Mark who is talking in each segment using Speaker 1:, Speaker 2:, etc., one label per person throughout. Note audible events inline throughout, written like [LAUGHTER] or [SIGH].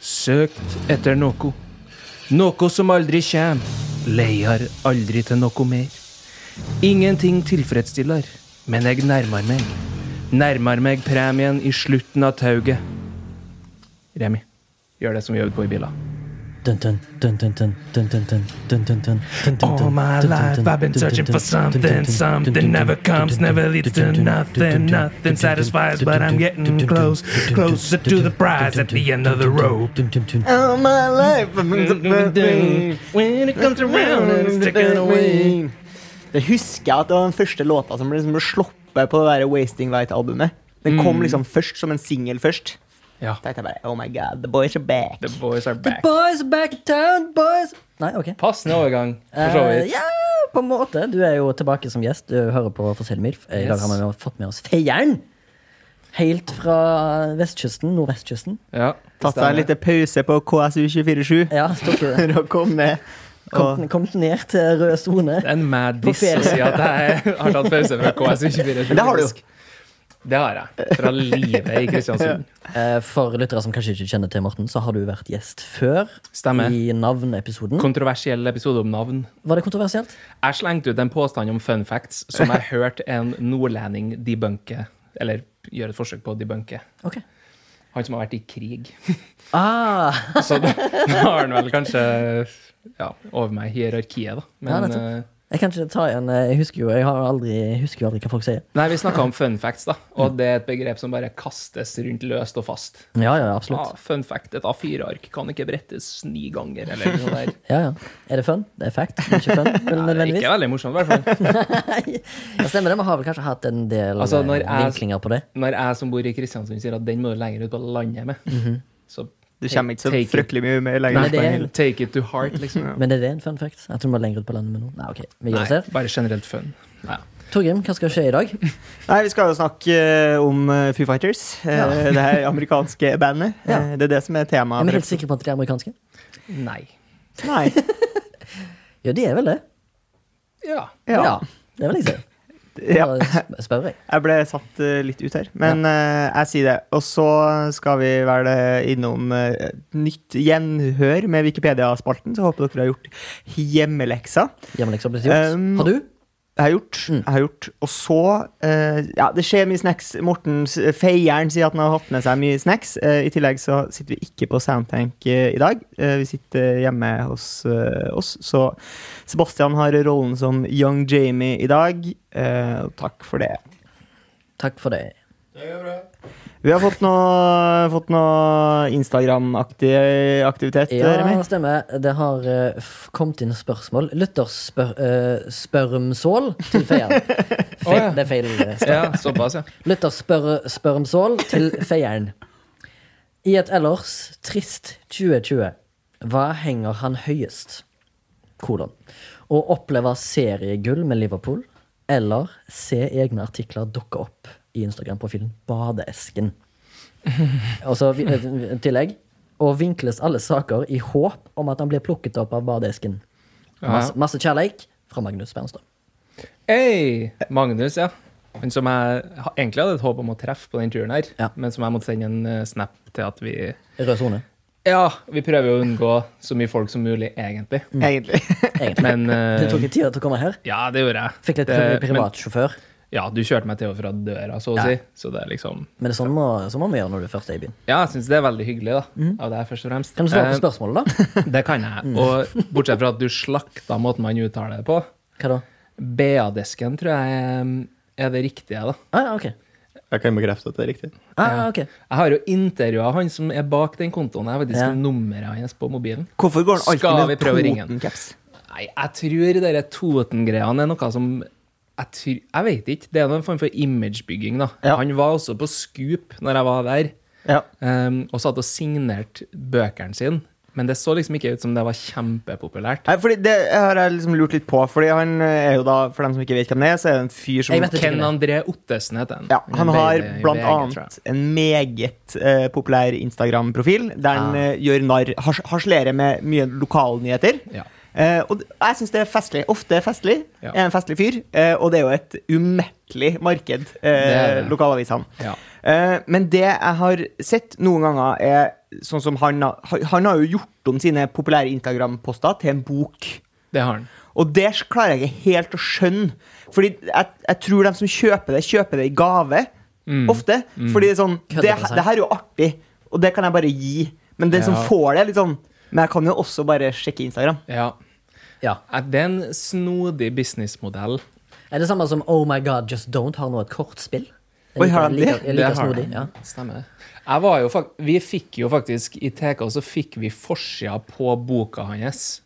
Speaker 1: Søkt etter noe. Noe som aldri kjem. Leiar aldri til noe mer. Ingenting tilfredsstiller, men jeg nærmer meg. Nærmer meg premien i slutten av tauget. Remi, gjør det som vi øvde på i bilen.
Speaker 2: All
Speaker 1: All my life I've been searching for something, something never comes, never leads to nothing, nothing satisfies, but I'm getting
Speaker 3: [LAUGHS]
Speaker 1: close, closer to the prize at the end of the road.
Speaker 4: All my life I've been suffering.
Speaker 1: When it comes around, it's taken away.
Speaker 4: Det husker jeg at det var den første låta som ble, liksom ble sluppet på det der Wasting Light-albumet. Den kom liksom først som en singel først.
Speaker 1: Ja.
Speaker 4: Da tenkte jeg bare Oh my god, the boys are back.
Speaker 1: The boys are back.
Speaker 3: Boys back in town, boys! Nei, ok.
Speaker 1: Passende overgang, for så
Speaker 3: Eh,
Speaker 1: vidt.
Speaker 3: ja, på en måte. Du er jo tilbake som gjest. Du hører på Forskjellig Milf. Eh, I dag
Speaker 1: Yes.
Speaker 3: har vi jo fått med oss Feieren. Helt fra vestkysten, nordvestkysten.
Speaker 1: Ja.
Speaker 4: Tatt seg en liten pause på [LAUGHS] KSU247
Speaker 3: Ja, tok jo det.
Speaker 1: [LAUGHS]
Speaker 4: for å komme
Speaker 3: Kom,
Speaker 4: og
Speaker 3: kom ned til rød sone.
Speaker 1: Det er en mad
Speaker 3: På
Speaker 1: diss å
Speaker 3: ferie.
Speaker 1: si
Speaker 3: [LAUGHS]
Speaker 1: at jeg har tatt pause fra KS24.
Speaker 4: Men det har du jo.
Speaker 1: Det har jeg. Fra livet i
Speaker 4: [LAUGHS]
Speaker 1: Kristiansund.
Speaker 3: Eh, For lyttere som kanskje ikke kjenner til Morten, så har du vært gjest før.
Speaker 1: Stemmer.
Speaker 3: I navnepisoden.
Speaker 1: Kontroversiell episode om navn.
Speaker 3: Var det kontroversielt?
Speaker 1: Jeg slengte ut en påstand om fun facts som jeg hørte en nordlending debunke. Eller gjøre et forsøk på å debunke.
Speaker 3: Ok.
Speaker 1: Han som har vært i krig.
Speaker 3: Ah,
Speaker 1: Så da da har han vel kanskje ja, over meg i hierarkiet, da.
Speaker 3: Ja,
Speaker 1: Men
Speaker 3: nettopp.
Speaker 1: eh,
Speaker 3: jeg kan ikke ta en eh, Jeg husker jo jeg har aldri, jeg husker jo aldri hva folk sier.
Speaker 1: Nei, vi snakka om fun facts, da. Og det er et begrep som bare kastes rundt løst og fast.
Speaker 3: Ja, ja,
Speaker 1: Ja,
Speaker 3: absolutt.
Speaker 1: Ah, fun fact, et A4-ark kan ikke brettes ni ganger, eller noe der.
Speaker 3: Ja, ja. Er det fun? Det er fact, men
Speaker 1: [LAUGHS]
Speaker 3: ikke fun. Men
Speaker 1: Nei, det er
Speaker 3: nødvendigvis.
Speaker 1: ikke veldig morsomt, i hvert fall.
Speaker 3: Nei, det stemmer det. Vi har vel kanskje hatt en del
Speaker 1: Altså,
Speaker 3: eh,
Speaker 1: når jeg-
Speaker 3: vinklinger på det.
Speaker 1: Når jeg som bor i Kristiansund sier at den må du lenger ut på landet med, så
Speaker 4: Du kommer ikke så
Speaker 1: Take it.
Speaker 4: fryktelig mye mer lenger.
Speaker 3: Mhm. Nei,
Speaker 4: ut på
Speaker 3: det er-
Speaker 4: den hill.
Speaker 1: take it to heart, liksom.
Speaker 3: [LAUGHS] Men er det en fun fact? At du må lenger ut på landet med noen? Nei, ok, vi gir oss
Speaker 1: Nei,
Speaker 3: her.
Speaker 1: bare generelt fun. Ja.
Speaker 3: Torgrim, hva skal skje i dag?
Speaker 4: Nei, vi skal jo snakke eh, om eh, Foo Fighters. eh,
Speaker 3: Ja.
Speaker 4: Det her amerikanske bandet.
Speaker 3: Ja.
Speaker 4: Eh, Det er det som er
Speaker 3: Er
Speaker 4: temaet.
Speaker 3: vi helt sikre på at de er amerikanske?
Speaker 1: Nei.
Speaker 4: Nei.
Speaker 3: Ja, de er vel det.
Speaker 1: Ja.
Speaker 4: Ja.
Speaker 3: det vil jeg si.
Speaker 4: ja.
Speaker 3: Bare sp- Spør jeg.
Speaker 4: Jeg ble satt eh, litt ut her, men eh, jeg sier det. Og så skal vi vel eh, innom eh, nytt gjenhør med Wikipedia-spalten, så håper dere har gjort hjemmeleksa.
Speaker 3: Hjemmelekser blitt gjort.
Speaker 4: Um,
Speaker 3: Har du?
Speaker 4: Jeg har gjort.
Speaker 3: Mm.
Speaker 4: Jeg har gjort. Og så eh, Ja, det skjer mye snacks. Morten eh, Feieren sier at han har hatt med seg mye snacks. Eh, I tillegg så sitter vi ikke på Soundtank eh, i dag. Eh, vi sitter hjemme hos eh, oss, så Sebastian har rollen som Young Jamie i dag. Eh, og takk for det.
Speaker 3: Takk for det.
Speaker 4: Vi har fått noe, fått noe Instagram-aktig aktivitet, Remi.
Speaker 3: Ja, stemmer. Det har eh, f- kommet inn spørsmål. Lytterspørmsål til
Speaker 4: [LAUGHS]
Speaker 3: feieren. Feil,
Speaker 1: Å, ja.
Speaker 3: Det er feil. eh,
Speaker 1: ja såpass, ja.
Speaker 3: Lytter spør, spør om sål til feieren. I et ellers trist 2020, hva henger han høyest? Kolon. Å oppleve seriegull med Liverpool, eller se egne artikler dukke opp i Instagram-profilen Badeesken. Og så vi- eh, tillegg. Og vinkles alle saker i håp om at han blir plukket opp av badeesken. Masse, masse kjærleik fra Magnus Bernstad.
Speaker 1: Hei! Magnus, ja. Han som jeg ha- egentlig hadde et håp om å treffe på den turen her,
Speaker 3: Ja.
Speaker 1: men som jeg måtte sende en eh, snap til at vi
Speaker 3: Rød sone,
Speaker 1: Ja, vi prøver å unngå så mye folk som mulig, egentlig.
Speaker 4: Egentlig.
Speaker 1: [LAUGHS]
Speaker 3: egentlig.
Speaker 1: Men
Speaker 3: [LAUGHS]
Speaker 1: eh,
Speaker 3: Det tok litt tid å komme her.
Speaker 1: Ja, det gjorde jeg.
Speaker 3: Fikk litt
Speaker 1: Det- Eh, men-
Speaker 3: privatsjåfør.
Speaker 1: Ja, du kjørte meg til og fra døra, så å
Speaker 3: Ja.
Speaker 1: si. Så det er liksom
Speaker 3: Men det er sånn må, sånn må vi gjøre når du først er i byen.
Speaker 1: Ja, jeg syns det er veldig hyggelig, da.
Speaker 3: Mhm.
Speaker 1: Av deg, først og fremst.
Speaker 3: Kan du svare på spørsmålet,
Speaker 1: [LAUGHS]
Speaker 3: da?
Speaker 1: Eh, det kan jeg.
Speaker 3: Mm.
Speaker 1: Og bortsett fra at du slakta måten man uttaler det på.
Speaker 3: Hva da?
Speaker 1: BA-desken tror jeg eh, er det riktige, da.
Speaker 3: Ah, ja, ok.
Speaker 5: Jeg kan bekrefte at det er riktig.
Speaker 3: Ah, ja, ok.
Speaker 1: Jeg har jo intervjua han som er bak den kontoen. Jeg vet ikke
Speaker 3: Ja.
Speaker 1: nummeret hans på mobilen.
Speaker 4: Hvorfor går
Speaker 1: Skal
Speaker 4: han
Speaker 1: vi
Speaker 4: alltid
Speaker 1: prøve å ringe
Speaker 4: med
Speaker 1: han?
Speaker 4: Toten-caps?
Speaker 1: Nei, jeg tror de Toten-greiene er noe som jeg, tror, jeg vet ikke. Det er noen form for imagebygging, da.
Speaker 4: Ja.
Speaker 1: Han var også på Scoop når jeg var der.
Speaker 4: Ja.
Speaker 1: Um, og så hadde hun signert bøkene sine, men det så liksom ikke ut som det var kjempepopulært.
Speaker 4: Nei, fordi det har jeg liksom lurt litt på, fordi han er jo da, for dem som ikke vet hvem det er, så er det en fyr som
Speaker 3: Jeg vet ikke hvem
Speaker 1: Ken
Speaker 3: det er.
Speaker 1: André Ottesen heter han.
Speaker 4: Ja, han
Speaker 1: En
Speaker 4: har
Speaker 1: baby i
Speaker 4: blant
Speaker 1: VG, tror jeg.
Speaker 4: annet en meget eh, populær Instagram-profil, der han
Speaker 3: Ah.
Speaker 4: eh, gjør narr, hars, harselerer med mye lokalnyheter.
Speaker 1: Ja.
Speaker 4: Eh, og d- jeg syns det er festlig. Ofte er festlig.
Speaker 1: Ja.
Speaker 4: Er en festlig fyr. eh, og det er jo et umettelig marked,
Speaker 1: er
Speaker 4: eh,
Speaker 1: det.
Speaker 4: lokalavisene.
Speaker 1: Ja.
Speaker 4: Eh, men det jeg har sett noen ganger, er sånn som han har Han har jo gjort om sine populære Instagram-poster til en bok.
Speaker 1: Det har han.
Speaker 4: Og det klarer jeg ikke helt å skjønne. Fordi jeg, jeg tror de som kjøper det, kjøper det i gave. Ofte. Fordi det er sånn det,
Speaker 3: Køddepresang.
Speaker 4: det her er jo artig, og det kan jeg bare gi. Men den som
Speaker 1: Ja.
Speaker 4: får det, er litt sånn Men jeg kan jo også bare sjekke Instagram.
Speaker 1: Ja.
Speaker 3: Ja.
Speaker 1: Eh, Det er en snodig businessmodell.
Speaker 3: Er det samme som Oh My God Just Don't har nå et kortspill? Jeg
Speaker 4: Oi,
Speaker 3: liker-
Speaker 4: har de det?
Speaker 3: Jeg liker, jeg liker
Speaker 1: Det har
Speaker 3: snodig.
Speaker 1: de.
Speaker 3: Ja.
Speaker 1: Stemmer det. Jeg var jo fak vi fikk jo faktisk I TK så fikk vi forsida på boka hans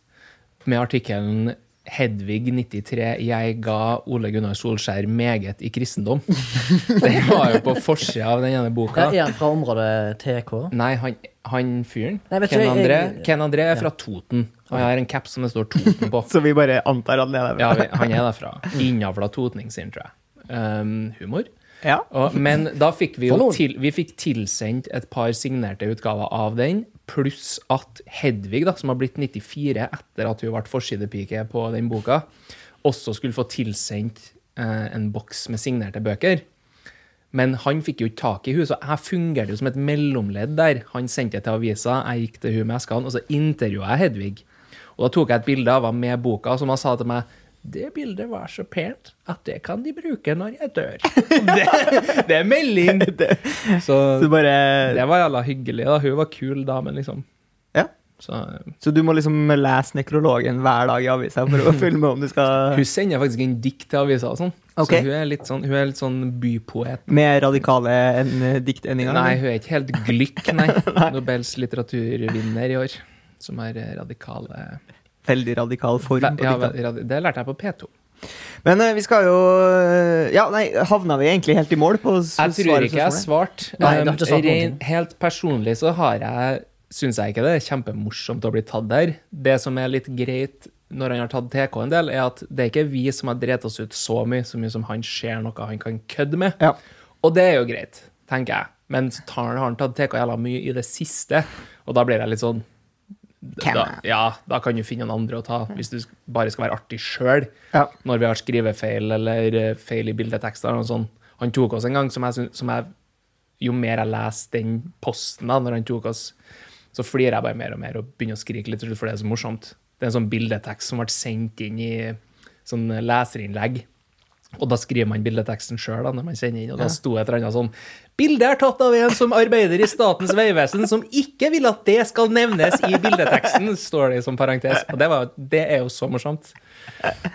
Speaker 1: med artikkelen 'Hedvig 93 jeg ga Ole Gunnar Solskjær meget i kristendom'. [LAUGHS] Den var jo på forsida av den ene boka.
Speaker 3: Ja, er han fra området TK?
Speaker 1: Nei, han, han fyren,
Speaker 3: Nei, vet
Speaker 1: Ken,
Speaker 3: du, jeg-
Speaker 1: André,
Speaker 3: jeg-
Speaker 1: Ken André er fra Toten. Og jeg har en caps som det står Toten på.
Speaker 3: [LAUGHS]
Speaker 4: Så vi bare antar at det er det.
Speaker 1: Ja, vi- han er derfra. Innavla totning, sier han, tror jeg. Um, humor.
Speaker 4: [LAUGHS] Ja.
Speaker 1: Og, men da fikk vi
Speaker 3: For
Speaker 1: jo
Speaker 3: noen.
Speaker 1: til, vi fikk tilsendt et par signerte utgaver av den, pluss at Hedvig, da, som har blitt 94 etter at hun ble forsidepike på den boka, også skulle få tilsendt eh, en boks med signerte bøker. Men han fikk jo ikke tak i hun, så jeg fungerte jo som et mellomledd der. Han sendte det til avisa, jeg gikk til hun med eskene, og så intervjua jeg Hedvig. Og da tok jeg et bilde av ham med boka, som han sa til meg det bildet var så pent at det kan de bruke når jeg dør. Det, det er
Speaker 4: [LAUGHS]
Speaker 1: melding! Så
Speaker 4: Så, bare,
Speaker 1: det var jævla hyggelig. da. Hun var kul dame, liksom.
Speaker 4: ja.
Speaker 1: Så, eh,
Speaker 4: så du må liksom lese Nekrologen hver dag i avisa for [LAUGHS] å følge med om du skal
Speaker 1: hun sender faktisk inn dikt til avisa og sånn.
Speaker 4: Ok.
Speaker 1: Så hun er litt sånn, hun er litt sånn bypoet.
Speaker 4: Med radikale enn eh, diktendinger?
Speaker 1: Nei, hun er ikke helt glykk,
Speaker 4: [LAUGHS]
Speaker 1: nei. Nobels litteraturvinner i år. Som er eh, radikale
Speaker 4: Veldig radikal form. på
Speaker 1: ja,
Speaker 4: diktene.
Speaker 1: radi- Det lærte jeg på P2.
Speaker 4: Men eh, vi skal jo eh, Ja, nei, havna vi egentlig helt i mål på s-
Speaker 1: Jeg tror
Speaker 4: svaret
Speaker 1: ikke jeg
Speaker 4: spørsmålet?
Speaker 1: svarte.
Speaker 3: Nei, du har ikke svart noen ting.
Speaker 1: helt personlig så har jeg syns jeg ikke det er kjempemorsomt å bli tatt der. Det som er litt greit når han har tatt TK en del, er at det er ikke vi som har drept oss ut så mye, så mye som han ser noe han kan kødde med.
Speaker 4: Ja.
Speaker 1: Og det er jo greit, tenker jeg. Men så tar han, har han tatt TK jævla mye i det siste, og da blir jeg litt sånn
Speaker 4: Hvem
Speaker 1: da,
Speaker 4: er?
Speaker 1: ja, da kan du finne noen andre å ta, hvis du sk- bare skal være artig sjøl.
Speaker 4: Ja.
Speaker 1: Når vi har skrivefeil eller eh, feil i bildetekster. eller noe sånt. Han tok oss en gang som jeg, syn- som jeg Jo mer jeg leser den posten, da, når han tok oss, så flirer jeg bare mer og mer og begynner å skrike litt, til slutt, for det er så morsomt. Det er en sånn bildetekst som ble sendt inn i sånn leserinnlegg. Og da skriver man bildeteksten sjøl, når man sender inn. Og da sto et eller annet sånn Bildet er tatt av en som arbeider i Statens vegvesen, som ikke vil at det skal nevnes i bildeteksten, står det som parentes. Og det, var, det er jo så morsomt.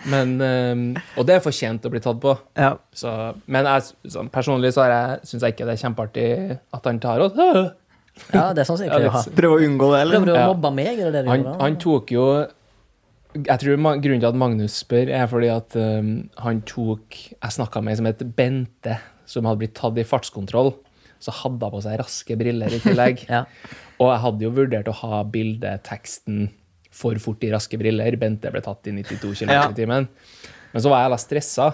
Speaker 1: Men, eh, og det er fortjent å bli tatt på.
Speaker 4: Ja.
Speaker 1: Så, men jeg, sånn, personlig så har jeg- syns jeg ikke det er kjempeartig at han tar oss. Øh.
Speaker 3: ja, det er sånn som jeg
Speaker 1: Ja,
Speaker 3: pleier å ha.
Speaker 1: litt-
Speaker 4: Prøve å unngå det, eller?
Speaker 3: Prøver du å
Speaker 1: Ja.
Speaker 3: mobbe meg? Er det det du
Speaker 1: Han,
Speaker 3: gjør? da?
Speaker 1: han tok jo Jeg tror ma- grunnen til at Magnus spør, er fordi at um, han tok Jeg snakka med ei som het Bente, som hadde blitt tatt i fartskontroll. Så hadde hun på seg raske briller i
Speaker 3: [LAUGHS]
Speaker 1: tillegg.
Speaker 3: Ja.
Speaker 1: Og jeg hadde jo vurdert å ha bildeteksten for fort i raske briller. Bente ble tatt i 92 km
Speaker 4: Ja.
Speaker 1: i timen. Men så var jeg jævla stressa,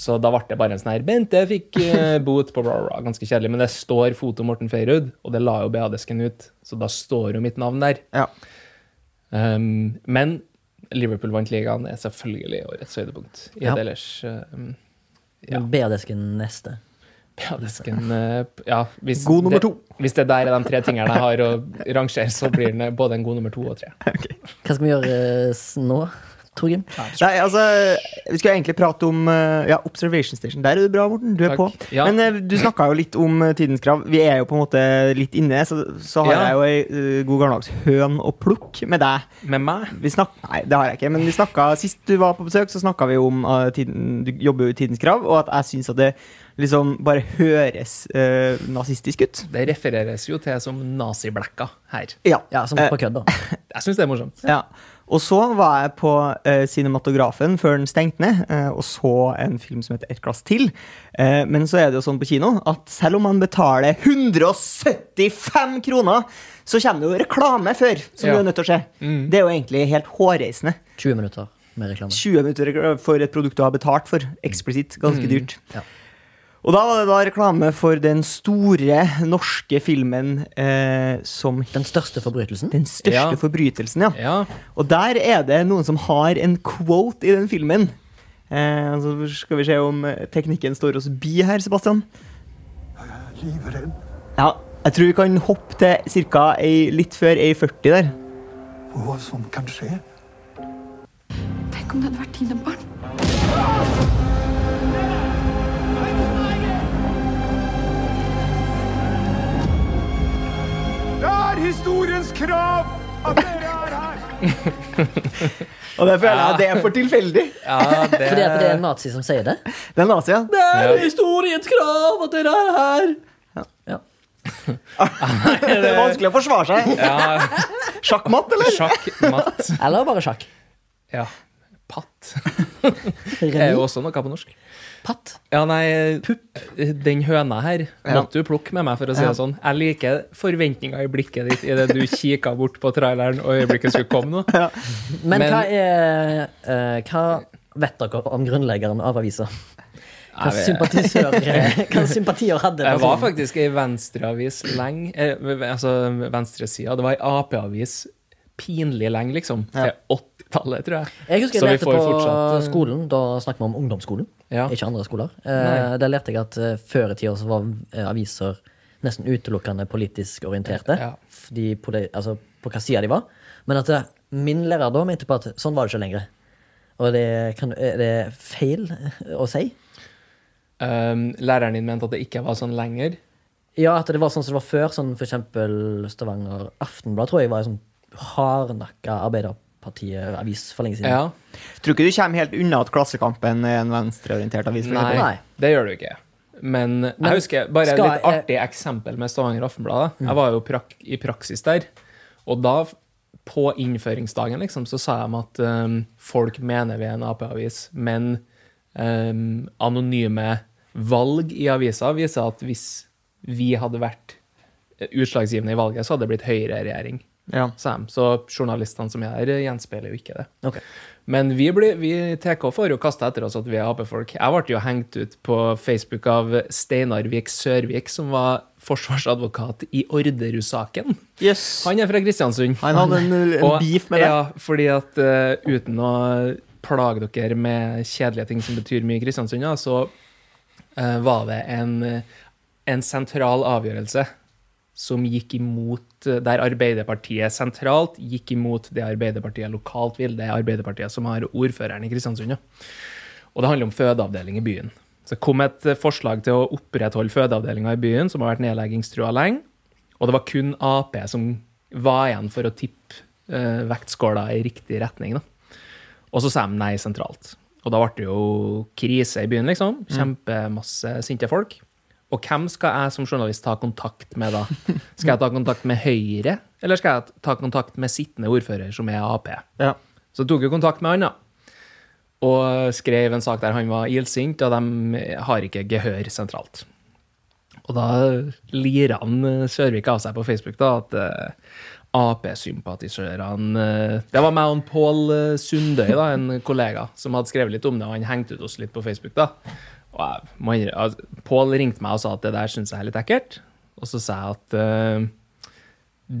Speaker 1: så da ble det bare en sånn her Bente fikk eh, bot på bla, bla, bla. Ganske kjedelig. Men det står foto Morten Feirud, og det la jo BA-desken ut, så da står jo mitt navn der.
Speaker 4: Ja.
Speaker 1: Um, men Liverpool vant ligaen er selvfølgelig årets høydepunkt. I et
Speaker 3: Ja.
Speaker 1: ellers um, Ja.
Speaker 3: Men BR-desken neste.
Speaker 1: ja, det skal en, uh, ja, hvis
Speaker 4: God nummer to.
Speaker 1: Det, hvis det der er de tre tingene jeg har å rangere, så blir den både en god nummer to og tre.
Speaker 3: Hva skal vi gjøre eh, s- nå, Torgrim?
Speaker 4: Nei, altså, Vi skulle egentlig prate om eh, ja, Observation Station. Der er du bra, Morten. Du er
Speaker 1: Takk.
Speaker 4: på.
Speaker 1: Ja.
Speaker 4: Men eh, du snakka jo litt om eh, tidens krav. Vi er jo på en måte litt inne, så, så har
Speaker 1: Ja.
Speaker 4: jeg jo ei eh, god gammeldags høn å plukke med deg.
Speaker 1: Med meg?
Speaker 4: Vi snak Nei, det har jeg ikke. Men vi snakket, sist du var på besøk, så snakka vi om eh, tiden, du jobber jo i Tidens Krav, og at jeg syns at det liksom bare høres eh, nazistisk ut.
Speaker 1: Det refereres jo til som naziblekka her.
Speaker 4: Ja.
Speaker 3: Ja, som
Speaker 4: Eh,
Speaker 3: på kødd, da.
Speaker 1: Jeg syns det er morsomt.
Speaker 4: ja. Og så var jeg på eh, Cinematografen før den stengte ned, eh, og så en film som heter Et glass til. Eh, men så er det jo sånn på kino at selv om man betaler 175 kroner, så kommer det jo reklame før, som
Speaker 1: Ja.
Speaker 4: du er nødt til å se. Det er jo egentlig helt hårreisende.
Speaker 3: 20 minutter med reklame.
Speaker 4: 20 minutter rekla- for et produkt du har betalt for. Eksplisitt. Ganske dyrt.
Speaker 3: Ja.
Speaker 4: Og da var det da reklame for den store norske filmen eh, som het
Speaker 3: Den største forbrytelsen?
Speaker 4: Den største
Speaker 1: Ja.
Speaker 4: forbrytelsen, ja.
Speaker 1: Ja.
Speaker 4: Og der er det noen som har en quote i den filmen. Eh, så skal vi se om eh, teknikken står oss bi her, Sebastian.
Speaker 2: Livredd.
Speaker 4: Ja, jeg tror vi kan hoppe til ca. litt før A40 der.
Speaker 2: for Hva som kan skje.
Speaker 6: Tenk om det hadde vært dine barn.
Speaker 2: Det er historiens krav at dere er her!
Speaker 4: Og det føler jeg det er for tilfeldig.
Speaker 1: ja det...
Speaker 3: Fordi at det er en nazi som sier det?
Speaker 4: Det er nazi, ja. Det
Speaker 1: Ja.
Speaker 3: historiens krav at dere er her! Ja.
Speaker 4: er vanskelig å forsvare seg.
Speaker 1: Ja,
Speaker 4: Sjakkmatt, eller?
Speaker 1: sjakk, matt.
Speaker 3: Eller bare sjakk.
Speaker 1: Ja. Patt er jo
Speaker 3: Remi,
Speaker 1: også noe på norsk.
Speaker 3: patt.
Speaker 1: Ja, nei, eh, den høna her
Speaker 4: Ja.
Speaker 1: måtte du plukke med meg, for å si det sånn. Jeg liker forventninga i blikket ditt idet du kikka bort på traileren og øyeblikket skulle komme nå.
Speaker 3: Men,
Speaker 1: Men-
Speaker 3: hva er eh, Hva vet dere om grunnleggeren av avisa? Hva
Speaker 1: Jeg vet-
Speaker 3: sympatisør
Speaker 1: [LAUGHS]
Speaker 3: Hva sympatier hadde
Speaker 1: Jeg var
Speaker 3: personen?
Speaker 1: faktisk i venstreavis lenge. eh, Altså venstresida. Det var i Ap-avis pinlig lenge, liksom. Til 80-tallet, tror jeg.
Speaker 3: Jeg husker
Speaker 1: Så vi
Speaker 3: jeg lærte
Speaker 1: får
Speaker 3: på
Speaker 1: fortsatt, eh,
Speaker 3: skolen, da snakker vi om ungdomsskolen,
Speaker 1: Ja.
Speaker 3: ikke andre skoler. Eh, der lærte jeg at eh, før i tida så var eh, aviser nesten utelukkende politisk orienterte.
Speaker 1: Ja.
Speaker 3: Fordi på, det, altså, på hva sida de var. Men at eh, min lærer da mente på at sånn var det ikke lenger. Og det kan, er det feil eh, å si?
Speaker 1: Um, læreren din mente at det ikke var sånn lenger.
Speaker 3: Ja, at det var sånn som det var før. Sånn for eksempel Stavanger Aftenblad tror jeg var en sånn hardnakka Arbeiderpartiet-avis for lenge siden.
Speaker 1: Ja.
Speaker 4: Tror ikke du kommer helt unna at Klassekampen er en venstreorientert avis. for
Speaker 1: Nei,
Speaker 4: eksempel.
Speaker 3: Nei.
Speaker 1: det gjør du ikke. Men
Speaker 3: Men
Speaker 1: jeg husker bare et
Speaker 3: skal
Speaker 1: litt artig eksempel med Stavanger Aftenblad. Jeg var jo prak i praksis der, og da, på innføringsdagen, liksom, så sa de at um, folk mener vi er en Ap-avis, men um, anonyme valg i avisa viser at hvis vi hadde vært eh, utslagsgivende i valget, så hadde det blitt høyreregjering,
Speaker 4: Ja.
Speaker 1: sa de. Så journalistene som er her, gjenspeiler jo ikke det.
Speaker 3: Ok.
Speaker 1: Men vi, blir, vi TK får jo kasta etter oss at vi er Ap-folk. Jeg ble jo hengt ut på Facebook av Steinar Vik Sørvik, som var forsvarsadvokat i Orderud-saken.
Speaker 4: Yes. Han,
Speaker 1: Han er fra Kristiansund.
Speaker 4: hadde en, en
Speaker 1: Og-
Speaker 4: beef med deg.
Speaker 1: Ja, fordi at eh, uten å plage dere med kjedelige ting som betyr mye i Kristiansund, ja, så eh, var det en, eh, en sentral avgjørelse som gikk imot eh, Der Arbeiderpartiet sentralt gikk imot det Arbeiderpartiet lokalt vil. Det er Arbeiderpartiet som har ordføreren i Kristiansund, ja. Og det handler om fødeavdeling i byen. Så det kom et eh, forslag til å opprettholde fødeavdelinga i byen, som har vært nedleggingstrua lenge. Og det var kun Ap som var igjen for å tippe eh, vektskåla i riktig retning. Da. Og så sa de nei sentralt. Og da ble det jo krise i byen, liksom. Kjempemasse sinte folk. Og hvem skal jeg som journalist ta kontakt med da? Skal jeg ta kontakt med Høyre, eller skal jeg ta kontakt med sittende ordfører, som er Ap?
Speaker 4: Ja.
Speaker 1: Så tok jeg kontakt med han, da. Og skrev en sak der han var ildsint, og de har ikke gehør sentralt. Og da lirer han eh, Sørvik av seg på Facebook da, at eh, Ap-sympatisørene eh, Det var meg og han Pål eh, Sundøy, da, en kollega, som hadde skrevet litt om det, og han hengte ut oss litt på Facebook. da. Og jeg må innrø- altså, Pål ringte meg og sa at det der syns jeg er litt ekkelt. Og så sa jeg at eh,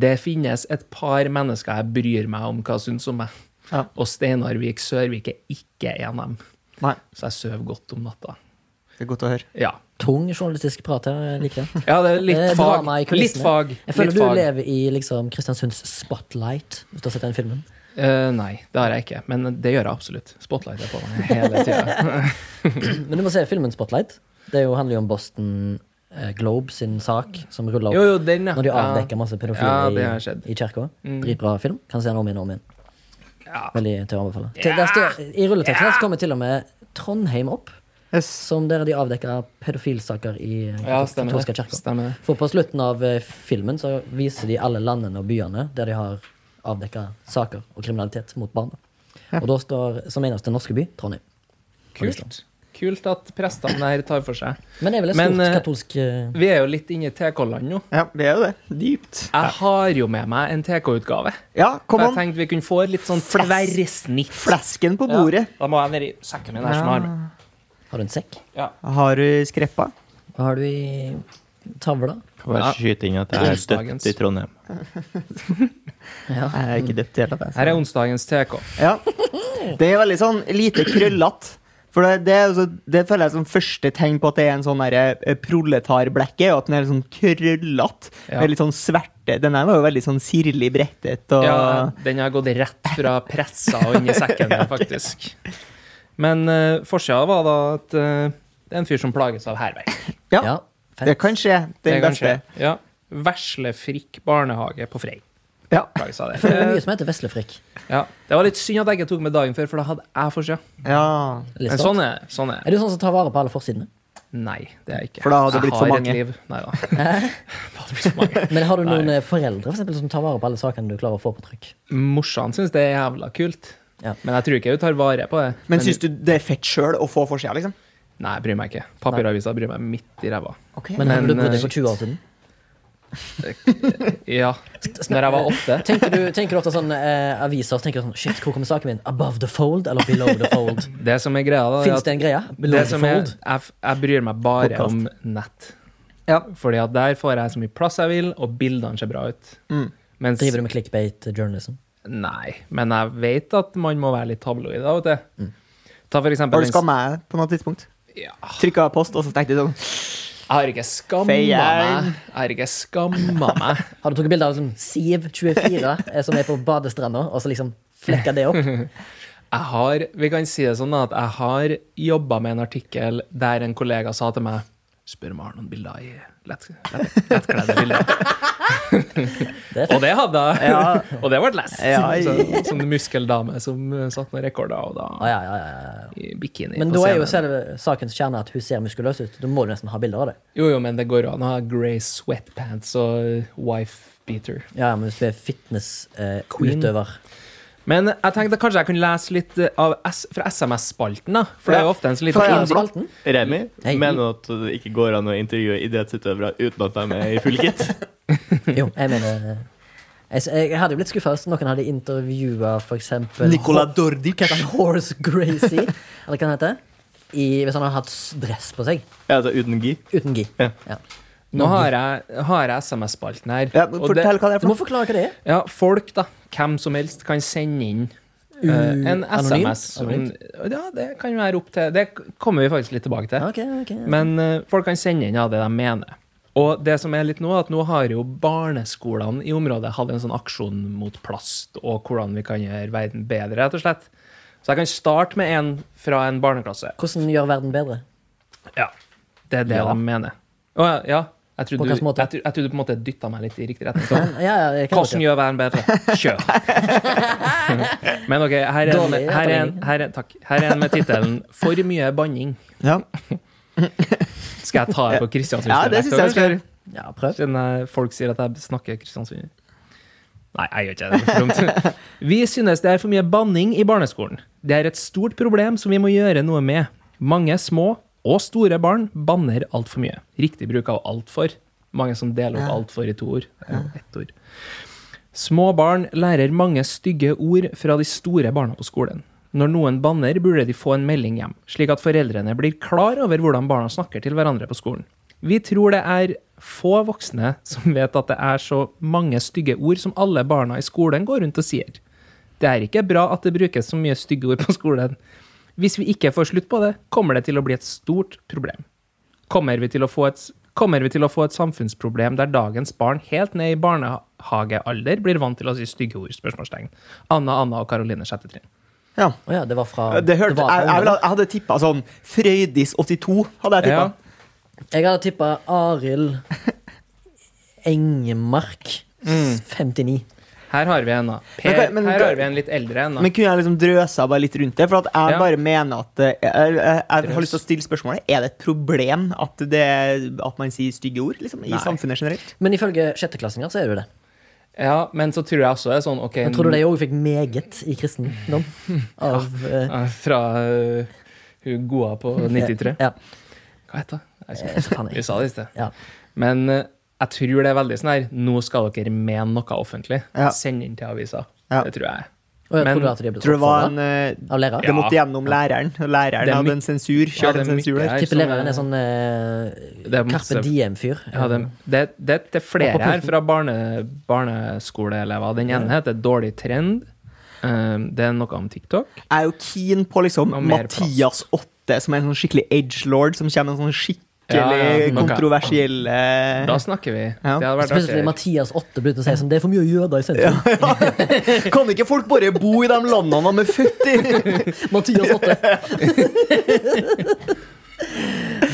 Speaker 1: det finnes et par mennesker jeg bryr meg om hva syns om meg.
Speaker 4: Ja.
Speaker 1: Og Steinar Vik Sørvik er ikke en av dem.
Speaker 4: Nei,
Speaker 1: Så jeg sover godt om natta.
Speaker 4: det er godt å høre.
Speaker 1: Ja.
Speaker 3: Tung journalistisk prat her. eh, jeg liker det.
Speaker 1: ja, det er litt
Speaker 3: Eh,
Speaker 1: fag.
Speaker 3: drama i kulissene.
Speaker 1: Litt fag.
Speaker 3: Jeg føler
Speaker 1: litt
Speaker 3: du
Speaker 1: fag.
Speaker 3: lever i liksom Kristiansunds spotlight, hvis du har sett den filmen.
Speaker 1: Eh, nei, det har jeg ikke. Men det gjør jeg absolutt. Spotlight er på meg hele tida.
Speaker 3: Men du må se filmen Spotlight. Det er jo, handler jo om Boston eh, Globe sin sak, som ruller opp
Speaker 1: [LAUGHS] Jo, jo, den, ja.
Speaker 3: når de avdekker
Speaker 1: Ja.
Speaker 3: masse
Speaker 1: Ja,
Speaker 3: pedofile
Speaker 1: det har skjedd. Mm.
Speaker 3: i, i kirka. Dritbra film. Kan se den om igjen og om igjen.
Speaker 1: Ja.
Speaker 3: Veldig til å anbefale. Til, der står, I rulleteksten her så kommer til og med Trondheim opp,
Speaker 4: Yes.
Speaker 3: som der de avdekka pedofilsaker i
Speaker 1: Ja, stemmer
Speaker 3: katolske
Speaker 1: det.
Speaker 3: kirka.
Speaker 1: Stemmer det.
Speaker 3: For på slutten av eh, filmen så viser de alle landene og byene der de har avdekke saker og kriminalitet mot barn. Og da står som eneste norske by Trondheim.
Speaker 1: Kult. Kult at prestene her tar for seg.
Speaker 3: Men det er vel et
Speaker 1: Men,
Speaker 3: stort
Speaker 1: eh,
Speaker 3: katolsk eh,
Speaker 1: Vi er jo litt inne i TK-land nå.
Speaker 4: Ja, det er jo det. Dypt.
Speaker 1: Jeg har jo med meg en TK-utgave.
Speaker 4: Ja,
Speaker 1: For
Speaker 4: kom
Speaker 1: jeg
Speaker 4: an.
Speaker 1: tenkte vi kunne få et litt sånn
Speaker 4: Flass.
Speaker 1: tverrsnitt.
Speaker 4: Flesken på bordet.
Speaker 1: Ja, da må jeg ned i sekken min her som jeg har med.
Speaker 3: Har du en sekk?
Speaker 4: Har du skreppa?
Speaker 3: Hva har du i tavla?
Speaker 5: Kan bare
Speaker 1: Ja.
Speaker 5: skyte inn at jeg er
Speaker 1: Onsdagens.
Speaker 5: døpt i
Speaker 4: [LAUGHS]
Speaker 5: Trondheim.
Speaker 4: Jeg er ikke døpt i det hele tatt. altså.
Speaker 1: Her er onsdagens TK.
Speaker 4: Ja. Det er veldig sånn lite krøllete. For det, det, er jo så- det føler jeg som første tegn på at det er en sånn derre, eh, proletarblekke. Og at den er litt sånn krøllete.
Speaker 1: Ja.
Speaker 4: med Litt sånn sverte. Den her var jo veldig sånn sirlig brettet. Og
Speaker 1: Ja, den har gått rett fra pressa og inn i sekken
Speaker 4: [LAUGHS]
Speaker 1: min, faktisk. Men uh, forskjella var da at eh, det er en fyr som plages av hærverk.
Speaker 4: Ja,
Speaker 3: fett.
Speaker 4: [LAUGHS] det kan skje. Den
Speaker 1: Det kan skje.
Speaker 4: beste.
Speaker 1: Ja. Veslefrikk barnehage på Frei.
Speaker 4: Ja.
Speaker 1: Plages av
Speaker 3: Det er
Speaker 1: det. [LAUGHS]
Speaker 3: mye som heter veslefrikk.
Speaker 1: Ja. Det var litt synd at jeg ikke tok med dagen før, for da hadde jeg forsida.
Speaker 4: ja.
Speaker 3: Litt
Speaker 1: Men
Speaker 3: stolt.
Speaker 1: sånn er det. Sånn er.
Speaker 3: Er du sånn som tar vare på alle forsidene?
Speaker 1: det. Nei, det er jeg ikke.
Speaker 4: For da hadde det blitt for mange.
Speaker 1: Jeg har et liv. Nei da. [LAUGHS] Det hadde blitt for mange.
Speaker 3: Men har du noen eh, foreldre for eksempel, som tar vare på alle sakene du klarer å få på trykk?
Speaker 1: Morsan syns det er jævla kult.
Speaker 3: Ja.
Speaker 1: Men jeg tror ikke hun tar vare på det.
Speaker 4: Men syns du det er fett sjøl å få forsida, liksom?
Speaker 1: Nei, jeg bryr meg ikke. Papiravisa bryr meg midt i ræva.
Speaker 4: Okay.
Speaker 3: Men,
Speaker 1: Men,
Speaker 3: hadde du brydd deg
Speaker 1: eh,
Speaker 3: for 20 år siden?
Speaker 1: Ja. Når jeg var åtte.
Speaker 3: Tenker du, tenker du ofte sånn eh, aviser tenker du sånn, Shit, hvor kommer saken min? Above the fold eller below the fold?
Speaker 1: Det som er greia, da er
Speaker 3: Fins
Speaker 1: at
Speaker 3: det en greie? Below
Speaker 1: det
Speaker 3: the
Speaker 1: som er,
Speaker 3: fold?
Speaker 1: jeg, jeg bryr meg bare om nett.
Speaker 4: Ja.
Speaker 1: Fordi at der får jeg så mye plass jeg vil, og bildene ser bra ut.
Speaker 4: Mm.
Speaker 1: Mens,
Speaker 3: Driver du med clickbait eh, journalism?
Speaker 1: Nei, men jeg vet at man må være litt tabloid av og til. Ta for
Speaker 4: Mm. Har
Speaker 1: eksempel
Speaker 4: du skamma deg på noe tidspunkt?
Speaker 1: Ja.
Speaker 4: Trykka post, og så tenkte du sånn
Speaker 1: Jeg har ikke skamma meg.
Speaker 4: Feieren.
Speaker 1: Jeg har ikke skamma meg.
Speaker 3: Har du tatt bilde av liksom, Siv24, [LAUGHS] eh, som er på badestranda, og så liksom flekka det opp? [LAUGHS]
Speaker 1: Jeg har, vi kan si det sånn at jeg har jobba med en artikkel der en kollega sa til meg Spør om jeg har noen bilder i lett, lett, lettkledde bilder.
Speaker 3: [LAUGHS] Det er
Speaker 1: og det hadde jeg. og det ble lest.
Speaker 4: Ja.
Speaker 1: Så, som en muskeldame som eh, satt noen rekorder, og
Speaker 3: Ah,
Speaker 1: da
Speaker 3: ja, ja, ja, ja.
Speaker 1: i bikini.
Speaker 3: Men
Speaker 1: på
Speaker 3: da er jo
Speaker 1: scenen.
Speaker 3: selve sakens kjerne at hun ser muskuløs ut. Da må du nesten ha bilder av det.
Speaker 1: Jo, jo, men det går an å ha grey sweatpants og wife beater.
Speaker 3: Ja, men hvis du er eh,
Speaker 1: Queen.
Speaker 3: fitness-utøver
Speaker 1: Men jeg tenkte kanskje jeg kunne lese litt eh, av S fra SMS-spalten, da. For det er jo ofte en sånn
Speaker 4: Fra
Speaker 1: liten
Speaker 3: Spalten?
Speaker 5: Remi,
Speaker 3: Hei.
Speaker 5: mener du at det ikke går an å intervjue idrettsutøvere uten at de er i full kit?
Speaker 3: [LAUGHS] Jo, jeg mener eh, jeg, s- jeg hadde jo blitt skuffa hvis noen hadde intervjua f.eks.
Speaker 4: Nicola Dordic.
Speaker 3: Horse
Speaker 1: [LAUGHS]
Speaker 3: Gracie, eller hva han heter. I, hvis han hadde hatt s- dress på seg.
Speaker 5: Ja, altså uten gi.
Speaker 3: Uten gi.
Speaker 5: Ja.
Speaker 3: Ja.
Speaker 1: Nå har jeg, har jeg SMS-spalten her.
Speaker 4: Ja,
Speaker 1: og det-
Speaker 4: fortell hva det
Speaker 3: Du
Speaker 4: er for
Speaker 3: må
Speaker 4: noe.
Speaker 3: forklare hva det er.
Speaker 1: Ja, folk, da. Hvem som helst kan sende inn eh, en
Speaker 3: anonymt?
Speaker 1: SMS. Om, ja, det kan jo være opp til Det kommer vi faktisk litt tilbake til.
Speaker 3: Ok, ok.
Speaker 1: Men eh, folk kan sende inn ja, det de mener. Og det som er litt nå, at nå har jo barneskolene i området hatt en sånn aksjon mot plast, og hvordan vi kan gjøre verden bedre, rett og slett. Så jeg kan starte med en fra en barneklasse.
Speaker 3: Hvordan gjør verden bedre?
Speaker 1: Ja. Det er det
Speaker 3: Ja.
Speaker 1: de mener. Å, ja, ja.
Speaker 3: På
Speaker 1: Jeg trodde, du,
Speaker 3: hvilken måte?
Speaker 1: jeg, tro- jeg trodde du på en måte dytta meg litt i riktig
Speaker 3: [LAUGHS]
Speaker 1: retning. Så,
Speaker 3: Ja, ja, jeg kan
Speaker 1: Hvordan gjør verden bedre?
Speaker 3: [LAUGHS]
Speaker 1: Kjør! Men OK, her er en,
Speaker 3: Dårlig
Speaker 1: her er en, her er, takk. Her er en med tittelen 'For mye banning'.
Speaker 4: Ja.
Speaker 1: [LAUGHS] Skal jeg ta det på
Speaker 4: ja, det syns jeg
Speaker 1: Kristiansund?
Speaker 4: skal gjøre.
Speaker 3: Ja, prøv.
Speaker 1: Siden jeg- folk sier at jeg snakker Kristiansund. Nei, jeg gjør ikke det. det. er for
Speaker 4: [LAUGHS]
Speaker 1: dumt. Vi synes det er for mye banning i barneskolen. Det er et stort problem som vi må gjøre noe med. Mange små og store barn banner altfor mye. Riktig bruk av altfor. Mange som deler opp altfor i to ord. Det er jo Ett ord. Små barn lærer mange stygge ord fra de store barna på skolen. Når noen banner, burde de få en melding hjem, slik at foreldrene blir klar over hvordan barna snakker til hverandre på skolen. Vi tror det er få voksne som vet at det er så mange stygge ord som alle barna i skolen går rundt og sier. Det er ikke bra at det brukes så mye stygge ord på skolen. Hvis vi ikke får slutt på det, kommer det til å bli et stort problem. Kommer vi til å få et, kommer vi til å få et samfunnsproblem der dagens barn helt ned i barnehagealder blir vant til å si stygge ord? spørsmålstegn. Anna, Anna og Karoline sjette trinn.
Speaker 4: Ja.
Speaker 3: Å ja, det var fra
Speaker 4: Det hørte,
Speaker 3: var fra
Speaker 4: jeg, jeg, ville- jeg hadde tippa sånn Frøydis82, hadde jeg tippa.
Speaker 1: Ja.
Speaker 3: Jeg hadde tippa Arild Engemark.
Speaker 4: Mm.
Speaker 3: 59.
Speaker 1: Her har vi en, da. Per,
Speaker 4: Men hva- men
Speaker 1: her
Speaker 4: hva-
Speaker 1: har vi en litt eldre en. da.
Speaker 4: Men kunne jeg liksom drøsa bare litt rundt det? For at jeg
Speaker 1: Ja.
Speaker 4: bare mener at eh, jeg, jeg, jeg har
Speaker 1: Drøs.
Speaker 4: lyst til å stille spørsmålet Er det et problem at, det, at man sier stygge ord liksom, i
Speaker 1: Nei.
Speaker 4: samfunnet generelt?
Speaker 3: Men ifølge sjetteklassinger så er det jo det.
Speaker 1: Ja, men så tror jeg også det er sånn ok,
Speaker 3: Men tror du de òg fikk meget i kristendom? Av eh,
Speaker 1: Ja, Fra eh, hun goa på 93.
Speaker 3: Ja.
Speaker 1: Hva heter det? Jeg husker
Speaker 3: Eh, så faen
Speaker 1: ikke. Vi
Speaker 3: jeg.
Speaker 1: sa det i sted.
Speaker 3: Ja.
Speaker 1: Men eh, jeg tror det er veldig sånn her Nå skal dere mene noe offentlig.
Speaker 4: Ja.
Speaker 1: Send inn til avisa.
Speaker 4: Ja.
Speaker 1: Det tror jeg.
Speaker 3: Og jeg
Speaker 1: Men-
Speaker 3: trodde at de ble
Speaker 4: Tror du det var en
Speaker 3: oppfordra
Speaker 4: eh,
Speaker 3: av lærere.
Speaker 4: Det måtte gjennom læreren, og læreren
Speaker 1: Det er
Speaker 4: hadde
Speaker 1: my-
Speaker 4: en sensur.
Speaker 1: Ja,
Speaker 4: Kjørte
Speaker 1: det
Speaker 4: en
Speaker 1: er mye
Speaker 4: sensur der.
Speaker 1: her
Speaker 3: Tipper
Speaker 1: som
Speaker 3: læreren
Speaker 1: er-
Speaker 3: er sånn eh,
Speaker 1: Det er masse-
Speaker 3: Carpe Diem-fyr.
Speaker 1: Ja, det, det, det, det er flere
Speaker 3: Eh, Og på
Speaker 1: her
Speaker 3: pulten.
Speaker 1: fra barne, barneskoleelever. Den ene heter 'Dårlig trend'. Um, det er noe om TikTok.
Speaker 4: Jeg er jo keen på liksom
Speaker 1: Og mer plass.
Speaker 4: Mathias 8, som er en sånn skikkelig edgelord, som kommer med
Speaker 1: Ja,
Speaker 4: sånne skikkelig
Speaker 1: ja, ok.
Speaker 4: kontroversielle
Speaker 1: Da snakker vi.
Speaker 4: Ja.
Speaker 1: Det hadde vært
Speaker 3: Spesielt
Speaker 1: artig.
Speaker 3: Mathias Åtte begynte å si sånn Det er for mye jøder i sentrum.
Speaker 4: [LAUGHS] Kan ikke folk bare bo i de landene de er født i?
Speaker 3: [LAUGHS]
Speaker 4: [LAUGHS]
Speaker 3: Mathias
Speaker 1: [LAUGHS]
Speaker 3: Åtte. [LAUGHS]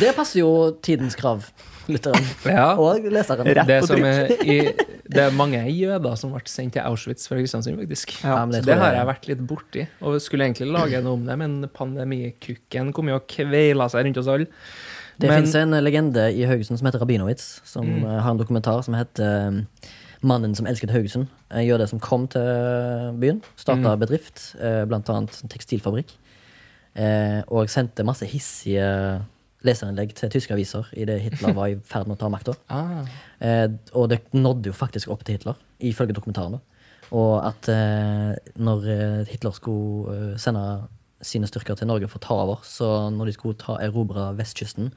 Speaker 3: det passer jo tidens krav, lytteren
Speaker 1: Ja.
Speaker 3: og leseren.
Speaker 4: Rett
Speaker 1: Det,
Speaker 4: på
Speaker 1: som
Speaker 4: trykk.
Speaker 1: er i, det er mange jøder som ble sendt til Auschwitz fra Kristiansund, faktisk.
Speaker 3: Ja, men det
Speaker 1: Så
Speaker 3: tror
Speaker 1: det
Speaker 3: jeg-
Speaker 1: har jeg vært litt borti, og skulle egentlig lage noe om det, men pandemikukken kom jo og kveila seg rundt oss alle.
Speaker 3: Det
Speaker 1: Men- Mm.
Speaker 3: finnes en legende i Haugesund som heter Rabinowitz, som eh, har en dokumentar som heter eh, 'Mannen som elsket Haugesund'. En jøde som kom til byen,
Speaker 1: Mm.
Speaker 3: starta bedrift, eh, blant annet en tekstilfabrikk, eh, og sendte masse hissige leserinnlegg til tyske aviser idet Hitler var i ferd med å ta makta.
Speaker 1: Ah.
Speaker 3: Eh, og det nådde jo faktisk opp til Hitler, ifølge dokumentaren. da. Og at eh, når eh, Hitler skulle eh, sende sine styrker til Norge for å ta over, så når de skulle ta erobre vestkysten,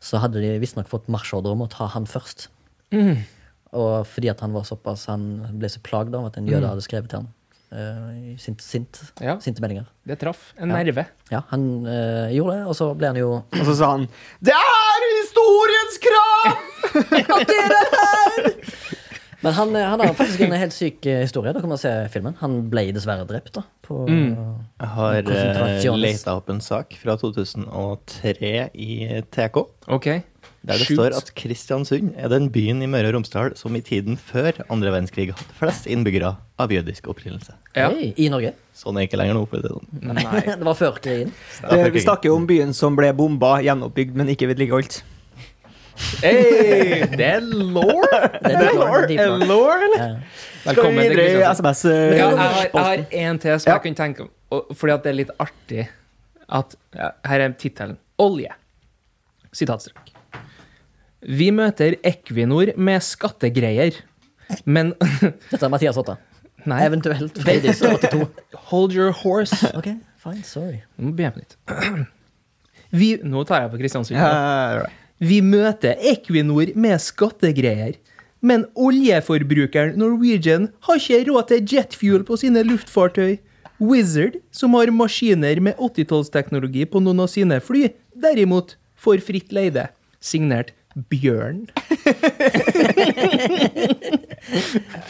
Speaker 3: så hadde de visstnok fått marsjordre om å ta han først. Og fordi at han var såpass Han ble så plagd av at en jøde hadde skrevet til han. eh, i sint, sint,
Speaker 1: Ja.
Speaker 3: Sinte meldinger.
Speaker 1: Det traff en nerve.
Speaker 3: Ja, han eh, gjorde det, og så ble han jo
Speaker 4: Og så sa han Det er historiens krav!
Speaker 3: Men han, eh, han har faktisk en helt syk eh, historie. Da kan man se filmen. Han ble dessverre drept da, på
Speaker 1: Mm.
Speaker 5: Jeg har uh,
Speaker 3: Konsentrasjones-
Speaker 5: leta opp en sak fra 2003 i TK.
Speaker 1: OK.
Speaker 5: Der det
Speaker 1: Shoot.
Speaker 5: står at Kristiansund er den byen i Møre og Romsdal som i tiden før andre verdenskrig hadde flest innbyggere av jødisk opprinnelse.
Speaker 1: Ja.
Speaker 3: Hei, I Norge.
Speaker 5: Sånn er det ikke lenger nå. for å si det sånn.
Speaker 1: Nei.
Speaker 3: [LAUGHS] Det var før krigen.
Speaker 4: Eh, Vi snakker jo om byen som ble bomba, gjenoppbygd, men ikke vedlikeholdt.
Speaker 1: Hey, det er law!
Speaker 3: Det er deep lore, deep lore. Ja.
Speaker 4: Skal vi
Speaker 1: Velkommen til
Speaker 4: videre i
Speaker 1: Kristiansand.
Speaker 4: SMS?
Speaker 1: Men
Speaker 4: eh,
Speaker 1: Ja, jeg har- jeg har en til som
Speaker 4: Ja.
Speaker 1: jeg kunne tenke om, og- fordi at det er litt artig at ja, Her er tittelen. Olje. Sitatstrek. Vi møter Equinor med skattegreier, men
Speaker 3: Dette er Mathias Otta.
Speaker 1: Nei,
Speaker 3: Eventuelt Frøydis 82.
Speaker 1: hold your horse.
Speaker 3: Ok, fine, sorry.
Speaker 1: Nå må jeg begynne på nytt. Vi, nå tar jeg på Kristiansund.
Speaker 4: eh,
Speaker 1: Vi møter Equinor med skattegreier. Men oljeforbrukeren Norwegian har ikke råd til jetfuel på sine luftfartøy. Wizard, som har maskiner med 80-tallsteknologi på noen av sine fly, derimot får fritt leide. Signert Bjørn.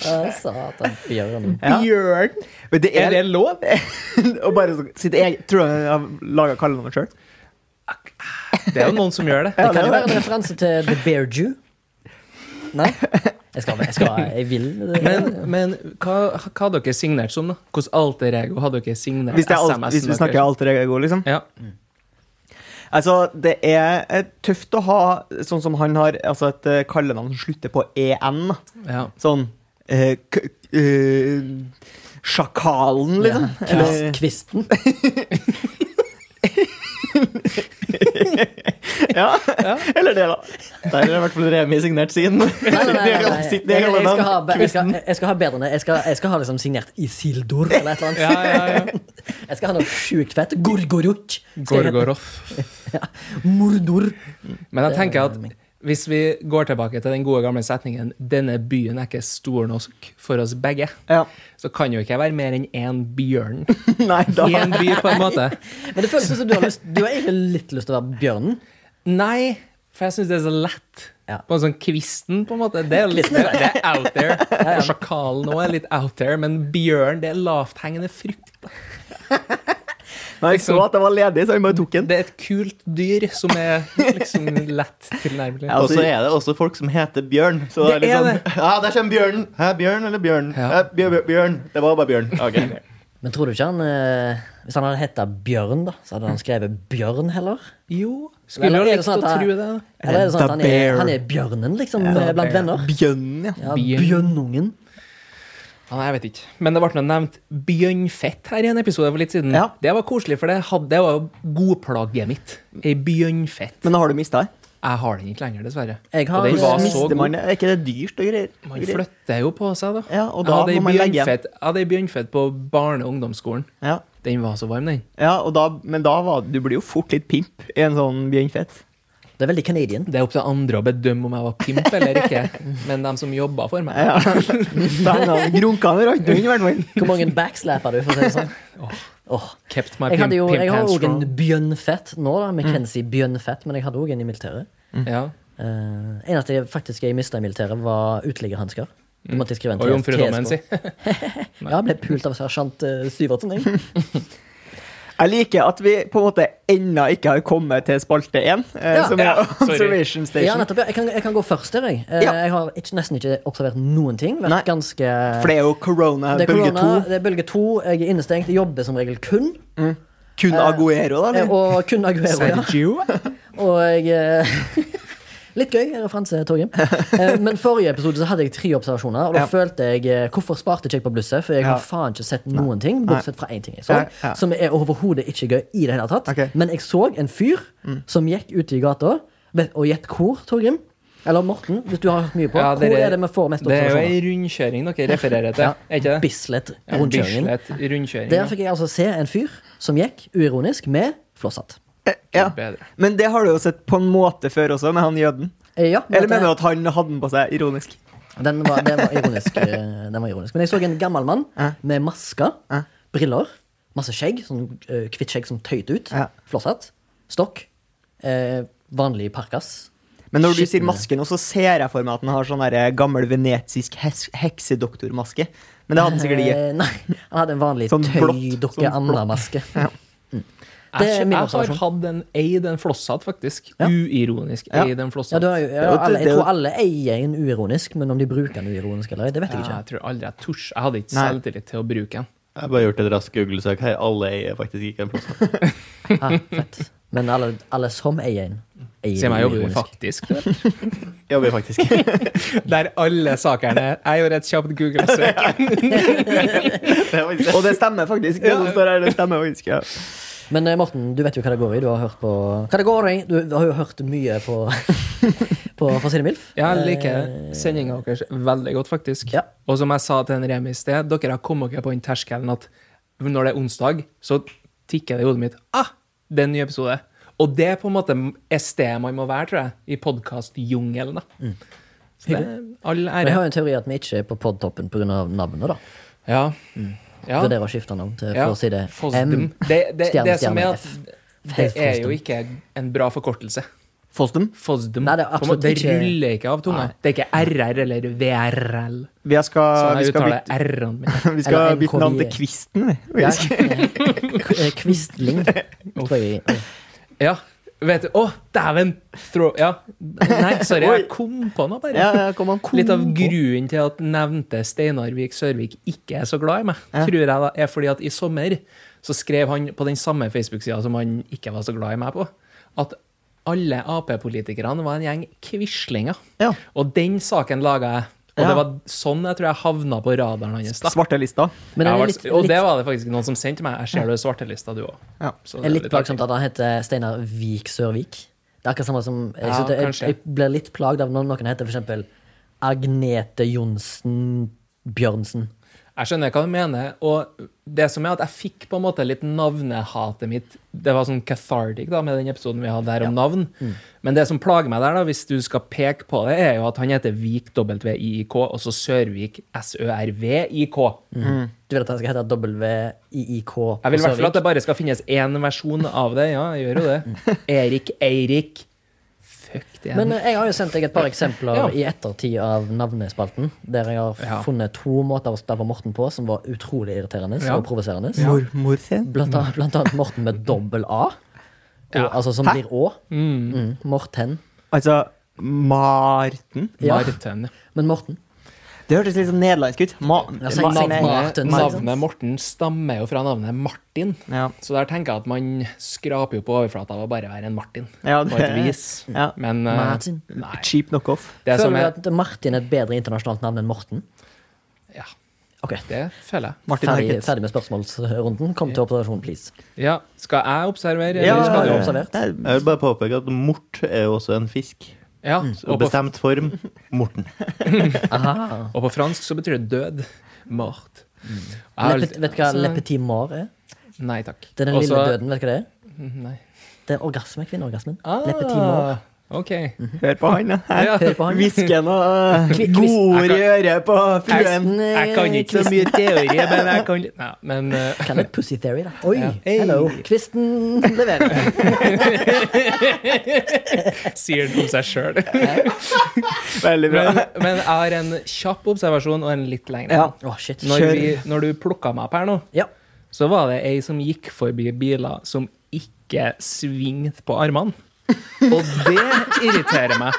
Speaker 3: Jeg sa at han Bjørn
Speaker 4: Ja.
Speaker 1: Bjørn!
Speaker 4: Men det
Speaker 1: Er
Speaker 4: er
Speaker 1: det lov?
Speaker 4: [LAUGHS] Og bare så- sitt eget Tror du jeg har laga kallenavn sjøl?
Speaker 1: Det er jo noen som [LAUGHS] gjør det.
Speaker 3: Det kan jo være en referanse til The Bear Jew. Nei? Jeg skal, jeg skal, jeg vil
Speaker 1: Men, men hva, hva hadde dere signert som, da? Hvilket alter ego hadde dere signert?
Speaker 4: Hvis, det er alt,
Speaker 1: SMS-en
Speaker 4: hvis vi
Speaker 1: dere?
Speaker 4: snakker alter ego, liksom.
Speaker 1: ja.
Speaker 4: Altså, det er eh, tøft å ha sånn som han har, altså et eh, kallenavn som slutter på E EN.
Speaker 1: ja.
Speaker 4: Sånn eh, k eh, Sjakalen,
Speaker 3: Kvist, [LAUGHS]
Speaker 4: liksom.
Speaker 3: Kvisten.
Speaker 4: [LAUGHS] Ja. Eller det, da.
Speaker 5: Der er i hvert fall Remi signert sin.
Speaker 3: Nei, nei, nei, nei, nei.
Speaker 5: Sitt ned,
Speaker 3: Jeg, jeg, skal ha,
Speaker 5: Galvan.
Speaker 3: jeg, skal, jeg skal ha bedre enn det. Jeg skal, jeg skal ha liksom signert Isildur eller et eller
Speaker 1: ja,
Speaker 3: annet.
Speaker 1: ja, ja.
Speaker 3: Jeg skal ha noe sjukt fett. Gorgorok. Skal jeg hete
Speaker 1: Gorgoroth.
Speaker 3: Mordor.
Speaker 1: Men jeg
Speaker 3: Det er
Speaker 1: tenker at
Speaker 3: mening.
Speaker 1: hvis vi går tilbake til den gode gamle setningen 'Denne byen er ikke stor nok for oss begge',
Speaker 4: Ja.
Speaker 1: så kan jo ikke jeg være mer enn én bjørn
Speaker 4: [LAUGHS] Nei, da.
Speaker 1: i en by, på en måte.
Speaker 3: Men det føles som du har, lyst, du har egentlig litt lyst til å være bjørnen.
Speaker 1: Nei, for jeg syns det er så lett.
Speaker 3: Ja.
Speaker 1: På en sånn kvisten, på en måte. Det er litt det er out there. Og sjakalen òg er litt out there, men bjørn, det er lavthengende frukt.
Speaker 4: Nei, jeg så at jeg var ledig, så jeg bare tok den.
Speaker 1: Det er et kult dyr som er liksom lett tilnærmelig.
Speaker 4: Ja.
Speaker 5: Og så er det også folk som heter Bjørn. Så det er
Speaker 1: Det
Speaker 5: litt
Speaker 1: er
Speaker 5: sånn, [LAUGHS] ja, der kommer bjørnen. Hæ, bjørn eller bjørn?
Speaker 1: Ja.
Speaker 5: Hæ, bjør, bjør, bjørn. Det var bare
Speaker 1: [LAUGHS]
Speaker 5: bjørn. Ok.
Speaker 3: Men tror du ikke han eh, Hvis han hadde hetta Bjørn, da, så hadde han skrevet Bjørn heller?
Speaker 1: Jo, skulle jo
Speaker 3: Eller er det
Speaker 1: likt
Speaker 3: sånn
Speaker 1: å
Speaker 3: at jeg-
Speaker 1: tro det. da.
Speaker 3: Eller er det sånn at han
Speaker 4: The
Speaker 3: er,
Speaker 4: Bear.
Speaker 3: han er bjørnen, liksom, eh, blant
Speaker 1: Bear.
Speaker 3: venner?
Speaker 4: Bjønnen, ja.
Speaker 3: Ja,
Speaker 1: Bjørn.
Speaker 3: Bjørnungen.
Speaker 1: Ja, jeg vet ikke. Men det ble nå nevnt bjørnfett her i en episode for litt siden.
Speaker 4: Ja.
Speaker 1: Det var koselig, for det, hadde, det var godplaget mitt. Ei bjørnfett.
Speaker 4: Men har du mista det?
Speaker 1: Jeg har den ikke lenger, dessverre.
Speaker 3: Jeg har-
Speaker 1: og den var så
Speaker 4: Mister
Speaker 1: god.
Speaker 4: man det? Er ikke det dyrt og greier?
Speaker 1: Man
Speaker 4: Greier.
Speaker 1: flytter jo på seg, da.
Speaker 4: Ja, og da
Speaker 1: jeg hadde
Speaker 4: må
Speaker 1: ei
Speaker 4: man legge igjen.
Speaker 1: bjørnfett- jeg hadde ei bjørnfett på barne- og ungdomsskolen.
Speaker 4: Ja.
Speaker 1: Den var så varm, den.
Speaker 4: Ja, og da, men da var, du blir jo fort litt pimp i en sånn bjørnfett.
Speaker 3: Det er veldig canadian.
Speaker 1: Det er opp til andre å bedømme om jeg var pimp eller ikke, men de som jobba for meg.
Speaker 4: Ja. Da han hadde grunka han rundt inn, i hvert fall.
Speaker 3: Hvor mange backslapper du, for å si det
Speaker 1: [LAUGHS]
Speaker 3: sånn? Åh.
Speaker 1: Kept my
Speaker 3: Jeg,
Speaker 1: pimp,
Speaker 3: hadde jo,
Speaker 1: pimp
Speaker 3: jeg har
Speaker 1: hands
Speaker 3: òg en
Speaker 1: strong. Mm.
Speaker 3: bjønnfett nå, da. McKenzie bjønnfett, men jeg hadde òg en i militæret.
Speaker 1: Ja.
Speaker 3: Uh, eneste jeg faktisk jeg mista i militæret, var uteliggerhansker. Du måtte jeg skrive en
Speaker 1: Og jomfrudommen
Speaker 3: TSK.
Speaker 1: si.
Speaker 3: Ja, jeg ble pult av sersjant eh, Syvertsen,
Speaker 4: [LAUGHS]
Speaker 3: jeg.
Speaker 4: Jeg liker at vi på en måte ennå ikke har kommet til spalte én, eh,
Speaker 3: Ja.
Speaker 4: som er [LAUGHS]
Speaker 1: Ja, sorry.
Speaker 4: Observation
Speaker 3: Ja,
Speaker 4: Station.
Speaker 3: nettopp. ja. Jeg kan, jeg kan gå først der, jeg. Eh,
Speaker 4: Ja.
Speaker 3: Jeg har ikke, nesten ikke observert noen ting. Vært
Speaker 4: Nei.
Speaker 3: ganske
Speaker 4: For det er jo corona,
Speaker 3: Det er
Speaker 4: bølge
Speaker 3: korona,
Speaker 4: to.
Speaker 3: det er bølge to. Jeg er innestengt. Jobber som regel kun.
Speaker 4: Kun Aguero, da?
Speaker 3: eh,
Speaker 4: Eller?
Speaker 3: Og kun Aguero,
Speaker 4: [LAUGHS]
Speaker 3: ja.
Speaker 1: Sergio?
Speaker 3: Og jeg eh, [LAUGHS] Litt gøy referanse, Torgrim. Eh, Men forrige episode så hadde jeg tre observasjoner. Og da
Speaker 4: Ja.
Speaker 3: følte jeg eh, Hvorfor sparte ikke jeg på blusset? For jeg
Speaker 4: Ja.
Speaker 3: har faen ikke sett noen ting, bortsett fra én ting jeg så,
Speaker 4: Ja, ja.
Speaker 3: som er overhodet ikke gøy i det hele tatt.
Speaker 4: Ok.
Speaker 3: Men jeg så en fyr som gikk ute i gata, vet- og gjett hvor, Torgrim? Eller Morten, hvis du har hørt mye på.
Speaker 1: Ja,
Speaker 3: hvor
Speaker 1: dere-
Speaker 3: er det vi får mest
Speaker 1: Det er jo
Speaker 3: observasjoner?
Speaker 1: ei rundkjøring dere refererer til,
Speaker 3: Ja.
Speaker 1: er ikke det?
Speaker 3: Bislett
Speaker 1: Ja,
Speaker 3: rundkjøringen.
Speaker 1: Bislett rundkjøring.
Speaker 3: Der
Speaker 1: ja.
Speaker 3: fikk jeg altså se en fyr som gikk, uironisk, med flosshatt.
Speaker 4: Eh, Ja.
Speaker 1: Bedre.
Speaker 4: Men det har du jo sett på en måte før også, med han jøden.
Speaker 3: Eh, Ja,
Speaker 4: Eller
Speaker 3: dette-
Speaker 4: mener du at han hadde den på seg ironisk?
Speaker 3: Den var, den, var
Speaker 4: [LAUGHS]
Speaker 3: ironisk, eh, den var ironisk. Men jeg så en gammel mann
Speaker 4: Ja.
Speaker 3: med maske,
Speaker 4: Ja.
Speaker 3: briller, masse skjegg, sånn eh, hvitt skjegg som tøyte ut,
Speaker 4: Ja.
Speaker 3: flosshatt, stokk, eh, vanlig parkas.
Speaker 4: Men når du
Speaker 3: Shit,
Speaker 4: sier maske nå, så ser jeg for meg at han har sånn der gammel venetisk hes- heksedoktormaske. Men det hadde han sikkert ikke.
Speaker 3: Eh, nei, han hadde en vanlig
Speaker 4: Sånn blått,
Speaker 3: tøydukke
Speaker 4: sånn blått.
Speaker 3: andamaske.
Speaker 1: Jeg,
Speaker 3: Det er min
Speaker 1: jeg har
Speaker 3: observasjon.
Speaker 1: hatt en eid en flosshatt, faktisk. Uironisk
Speaker 4: Ja.
Speaker 1: eid
Speaker 3: Ja,
Speaker 1: en flosshatt.
Speaker 3: du har jo,
Speaker 4: er
Speaker 3: ja,
Speaker 4: jo-
Speaker 3: alle,
Speaker 4: det
Speaker 3: jeg
Speaker 4: er jo-
Speaker 3: tror alle eier en uironisk, men om de bruker den uironisk eller ei, det vet jeg ikke.
Speaker 1: Jeg tror aldri jeg tors. Jeg hadde ikke
Speaker 4: Nei.
Speaker 1: selvtillit til å bruke den.
Speaker 5: Jeg har bare gjort et raskt Google-søk her. Alle eier faktisk ikke
Speaker 1: [LAUGHS]
Speaker 5: en plass.
Speaker 3: Ah, fett. Men alle, alle som eier en, eier
Speaker 1: Se
Speaker 3: den
Speaker 1: meg jobber vi
Speaker 3: uironisk.
Speaker 1: faktisk. du vet.
Speaker 5: Jobber faktisk.
Speaker 1: [LAUGHS]
Speaker 5: Det
Speaker 1: Der alle sakene Jeg gjorde et kjapt Google-søk. [LAUGHS]
Speaker 5: er faktisk
Speaker 4: Og det stemmer faktisk. Det som står her, det stemmer faktisk. Ja.
Speaker 3: Men eh, Morten, du vet jo hva det går i. Du har hørt på Hva det går i? Du, du har jo hørt mye på, [LAUGHS] på For å si det mildt.
Speaker 1: Jeg liker sendinga deres veldig godt, faktisk.
Speaker 3: Ja.
Speaker 1: Og som jeg sa til en Remi i sted, dere har kommet dere på den terskelen at når det er onsdag, så tikker det i hodet mitt Ah, det er en ny episode. Og det er på en måte er stedet man må være, tror jeg, i podkastjungelen. Mm. Så det er all
Speaker 3: Men jeg
Speaker 1: ære.
Speaker 3: har jo en teori at vi ikke er på podtoppen pga. navnet, da.
Speaker 1: Ja. ja.
Speaker 3: Vurderer å skifte navn til, for å si det
Speaker 1: Fosdum.
Speaker 3: M.
Speaker 1: Det, det,
Speaker 3: stjerne,
Speaker 1: det som er
Speaker 3: stjerne,
Speaker 1: at
Speaker 3: F.
Speaker 1: det
Speaker 3: F-
Speaker 1: er jo
Speaker 3: Fosdum.
Speaker 1: ikke en bra forkortelse.
Speaker 4: Fosdum,
Speaker 1: Fosdum.
Speaker 3: Nei, det er
Speaker 1: På en måte, det
Speaker 3: absolutt ikke-
Speaker 1: ruller ikke av tunga. Det er ikke RR eller VRL.
Speaker 4: vi skal,
Speaker 1: Sånn
Speaker 4: vi
Speaker 1: jeg
Speaker 4: skal
Speaker 1: uttaler
Speaker 4: bytte, [LAUGHS]
Speaker 1: R-en min.
Speaker 4: vi
Speaker 3: Eller
Speaker 4: skal
Speaker 3: NKVI.
Speaker 4: bytte navn til
Speaker 1: E.
Speaker 4: Kvisten. vi.
Speaker 3: Ja, eh,
Speaker 1: [LAUGHS]
Speaker 3: Kvistling, tror jeg.
Speaker 1: [LAUGHS] Ja. Vet du Å, dæven! Throw Ja. Nei, sorry, jeg kom på noe, bare.
Speaker 4: Ja, ja, kom an.
Speaker 1: Litt av grunnen til at nevnte Steinarvik Sørvik ikke er så glad i meg,
Speaker 4: Ja.
Speaker 1: tror jeg da er fordi at i sommer så skrev han på den samme Facebook-sida som han ikke var så glad i meg på, at alle Ap-politikerne var en gjeng quislinger.
Speaker 4: Ja.
Speaker 1: Og den saken laga jeg. Og
Speaker 4: Ja.
Speaker 1: det var sånn jeg tror jeg havna på radaren hans. da.
Speaker 4: Svartelista.
Speaker 3: Men det
Speaker 1: Jeg
Speaker 3: er
Speaker 1: var-
Speaker 3: litt,
Speaker 1: og det
Speaker 3: litt,
Speaker 1: var det faktisk noen som sendte meg. Jeg ser du er svartelista, du òg.
Speaker 4: Ja.
Speaker 3: er litt plagsomt at han heter Steinar Vik Sørvik. Det er akkurat samme som Jeg,
Speaker 1: Ja,
Speaker 3: synes det-
Speaker 1: kanskje.
Speaker 3: jeg, jeg blir litt plagd av når noen heter for eksempel Agnete Johnsen Bjørnsen.
Speaker 1: Jeg skjønner hva du mener. Og det som er at jeg fikk på en måte litt navnehatet mitt Det var sånn cathartic da, med den episoden vi hadde her om navn.
Speaker 3: Mm.
Speaker 1: Men det som plager meg der, da, hvis du skal peke på det, er jo at han heter Vik W-I-I-K, og så Sørvik S-Ø-R-V-I-K.
Speaker 3: Du vil at han skal hete WIIK?
Speaker 1: Jeg vil i hvert fall at det bare skal finnes én versjon av det. Ja, jeg gjør jo det.
Speaker 3: [LAUGHS]
Speaker 1: Erik Eirik. Fuck det.
Speaker 3: Mm. Men eh, jeg har jo sendt deg et par eksempler
Speaker 1: Ja.
Speaker 3: i ettertid av navnespalten, der jeg har
Speaker 1: Ja.
Speaker 3: funnet to måter å stave Morten på som var utrolig irriterende
Speaker 1: Ja.
Speaker 3: og provoserende.
Speaker 4: Mormor sin.
Speaker 3: Blant, annet- blant annet Morten med dobbel A, og, altså som blir Å. Mm, Morten.
Speaker 4: Altså Marten.
Speaker 3: Ja.
Speaker 1: Marten.
Speaker 3: Men Morten.
Speaker 4: Det hørtes litt sånn nederlandsk ut. Ma
Speaker 3: Ja, så-
Speaker 4: Marten.
Speaker 3: Marten.
Speaker 1: altså, Navnet liksom. Morten stammer jo fra navnet Martin.
Speaker 4: Ja.
Speaker 1: Så der tenker jeg at man skraper jo på overflata av å bare være en Martin.
Speaker 4: Ja,
Speaker 1: På et
Speaker 3: [LAUGHS]
Speaker 4: det-
Speaker 1: vis.
Speaker 4: Ja.
Speaker 1: Men eh,
Speaker 3: Martin.
Speaker 1: nei.
Speaker 4: Cheap knockoff.
Speaker 1: Det
Speaker 3: Føler
Speaker 1: som
Speaker 3: du
Speaker 1: er
Speaker 3: at Martin er et bedre internasjonalt navn enn Morten?
Speaker 1: ja.
Speaker 3: OK.
Speaker 1: Det føler jeg.
Speaker 4: Martin har
Speaker 3: Ferdig,
Speaker 4: ikke
Speaker 3: ferdig med spørsmålsrunden. Kom til operasjon, please.
Speaker 1: Ja, Skal jeg observere?
Speaker 3: Ja,
Speaker 1: eller skal du
Speaker 3: ja, ja.
Speaker 1: observere?
Speaker 3: observert.
Speaker 4: Det er-
Speaker 5: Jeg vil bare påpeke at mort er jo også en fisk.
Speaker 1: Ja,
Speaker 3: Mm.
Speaker 5: Så
Speaker 1: og, på,
Speaker 5: bestemt form morten.
Speaker 3: Aha.
Speaker 1: og på fransk så betyr det død. [LAUGHS] Mart. Jeg har-
Speaker 3: Leppe, Mm. vet du hva
Speaker 1: altså,
Speaker 3: lepetimar er?
Speaker 1: Nei takk.
Speaker 3: Det er den
Speaker 1: Også-
Speaker 3: lille døden, vet du hva det er?
Speaker 1: Nei.
Speaker 3: Det er orgasme, kvinneorgasmen.
Speaker 1: Ah,
Speaker 3: Lepetimar.
Speaker 1: OK.
Speaker 4: Hør på han, da. Her.
Speaker 1: Ja.
Speaker 3: Hør Mm. på han.
Speaker 4: Hvisken og godord i øret på fruen.
Speaker 3: Kristen, eh,
Speaker 1: Jeg kan ikke så mye teori, men jeg kan
Speaker 3: [LAUGHS]
Speaker 1: litt Nei, men eh,
Speaker 3: Kall det pussy theory, da. Oi,
Speaker 1: Ja. Hey.
Speaker 3: hello. Kvisten leverer.
Speaker 1: sier den om seg sjøl.
Speaker 4: Veldig bra.
Speaker 1: Men, men jeg har en kjapp observasjon og en litt lengre.
Speaker 4: Ja.
Speaker 3: Å, shit.
Speaker 1: Når,
Speaker 4: Kjør.
Speaker 1: vi, når du plukka meg opp her nå,
Speaker 3: Ja.
Speaker 1: så var det ei som gikk forbi biler som ikke svingte på armene. Og det irriterer meg.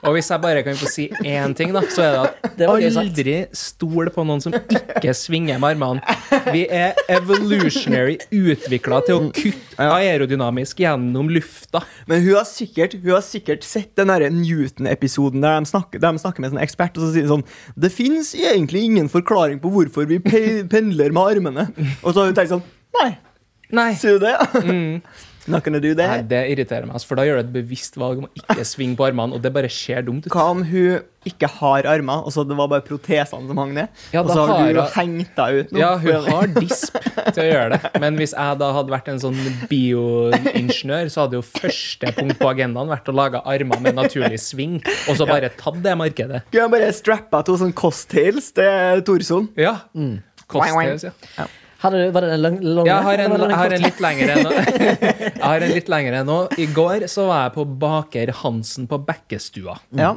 Speaker 1: Og hvis jeg bare kan få si én ting, da, så er det
Speaker 3: Det
Speaker 1: at
Speaker 3: var gøy sagt.
Speaker 1: aldri stol på noen som ikke svinger med armene. Vi er evolutionary utvikla til å kutte aerodynamisk gjennom lufta.
Speaker 4: Men hun har sikkert, hun har sikkert sett den der Newton-episoden der, de snakker- der de snakker med en sånn ekspert og så sier de sånn Det fins egentlig ingen forklaring på hvorfor vi pe [LAUGHS] pendler med armene. Og så har hun tenkt sånn Nei,
Speaker 1: Nei.
Speaker 4: sier du det? Not gonna do
Speaker 1: Mm. Nei,
Speaker 4: that.
Speaker 1: det irriterer meg, altså, for da gjør du et bevisst valg om å ikke svinge på armene, og det bare ser dumt ut.
Speaker 4: Hva om hun ikke har armer, og så det var bare protesene som hang ned?
Speaker 1: Ja,
Speaker 4: og
Speaker 1: da
Speaker 4: så har du
Speaker 1: har
Speaker 4: jo
Speaker 1: hun-
Speaker 4: hengt deg ut nå.
Speaker 1: Ja, hun har disp til å gjøre det, men hvis jeg da hadde vært en sånn bioingeniør, så hadde jo første punkt på agendaen vært å lage armer med naturlig sving, og så bare tatt det markedet.
Speaker 4: Skulle jeg bare strappa to sånn coattails til Torson?
Speaker 1: Ja.
Speaker 3: Mm.
Speaker 1: Kostnads, ja.
Speaker 3: Hadde du, var det den lang, lange?
Speaker 1: Jeg har
Speaker 3: eller
Speaker 1: en,
Speaker 3: var det den
Speaker 1: jeg har en
Speaker 3: korte?
Speaker 1: litt lengre nå. [LAUGHS] Jeg har en litt lengre nå. I går så var jeg på Baker Hansen på Bekkestua.
Speaker 4: Ja.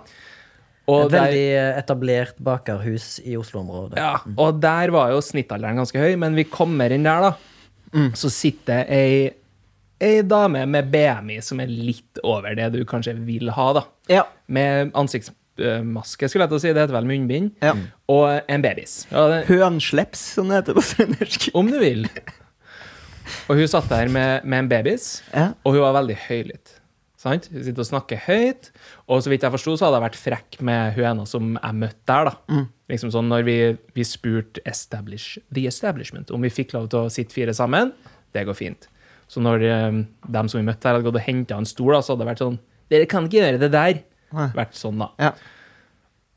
Speaker 1: Og der-
Speaker 3: Veldig etablert bakerhus i Oslo-området.
Speaker 1: Ja, og der var jo snittalderen ganske høy, men vi kommer inn der, da. Så sitter ei, ei dame med BMI som er litt over det du kanskje vil ha, da.
Speaker 4: Ja.
Speaker 1: Med ansiktsmaske, skulle jeg til å si. Det heter vel munnbind.
Speaker 4: Ja.
Speaker 1: Og en babys. Ja, det,
Speaker 4: Hønsleps, som det heter på [LAUGHS] trøndersk.
Speaker 1: om du vil. Og hun satt der med, med en babys,
Speaker 4: Ja.
Speaker 1: og hun var veldig høylytt. Sant? Hun sitter og snakker høyt, og så vidt jeg forsto, så hadde jeg vært frekk med hun ene som jeg møtte der. da. Liksom sånn Når vi, vi spurte establish, The Establishment om vi fikk lov til å sitte fire sammen, det går fint. Så når eh, dem som vi møtte her, hadde gått og henta en stol, da, så hadde det vært sånn Dere kan ikke gjøre det der.
Speaker 4: Nei.
Speaker 1: Vært sånn, da.
Speaker 4: Ja.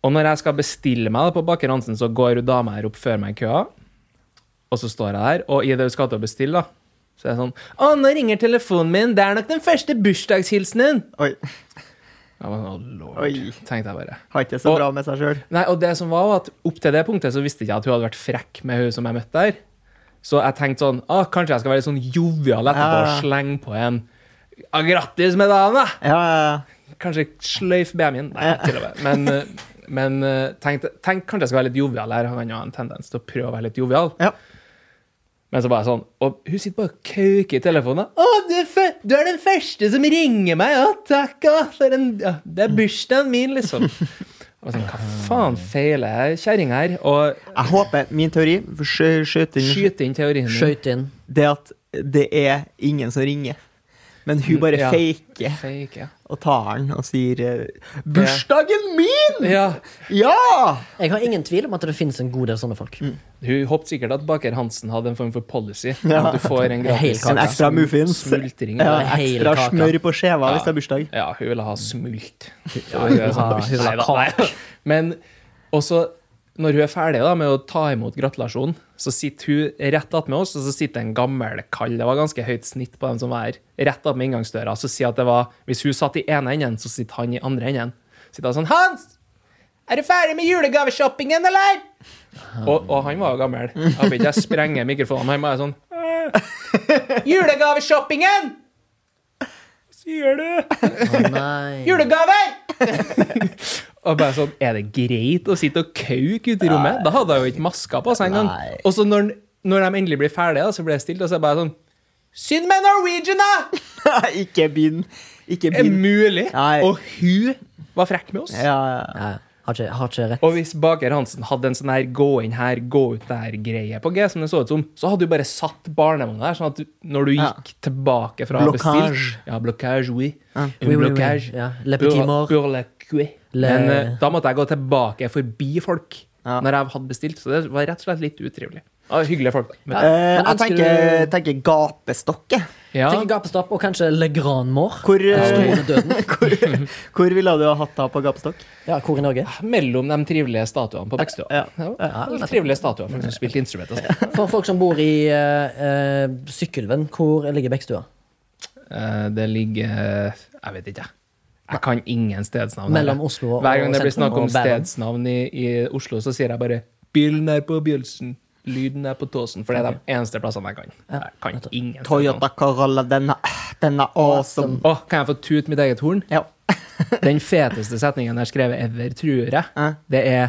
Speaker 1: Og når jeg skal bestille meg da på Baker Hansen, så går hun dama her opp før meg i køa. Og så står jeg der, og i det hun skal til å bestille, da, så er jeg sånn Å, nå ringer telefonen min! Det er nok den første bursdagshilsenen!
Speaker 4: Oi.
Speaker 1: Jeg var sånn, å lord,
Speaker 4: Oi.
Speaker 1: tenkte jeg bare.
Speaker 4: Har ikke så
Speaker 1: Og-
Speaker 4: bra med seg sjøl.
Speaker 1: Nei, og det som var, var at opp til det punktet så visste jeg ikke at hun hadde vært frekk med hun som jeg møtte der. Så jeg tenkte sånn Å, kanskje jeg skal være litt sånn jovial etterpå og
Speaker 4: Ja.
Speaker 1: slenge på en «Å, Grattis med dagen, da!
Speaker 4: Ja, ja,
Speaker 1: Kanskje sløyf BMI-en. Nei, til og med. Men, eh, men eh, tenk, tenk, kanskje jeg skal være litt jovial her. Han har en tendens til å prøve å være litt jovial.
Speaker 4: Ja.
Speaker 1: Men så bare sånn Og hun sitter bare og kauker i telefonen. 'Å, du, er fø- du er den første som ringer meg! Å, takk! Å, for en, ja, det er bursdagen min!' liksom. Og sånn, Hva faen feiler jeg kjerringa her? Og
Speaker 4: Jeg håper min teori skjø- skjøt inn
Speaker 1: skyter inn teorien min.
Speaker 3: Skøyt inn.
Speaker 4: det at det er ingen som ringer. Men hun bare
Speaker 1: Ja.
Speaker 4: faker
Speaker 1: Fake, ja.
Speaker 4: og tar den og sier eh, 'Bursdagen min!
Speaker 1: ja.
Speaker 4: Ja!'
Speaker 3: Jeg har ingen tvil om at det finnes en god del sånne folk.
Speaker 1: Mm. Hun håpte sikkert at Baker Hansen hadde en form for policy.
Speaker 4: Ja.
Speaker 1: At du får en gratis
Speaker 3: Hel kake.
Speaker 4: En ekstra muffins.
Speaker 1: smultring.
Speaker 4: Ja,
Speaker 3: en hel
Speaker 4: ekstra
Speaker 3: kake.
Speaker 4: smør på skjeva hvis det er bursdag. [LAUGHS]
Speaker 1: Ja, hun ville ha smult.
Speaker 3: hun ville ha- hun ville ha
Speaker 1: Nei da, nei. Men også når hun er ferdig da, med å ta imot gratulasjonen, så sitter hun rett attmed oss, og så sitter en gammel kall. Det var ganske høyt snitt på dem som var her. Rett attmed inngangsdøra. Så sier at det var Hvis hun satt i ene enden, så sitter han i andre enden. Sitter han sånn Hans! Er du ferdig med julegaveshoppingen, eller? Og, og han var jo gammel. Jeg håper ikke jeg sprenger mikrofonen, men han var jo sånn
Speaker 4: [LAUGHS]
Speaker 1: «Øh, Julegaveshoppingen! Hva sier du?
Speaker 3: Å nei.
Speaker 1: Julegaver! [LAUGHS] og bare sånn, er det greit å sitte og kauke ute i rommet? Da hadde jeg jo ikke maska på seg engang.
Speaker 3: Nei.
Speaker 1: Og så når, når de endelig blir ferdige, da, så blir det stilt, og så er det bare sånn Synd med Norwegian, da!
Speaker 4: ikke begynn. Ikke
Speaker 1: Er
Speaker 4: begynn.
Speaker 1: mulig?
Speaker 4: Nei.
Speaker 1: Og hun var frekk med oss.
Speaker 4: Ja, ja.
Speaker 3: Ja, har, ikke, har ikke rett.
Speaker 1: Og hvis Baker Hansen hadde en sånn her gå inn her, gå ut der-greie på G, som det så ut som, så hadde du bare satt barnevogna der, sånn at du, når du
Speaker 4: Ja.
Speaker 1: gikk tilbake fra
Speaker 4: Blockage.
Speaker 1: bestilt Ja, blockage, oui. Un
Speaker 3: Oui, oui, oui.
Speaker 1: blockage.
Speaker 3: Ja, le petit
Speaker 1: Pour-
Speaker 3: mort.
Speaker 1: pour le cui.
Speaker 3: Le-
Speaker 1: Men eh, da måtte jeg gå tilbake forbi folk.
Speaker 4: Ja.
Speaker 1: når jeg hadde bestilt. Så det var rett og slett litt utrivelig. Ja, hyggelige folk. Men,
Speaker 4: Eh,
Speaker 3: Men
Speaker 4: jeg
Speaker 3: ønsker
Speaker 4: tenker, tenker gapestokke.
Speaker 1: ja.
Speaker 3: Tenk gapestopp og kanskje Le Grand Mort.
Speaker 4: Hvor,
Speaker 3: Den
Speaker 4: eh,
Speaker 3: store døden.
Speaker 4: hvor, hvor ville du ha hatt da på gapestokk?
Speaker 3: Ja, hvor i Norge?
Speaker 1: Mellom de trivelige statuene på Bekkestua.
Speaker 4: Ja,
Speaker 1: Det var litt Trivelige statuer, folk som spilte instrument. altså. og sånt.
Speaker 3: For folk som bor i uh, Sykkylven, hvor ligger Bekkstua?
Speaker 1: Eh, Det ligger eh, Jeg vet ikke, jeg. Jeg kan ingen stedsnavn. her.
Speaker 3: Mellom Oslo og
Speaker 1: Hver gang det blir
Speaker 3: sentrum
Speaker 1: snakk om
Speaker 3: og Bærum.
Speaker 1: stedsnavn i, i Oslo, så sier jeg bare 'Bilen er på Bjølsen'. Lyden er på Tåsen, for det er de eneste plassene jeg kan. Jeg kan ingen stedsnavn.
Speaker 4: Toyota Corolla, den er- den er awesome.
Speaker 1: Åh, kan jeg få tut mitt eget horn?
Speaker 4: Ja.
Speaker 1: Den feteste setningen jeg har skrevet ever, tror jeg,
Speaker 4: Ja.
Speaker 1: det er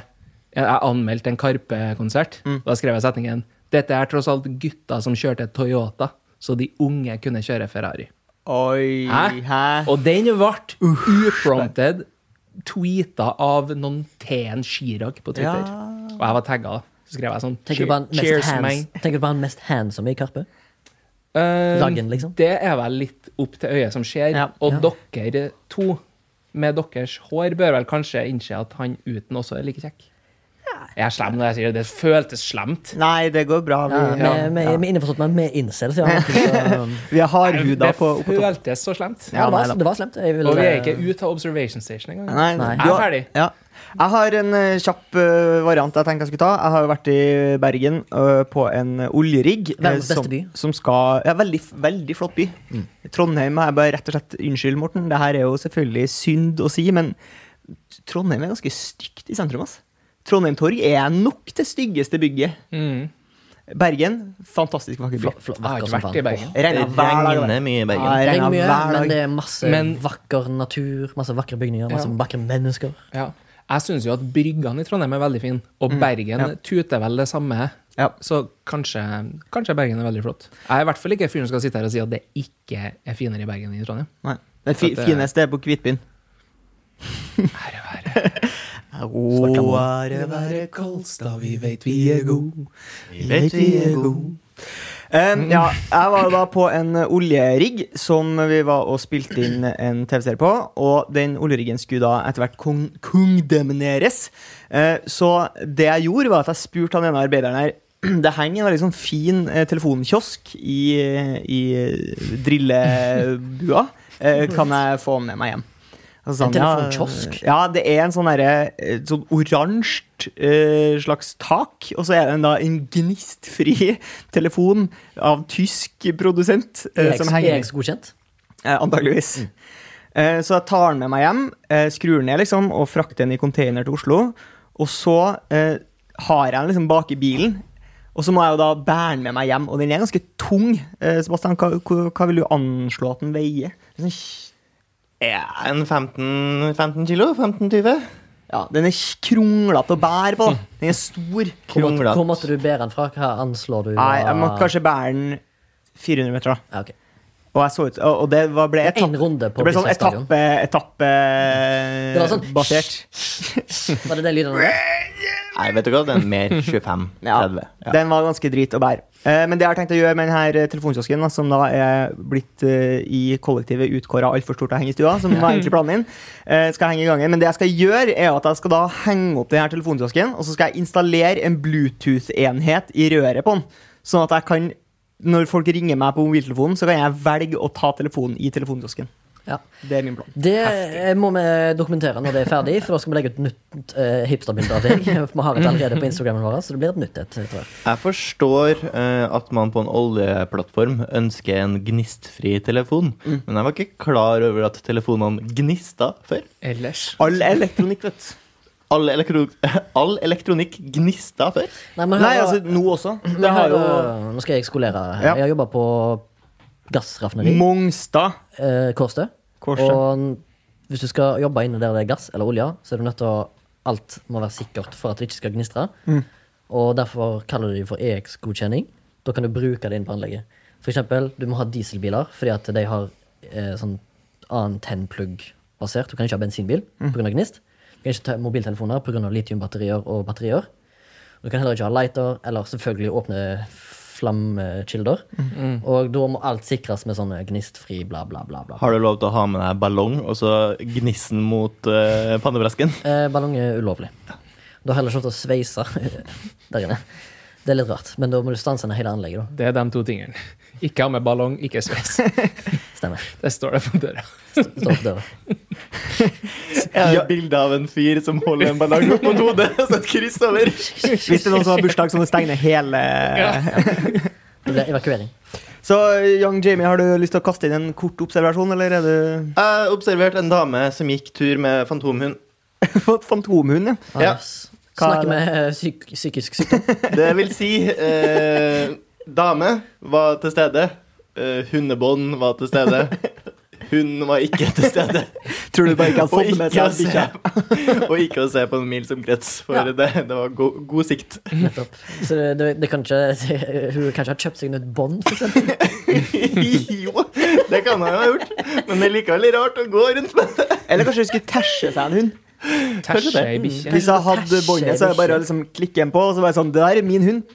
Speaker 1: Jeg jeg anmeldte en Karpe-konsert.
Speaker 4: Mm.
Speaker 1: Da skrev jeg setningen 'Dette er tross alt gutta som kjørte Toyota, så de unge kunne kjøre Ferrari'.
Speaker 4: Oi,
Speaker 1: Hæ?
Speaker 4: hæ?
Speaker 1: Og den ble uprompted tweeta av noen T-en Chirag på Twitter.
Speaker 4: Ja.
Speaker 1: Og jeg var tagga, da. Så skrev jeg sånn
Speaker 3: Tenker du på han
Speaker 1: "Cheer-
Speaker 3: mest, hands,
Speaker 1: man."
Speaker 3: tenker du på han mest handsome i Karpe?
Speaker 1: Eh,
Speaker 3: Dagen, liksom?
Speaker 1: Det er vel litt opp til øyet som skjer.
Speaker 4: Ja.
Speaker 1: Og dere to med deres hår bør vel kanskje innse at han uten også er like kjekk. Jeg er slem når jeg sier det. Det føltes slemt.
Speaker 4: Nei, det går bra.
Speaker 3: Ja, vi,
Speaker 4: Vi,
Speaker 3: vi, vi er innforstått med med incel,
Speaker 4: [LAUGHS]
Speaker 3: sier han. Så,
Speaker 4: vi har huda
Speaker 1: Det
Speaker 4: på oppå toppen.
Speaker 1: føltes så slemt.
Speaker 3: Ja,
Speaker 4: Ja,
Speaker 3: det,
Speaker 4: nei da.
Speaker 3: var, det var slemt. Jeg eh, ville-
Speaker 1: Og vi er ikke ute av observation station engang.
Speaker 4: Nei,
Speaker 3: Nei.
Speaker 4: du
Speaker 1: Jeg er
Speaker 4: har-
Speaker 1: ferdig.
Speaker 4: Ja. Jeg har en eh, kjapp eh, variant jeg tenkte jeg skulle ta. Jeg har jo vært i Bergen eh, på en oljerigg. eh,
Speaker 3: Verdens beste
Speaker 4: som,
Speaker 3: by.
Speaker 4: Som skal, ja, veldig, veldig flott by. Trondheim er bare rett og slett Unnskyld, Morten. Det her er jo selvfølgelig synd å si, men Trondheim er ganske stygt i sentrum. ass. Trondheim Torg er nok det styggeste bygget.
Speaker 1: Mm.
Speaker 4: Bergen, fantastisk vakker by.
Speaker 3: Fl- fl-
Speaker 1: Jeg har
Speaker 3: vakker
Speaker 1: ikke
Speaker 3: som
Speaker 1: vært i
Speaker 3: faen.
Speaker 1: Bergen.
Speaker 4: Regner hver dag.
Speaker 5: regner mye i Bergen.
Speaker 4: Ja,
Speaker 3: Det
Speaker 4: regner
Speaker 3: regner mye,
Speaker 4: hver
Speaker 3: men
Speaker 4: dag.
Speaker 3: det er masse
Speaker 1: Men-
Speaker 3: vakker natur, masse vakre bygninger, masse
Speaker 1: Ja.
Speaker 3: vakre mennesker.
Speaker 1: Ja. Jeg syns jo at bryggene i Trondheim er veldig fine, og Bergen tuter vel det samme.
Speaker 4: Ja.
Speaker 1: Så kanskje, kanskje Bergen er veldig flott. Jeg er i hvert fall ikke fyren som skal sitte her og si at det ikke er finere i Bergen enn i Trondheim.
Speaker 4: Nei. Det fi-
Speaker 1: At det-
Speaker 4: fineste er på Kvitbyen.
Speaker 1: Herre, herre.
Speaker 4: [LAUGHS] Å, ære være
Speaker 1: være Kolstad, vi veit vi er gode.
Speaker 5: Vet vi er gode.
Speaker 4: Um, ja, jeg var jo da på en eh, oljerigg som vi var og spilte inn en TV-serie på. Og den oljeriggen skulle da etter hvert kong kongdomineres. Eh, så det jeg gjorde, var at jeg spurte han ene arbeideren her [CLEARS THROAT] Det henger en veldig sånn fin eh, telefonkiosk i, i drillebua. Eh, kan jeg få den med meg hjem? Og så
Speaker 3: En
Speaker 4: sa han, ja,
Speaker 3: telefonkiosk?
Speaker 4: Ja, det er en sånn derre, eh, sånn oransje eh, slags tak, og så er den da en gnistfri [LAUGHS] telefon av tysk produsent eh,
Speaker 3: EX,
Speaker 4: som henger
Speaker 3: EX godkjent.
Speaker 4: Eh, antageligvis. Eh, så jeg tar den med meg hjem, eh, skrur den ned liksom, og frakter den i container til Oslo. Og så eh, har jeg den liksom bak i bilen, og så må jeg jo da bære den med meg hjem. Og den er ganske tung. Eh, Sebastian, hva, hva- hva vil du anslå at den veier? Sånn
Speaker 5: Ja, en 15, 15 kilo? 15-20?
Speaker 4: Ja, den er kronglete å bære på. da. Den er stor.
Speaker 3: Hvor, måtte-
Speaker 5: Kronglete.
Speaker 3: hvor måtte du bære den fra? Hva anslår du?
Speaker 4: Nei, jeg må
Speaker 3: var-
Speaker 4: kanskje bære den 400 meter, da.
Speaker 3: Ja, ok.
Speaker 4: Og jeg så ut Og og det var, ble
Speaker 3: En
Speaker 4: etappe...
Speaker 3: runde på
Speaker 4: Det ble sånn
Speaker 3: Bislett Stadion.
Speaker 4: etappe, etappe
Speaker 3: Det var sånn-
Speaker 4: basert.
Speaker 3: Var det det lyden der?
Speaker 5: Nei, vet du hva, den er
Speaker 4: [LAUGHS]
Speaker 5: mer 25-30. Ja.
Speaker 4: Den var ganske drit å bære. Eh, men det jeg har tenkt å gjøre med denne eh, telefonkiosken, da, som da er blitt eh, i kollektivet utkåra altfor stort til å henge i stua,
Speaker 3: [LAUGHS]
Speaker 4: som var egentlig planen min, eh, skal jeg henge i gangen. Men det jeg skal gjøre, er at jeg skal da henge opp denne telefonkiosken, og så skal jeg installere en Bluetooth-enhet i røret på den, sånn at jeg kan når folk ringer meg på mobiltelefonen, så kan jeg velge å ta telefonen i telefonkiosken.
Speaker 3: Ja.
Speaker 4: Det er min plan.
Speaker 3: Det eh, må vi dokumentere når det er ferdig, for da skal vi legge ut nytt uh, hipsterbilde av deg. [LAUGHS] Vi har et allerede på Instagramen vår, så det blir et nytt et. etter hvert.
Speaker 5: Jeg forstår eh, at man på en oljeplattform ønsker en gnistfri telefon,
Speaker 4: Mm.
Speaker 5: men jeg var ikke klar over at telefonene gnista før.
Speaker 1: Ellers
Speaker 4: All elektronikk, vet du.
Speaker 5: [LAUGHS] All, elektro [LAUGHS] all elektronikk gnista før.
Speaker 3: Nei, men
Speaker 4: Nei,
Speaker 3: hør da-
Speaker 4: altså, nå også.
Speaker 3: men
Speaker 4: Det har
Speaker 3: hør
Speaker 4: jo
Speaker 3: da- Nå skal jeg skolere her.
Speaker 4: Ja.
Speaker 3: Jeg har jobba på gassraffineri.
Speaker 4: Mongstad.
Speaker 3: eh, Kårstø.
Speaker 4: Kårstø.
Speaker 3: Og n- hvis du skal jobbe inne der det er gass eller olje, så er du nødt til å Alt må være sikkert for at det ikke skal gnistre. Og derfor kaller de det for EX-godkjenning. Da kan du bruke det inn på anlegget. For eksempel, du må ha dieselbiler fordi at de har eh, sånn annen tennplugg-basert. Du kan ikke ha bensinbil pga. gnist. Du kan ikke ta mobiltelefoner pga. litiumbatterier og batterier. Du kan heller ikke ha lighter eller selvfølgelig åpne flammekilder. Og da må alt sikres med sånne gnistfri bla, bla, bla. bla.
Speaker 5: Har du lov til å ha med deg ballong og så gnissen mot eh, pannebresken?
Speaker 3: Eh, ballong er ulovlig. Du har heller sluttet å sveise [LAUGHS] der inne. Det er litt rart, men da må du stanse ned hele anlegget. da.
Speaker 1: Det er de to tingene. [LAUGHS] Ikke ha med ballong, ikke sveis. [LAUGHS]
Speaker 3: Stemmer.
Speaker 1: Det står det på døra.
Speaker 3: Står på døra.
Speaker 5: Ja. [LAUGHS] Bilde av en fyr som holder en [LAUGHS] ballong opp mot hodet og setter kryss over.
Speaker 4: Hvis det er noen som har bursdag, så må du stenge ned [LAUGHS] hele
Speaker 3: Det blir evakuering.
Speaker 4: Så Young Jamie, har du lyst til å kaste inn en kort observasjon, eller er du [LAUGHS]
Speaker 5: Jeg observerte en dame som gikk tur med fantomhund.
Speaker 4: Fått fantomhund, ja?
Speaker 5: Ja.
Speaker 3: Anders,
Speaker 4: Hva er
Speaker 3: Snakker med eh, psyk psykisk sykdom.
Speaker 5: Det vil si eh, Dame var til stede. Eh, hundebånd var til stede. Hun var ikke til stede.
Speaker 4: Tror du bare ikke hadde
Speaker 5: Og
Speaker 4: fått det med
Speaker 5: ikke, å
Speaker 4: seg?
Speaker 5: se,
Speaker 4: bikkja?
Speaker 5: og ikke å se på en mils omkrets, for
Speaker 3: Ja.
Speaker 5: det, det var go god sikt.
Speaker 3: Nettopp. Så det, det, det kan ikke, [LAUGHS] hun kanskje har kjøpt seg nytt bånd, for eksempel.
Speaker 4: [LAUGHS]
Speaker 5: jo, det kan han jo ha gjort, men det er likevel rart å gå rundt med det.
Speaker 4: Eller kanskje du skulle tæsje seg en hund?
Speaker 1: Tæsje ei bikkje.
Speaker 4: Hvis jeg hadde
Speaker 3: Tæsje
Speaker 4: båndet, så er det bare å
Speaker 3: bikkje.
Speaker 4: liksom klikke den på, og så bare sånn Det der er min hund.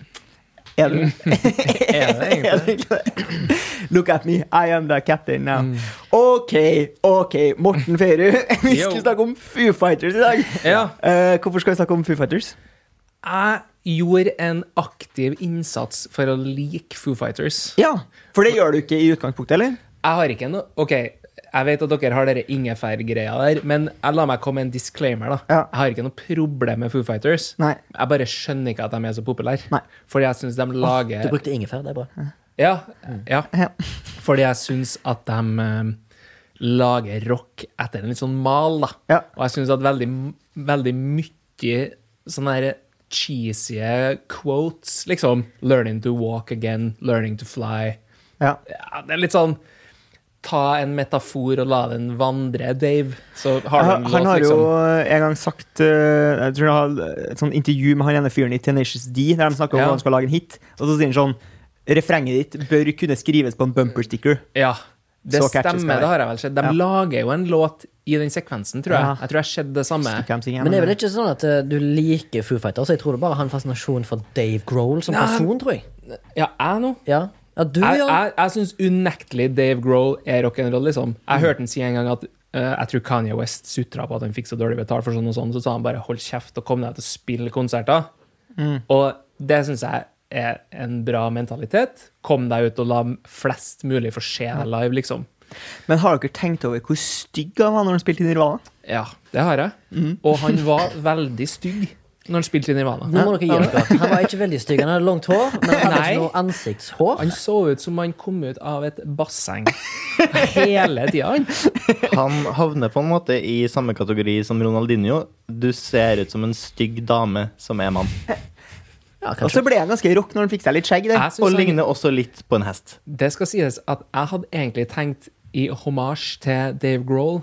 Speaker 4: Er [LAUGHS] det
Speaker 1: Mm. Er det
Speaker 4: er det
Speaker 1: egentlig?
Speaker 4: ikke det? Look at me, I am the captain now.
Speaker 1: Mm.
Speaker 4: OK, OK, Morten Feirud. [LAUGHS] Vi
Speaker 1: Yo. Ah.
Speaker 4: skulle snakke om Foo Fighters i dag.
Speaker 1: Ja.
Speaker 4: Eh, hvorfor skal vi snakke om Foo Fighters?
Speaker 1: Jeg gjorde en aktiv innsats for å like Foo Fighters.
Speaker 4: Ja, For det gjør du ikke i utgangspunktet, eller?
Speaker 1: Jeg har ikke noe Ok, jeg vet at dere har dere ingefærgreia der, men jeg la meg komme med en disclaimer, da.
Speaker 4: Ja.
Speaker 1: Jeg har ikke noe problem med Foo Fighters.
Speaker 4: Nei.
Speaker 1: Jeg bare skjønner ikke at de er så populære.
Speaker 4: Nei.
Speaker 1: Fordi jeg syns de
Speaker 3: Du
Speaker 1: lager
Speaker 3: brukte ingefær, det er bra.
Speaker 1: ja, ja.
Speaker 4: Mm. Ja.
Speaker 1: Fordi jeg syns at de eh, lager rock etter en litt sånn mal, da.
Speaker 4: Ja.
Speaker 1: Og jeg syns at veldig, veldig mye sånne her cheesy quotes, liksom 'Learning to walk again', 'Learning to fly'
Speaker 4: Ja.
Speaker 1: ja, Det er litt sånn Ta en metafor og la den vandre, Dave. Så har du en
Speaker 4: Han,
Speaker 1: låt,
Speaker 4: han har jo
Speaker 1: liksom.
Speaker 4: en gang sagt eh, Jeg tror han har et sånt intervju med han ene fyren i Tenacious D, der de snakker om
Speaker 1: Ja.
Speaker 4: hvordan han skal lage en hit, og så sier han sånn Refrenget ditt bør kunne skrives på en bumper sticker.
Speaker 1: Ja. Det
Speaker 4: Så catchy skal
Speaker 1: stemmer,
Speaker 4: det
Speaker 1: det har jeg vel sett. De
Speaker 4: Ja.
Speaker 1: lager jo en låt i den sekvensen, tror jeg.
Speaker 4: Ja.
Speaker 1: Jeg tror jeg har sett det samme.
Speaker 4: Stikker de ting igjen,
Speaker 3: Men det er
Speaker 4: eller?
Speaker 3: vel ikke sånn at eh, du liker Foo Fighters? Jeg tror du bare har en fascinasjon for Dave Grohl som person, tror jeg.
Speaker 1: Ja, jeg nå.
Speaker 3: Ja, ja du,
Speaker 1: Jeg,
Speaker 3: ja.
Speaker 1: jeg, jeg syns unektelig Dave Grohl er rock'n'roll, liksom.
Speaker 4: Mm.
Speaker 1: Jeg hørte han si en gang at eh, jeg tror Kanye West sutra på at han fikk så dårlig betalt for sånn og sånn, så sa han bare 'hold kjeft og kom deg til å spille konserter'.
Speaker 4: Mm.
Speaker 1: Og det syns jeg er en bra mentalitet. Kom deg ut og la flest mulig få se deg live, liksom.
Speaker 4: Men har dere tenkt over hvor stygg han var når han spilte i Nirvana?
Speaker 1: Ja, det har jeg.
Speaker 4: Mm.
Speaker 1: Og han var veldig stygg når han spilte i Nirvana.
Speaker 3: Nå må dere gi dere. Han var ikke veldig stygg. Han hadde langt hår, men han hadde
Speaker 1: Nei.
Speaker 3: ikke noe ansiktshår.
Speaker 1: Han så ut som han kom ut av et
Speaker 4: [LAUGHS]
Speaker 1: basseng hele tida.
Speaker 5: Han havner på en måte i samme kategori som Ronaldinho. Du ser ut som en stygg dame som er mann.
Speaker 3: Ja,
Speaker 4: Og så
Speaker 3: kanskje.
Speaker 4: ble han ganske rock når han fikk seg litt skjegg. Der.
Speaker 1: Jeg
Speaker 5: Og
Speaker 1: synes han,
Speaker 5: ligner også litt på en hest.
Speaker 1: det skal sies at jeg hadde egentlig tenkt i hommage til Dave Grohl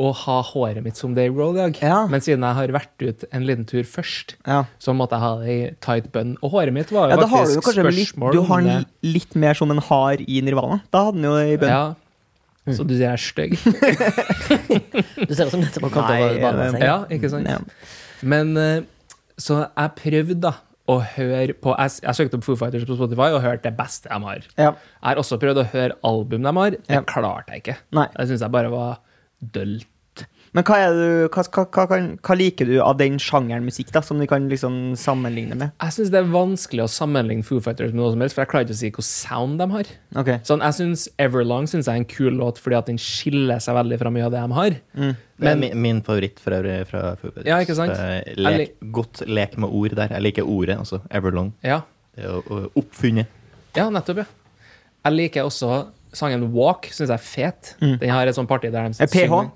Speaker 1: å ha håret mitt som Dave Grohl i dag.
Speaker 4: Ja.
Speaker 1: Men siden jeg har vært ut en liten tur først,
Speaker 4: Ja.
Speaker 1: så måtte jeg ha det i tight bun. Og håret mitt var
Speaker 4: Ja,
Speaker 1: jo
Speaker 4: da har du jo
Speaker 1: faktisk
Speaker 4: kanskje litt,
Speaker 1: spørsmål. eh,
Speaker 4: du har
Speaker 1: om
Speaker 4: han litt mer som en har i Nirvana. Da hadde han jo i
Speaker 1: det.
Speaker 4: bønnen.
Speaker 1: ja.
Speaker 4: Mm.
Speaker 1: Så du sier jeg er stygg?
Speaker 3: Du ser ut som nettopp har kommet
Speaker 4: Nei,
Speaker 3: over barnebasseng.
Speaker 1: Ja, ikke sant?
Speaker 4: [LAUGHS] Ja.
Speaker 1: Men eh, så jeg prøvde da å høre på Jeg, s- jeg søkte opp Foo Fighters på Spotify og hørte det beste de har.
Speaker 4: Ja.
Speaker 1: Jeg har også prøvd å høre album de har. Det
Speaker 4: Ja.
Speaker 1: klarte jeg ikke.
Speaker 4: Nei.
Speaker 1: Det syns jeg bare var dølt.
Speaker 4: Men hva, er du, hva, hva, hva, kan- hva liker du av den sjangeren musikk da, som du kan liksom sammenligne med?
Speaker 1: Jeg syns det er vanskelig å sammenligne Foo Fighters med noe som helst, for jeg klarer ikke å si hvilken sound de har.
Speaker 4: Ok. Eh,
Speaker 1: Sånn, jeg synes Everlong synes jeg er en kul låt fordi at den skiller seg veldig fra mye av det de har.
Speaker 5: Det er
Speaker 1: Men-
Speaker 5: mi- min favoritt for øvrig fra Foo Fighters.
Speaker 1: Ja, ikke sant?
Speaker 5: Det er
Speaker 1: Jeg
Speaker 5: Lek, godt lek med ord der. Jeg liker ordet, altså. Everlong.
Speaker 1: Ja,
Speaker 5: Det er jo ø, oppfunnet.
Speaker 1: Ja, nettopp, ja. Jeg liker også sangen Walk, syns jeg er fet. Den har et sånt parti der de
Speaker 4: Eh, PH?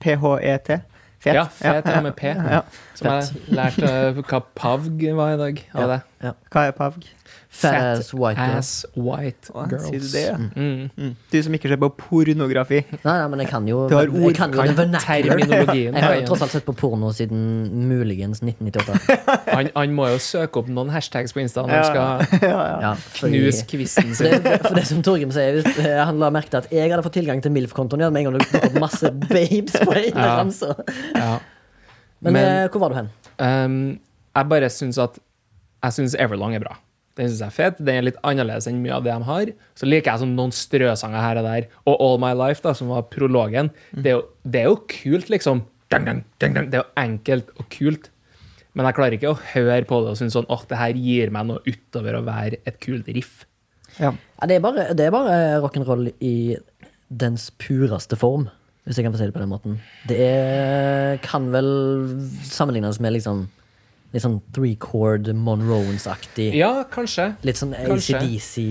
Speaker 4: PHET? E Fet?
Speaker 1: Ja, fet ja, med P.
Speaker 4: [LAUGHS] Ja.
Speaker 1: Som jeg lærte eh, hva Pavg var i dag. Av det.
Speaker 4: Hva er PAVG?
Speaker 3: Fat ass white girl.
Speaker 1: ass white
Speaker 4: Å, Sier du
Speaker 1: girls.
Speaker 4: det?
Speaker 1: Mm.
Speaker 4: Mm. Du som ikke ser på pornografi. [LAUGHS]
Speaker 3: Nei, nei, men jeg kan jo
Speaker 4: Du har
Speaker 3: Jeg kan jo
Speaker 4: ordkant.
Speaker 3: det vernacular.
Speaker 1: Terminologien.
Speaker 3: Jeg har jo tross alt sett på porno siden muligens 1998.
Speaker 1: Han, han må jo søke opp noen hashtags på Insta når
Speaker 4: Ja.
Speaker 1: han
Speaker 4: [LAUGHS]
Speaker 1: skal
Speaker 3: Ja, fordi-
Speaker 1: knuse kvisten
Speaker 3: Så
Speaker 1: sin.
Speaker 3: det, for det som Torgrim sier, hvis eh, han la merke til at jeg hadde fått tilgang til MILF-kontoen igjen med en gang det dukket opp masse babes på en
Speaker 1: Ja.
Speaker 3: ramse.
Speaker 1: Ja.
Speaker 3: Men,
Speaker 1: Men-
Speaker 3: eh, hvor var du hen?
Speaker 1: Um, jeg bare syns at Jeg syns Everlong er bra. Den syns jeg er fet. Den er litt annerledes enn mye av det de har. Så liker jeg sånn noen strøsanger her og der. Og All My Life, da, som var prologen, det er jo, det er jo kult, liksom. Dang, dang, dang, dang. Det er jo enkelt og kult. Men jeg klarer ikke å høre på det og synes sånn, åh, det her gir meg noe utover å være et kult riff.
Speaker 4: Ja.
Speaker 3: Ja, det er bare, det er bare eh, rock'n'roll i dens pureste form, hvis jeg kan få si det på den måten. Det er, kan vel sammenlignes med liksom litt sånn three chord Monrones-aktig.
Speaker 1: Ja, kanskje.
Speaker 3: Litt sånn
Speaker 1: Kanskje.
Speaker 3: ACDC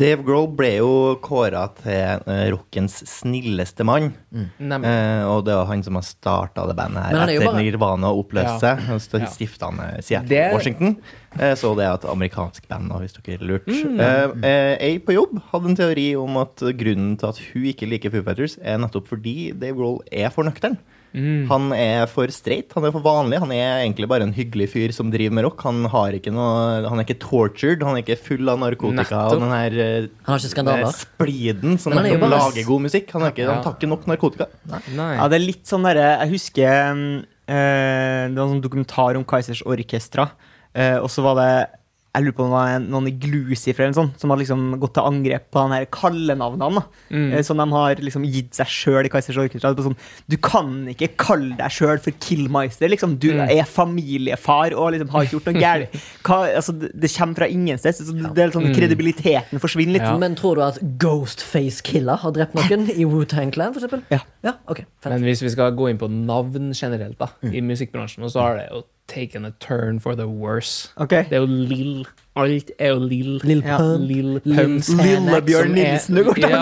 Speaker 5: Dave Grohl ble jo kåra til eh, rockens snilleste mann.
Speaker 1: Nemlig.
Speaker 5: Eh, og det var han som har starta det bandet
Speaker 3: Mm.
Speaker 5: her
Speaker 3: Men han er jo
Speaker 5: etter
Speaker 3: bare-
Speaker 5: Nirvana
Speaker 1: Ja.
Speaker 5: oppløste seg. Han st-
Speaker 1: Ja.
Speaker 5: Stifta han eh, Seattle,
Speaker 1: Det-
Speaker 5: Washington. Eh, så det er et amerikansk band, da, hvis dere lurte.
Speaker 3: Mm.
Speaker 5: Eh, eh, ei på jobb hadde en teori om at grunnen til at hun ikke liker Foo Fighters, er nettopp fordi Dave Grohl er for nøktern.
Speaker 3: Mm.
Speaker 5: Han er for streit, han er for vanlig. Han er egentlig bare en hyggelig fyr som driver med rock. Han, har ikke noe, han er ikke tortured, han er ikke full av narkotika
Speaker 1: Nettopp.
Speaker 5: og den her eh,
Speaker 3: Han har ikke
Speaker 5: den her
Speaker 3: skandaler.
Speaker 5: spliden som
Speaker 3: Men han er jo
Speaker 5: nettopp
Speaker 3: bare-
Speaker 5: lager god musikk. Han, er ikke,
Speaker 1: Ja.
Speaker 5: han tar ikke nok narkotika.
Speaker 1: Nei.
Speaker 4: Ja, det er litt sånn derre Jeg husker mm, eh, Det var en sånn dokumentar om Kaizers Orkestra, eh, og så var det jeg lurer på om det var en- noen i Glucifer eller noe sånt, som hadde liksom gått til angrep på de her kallenavnene. da.
Speaker 1: Mm.
Speaker 4: Eh, Som de har liksom gitt seg sjøl i Kaizers Orkestra. På sånn, du kan ikke kalle deg sjøl for Killmeister. Liksom. Du
Speaker 1: Mm.
Speaker 4: er familiefar og liksom har ikke gjort noe gærent.
Speaker 1: [LAUGHS]
Speaker 4: Hva- Altså, det, det kommer fra ingensteds. Så det, det er litt sånn, kredibiliteten forsvinner litt.
Speaker 1: Mm. Ja.
Speaker 3: Men tror du at Ghostface Killer har drept noen i Wu-Tang Clan, for eksempel?
Speaker 4: Ja.
Speaker 3: ja ok. fett.
Speaker 1: Men hvis vi skal gå inn på navn generelt da, i musikkbransjen, så har det jo taken a turn for the worse.
Speaker 4: Ok.
Speaker 1: Det er jo Lill. Alt er jo Lill.
Speaker 3: Lil
Speaker 4: Ja.
Speaker 3: Pump.
Speaker 1: Lill Pump.
Speaker 3: Lil
Speaker 4: Lillebjørn
Speaker 1: som er-
Speaker 4: Nilsen, du går til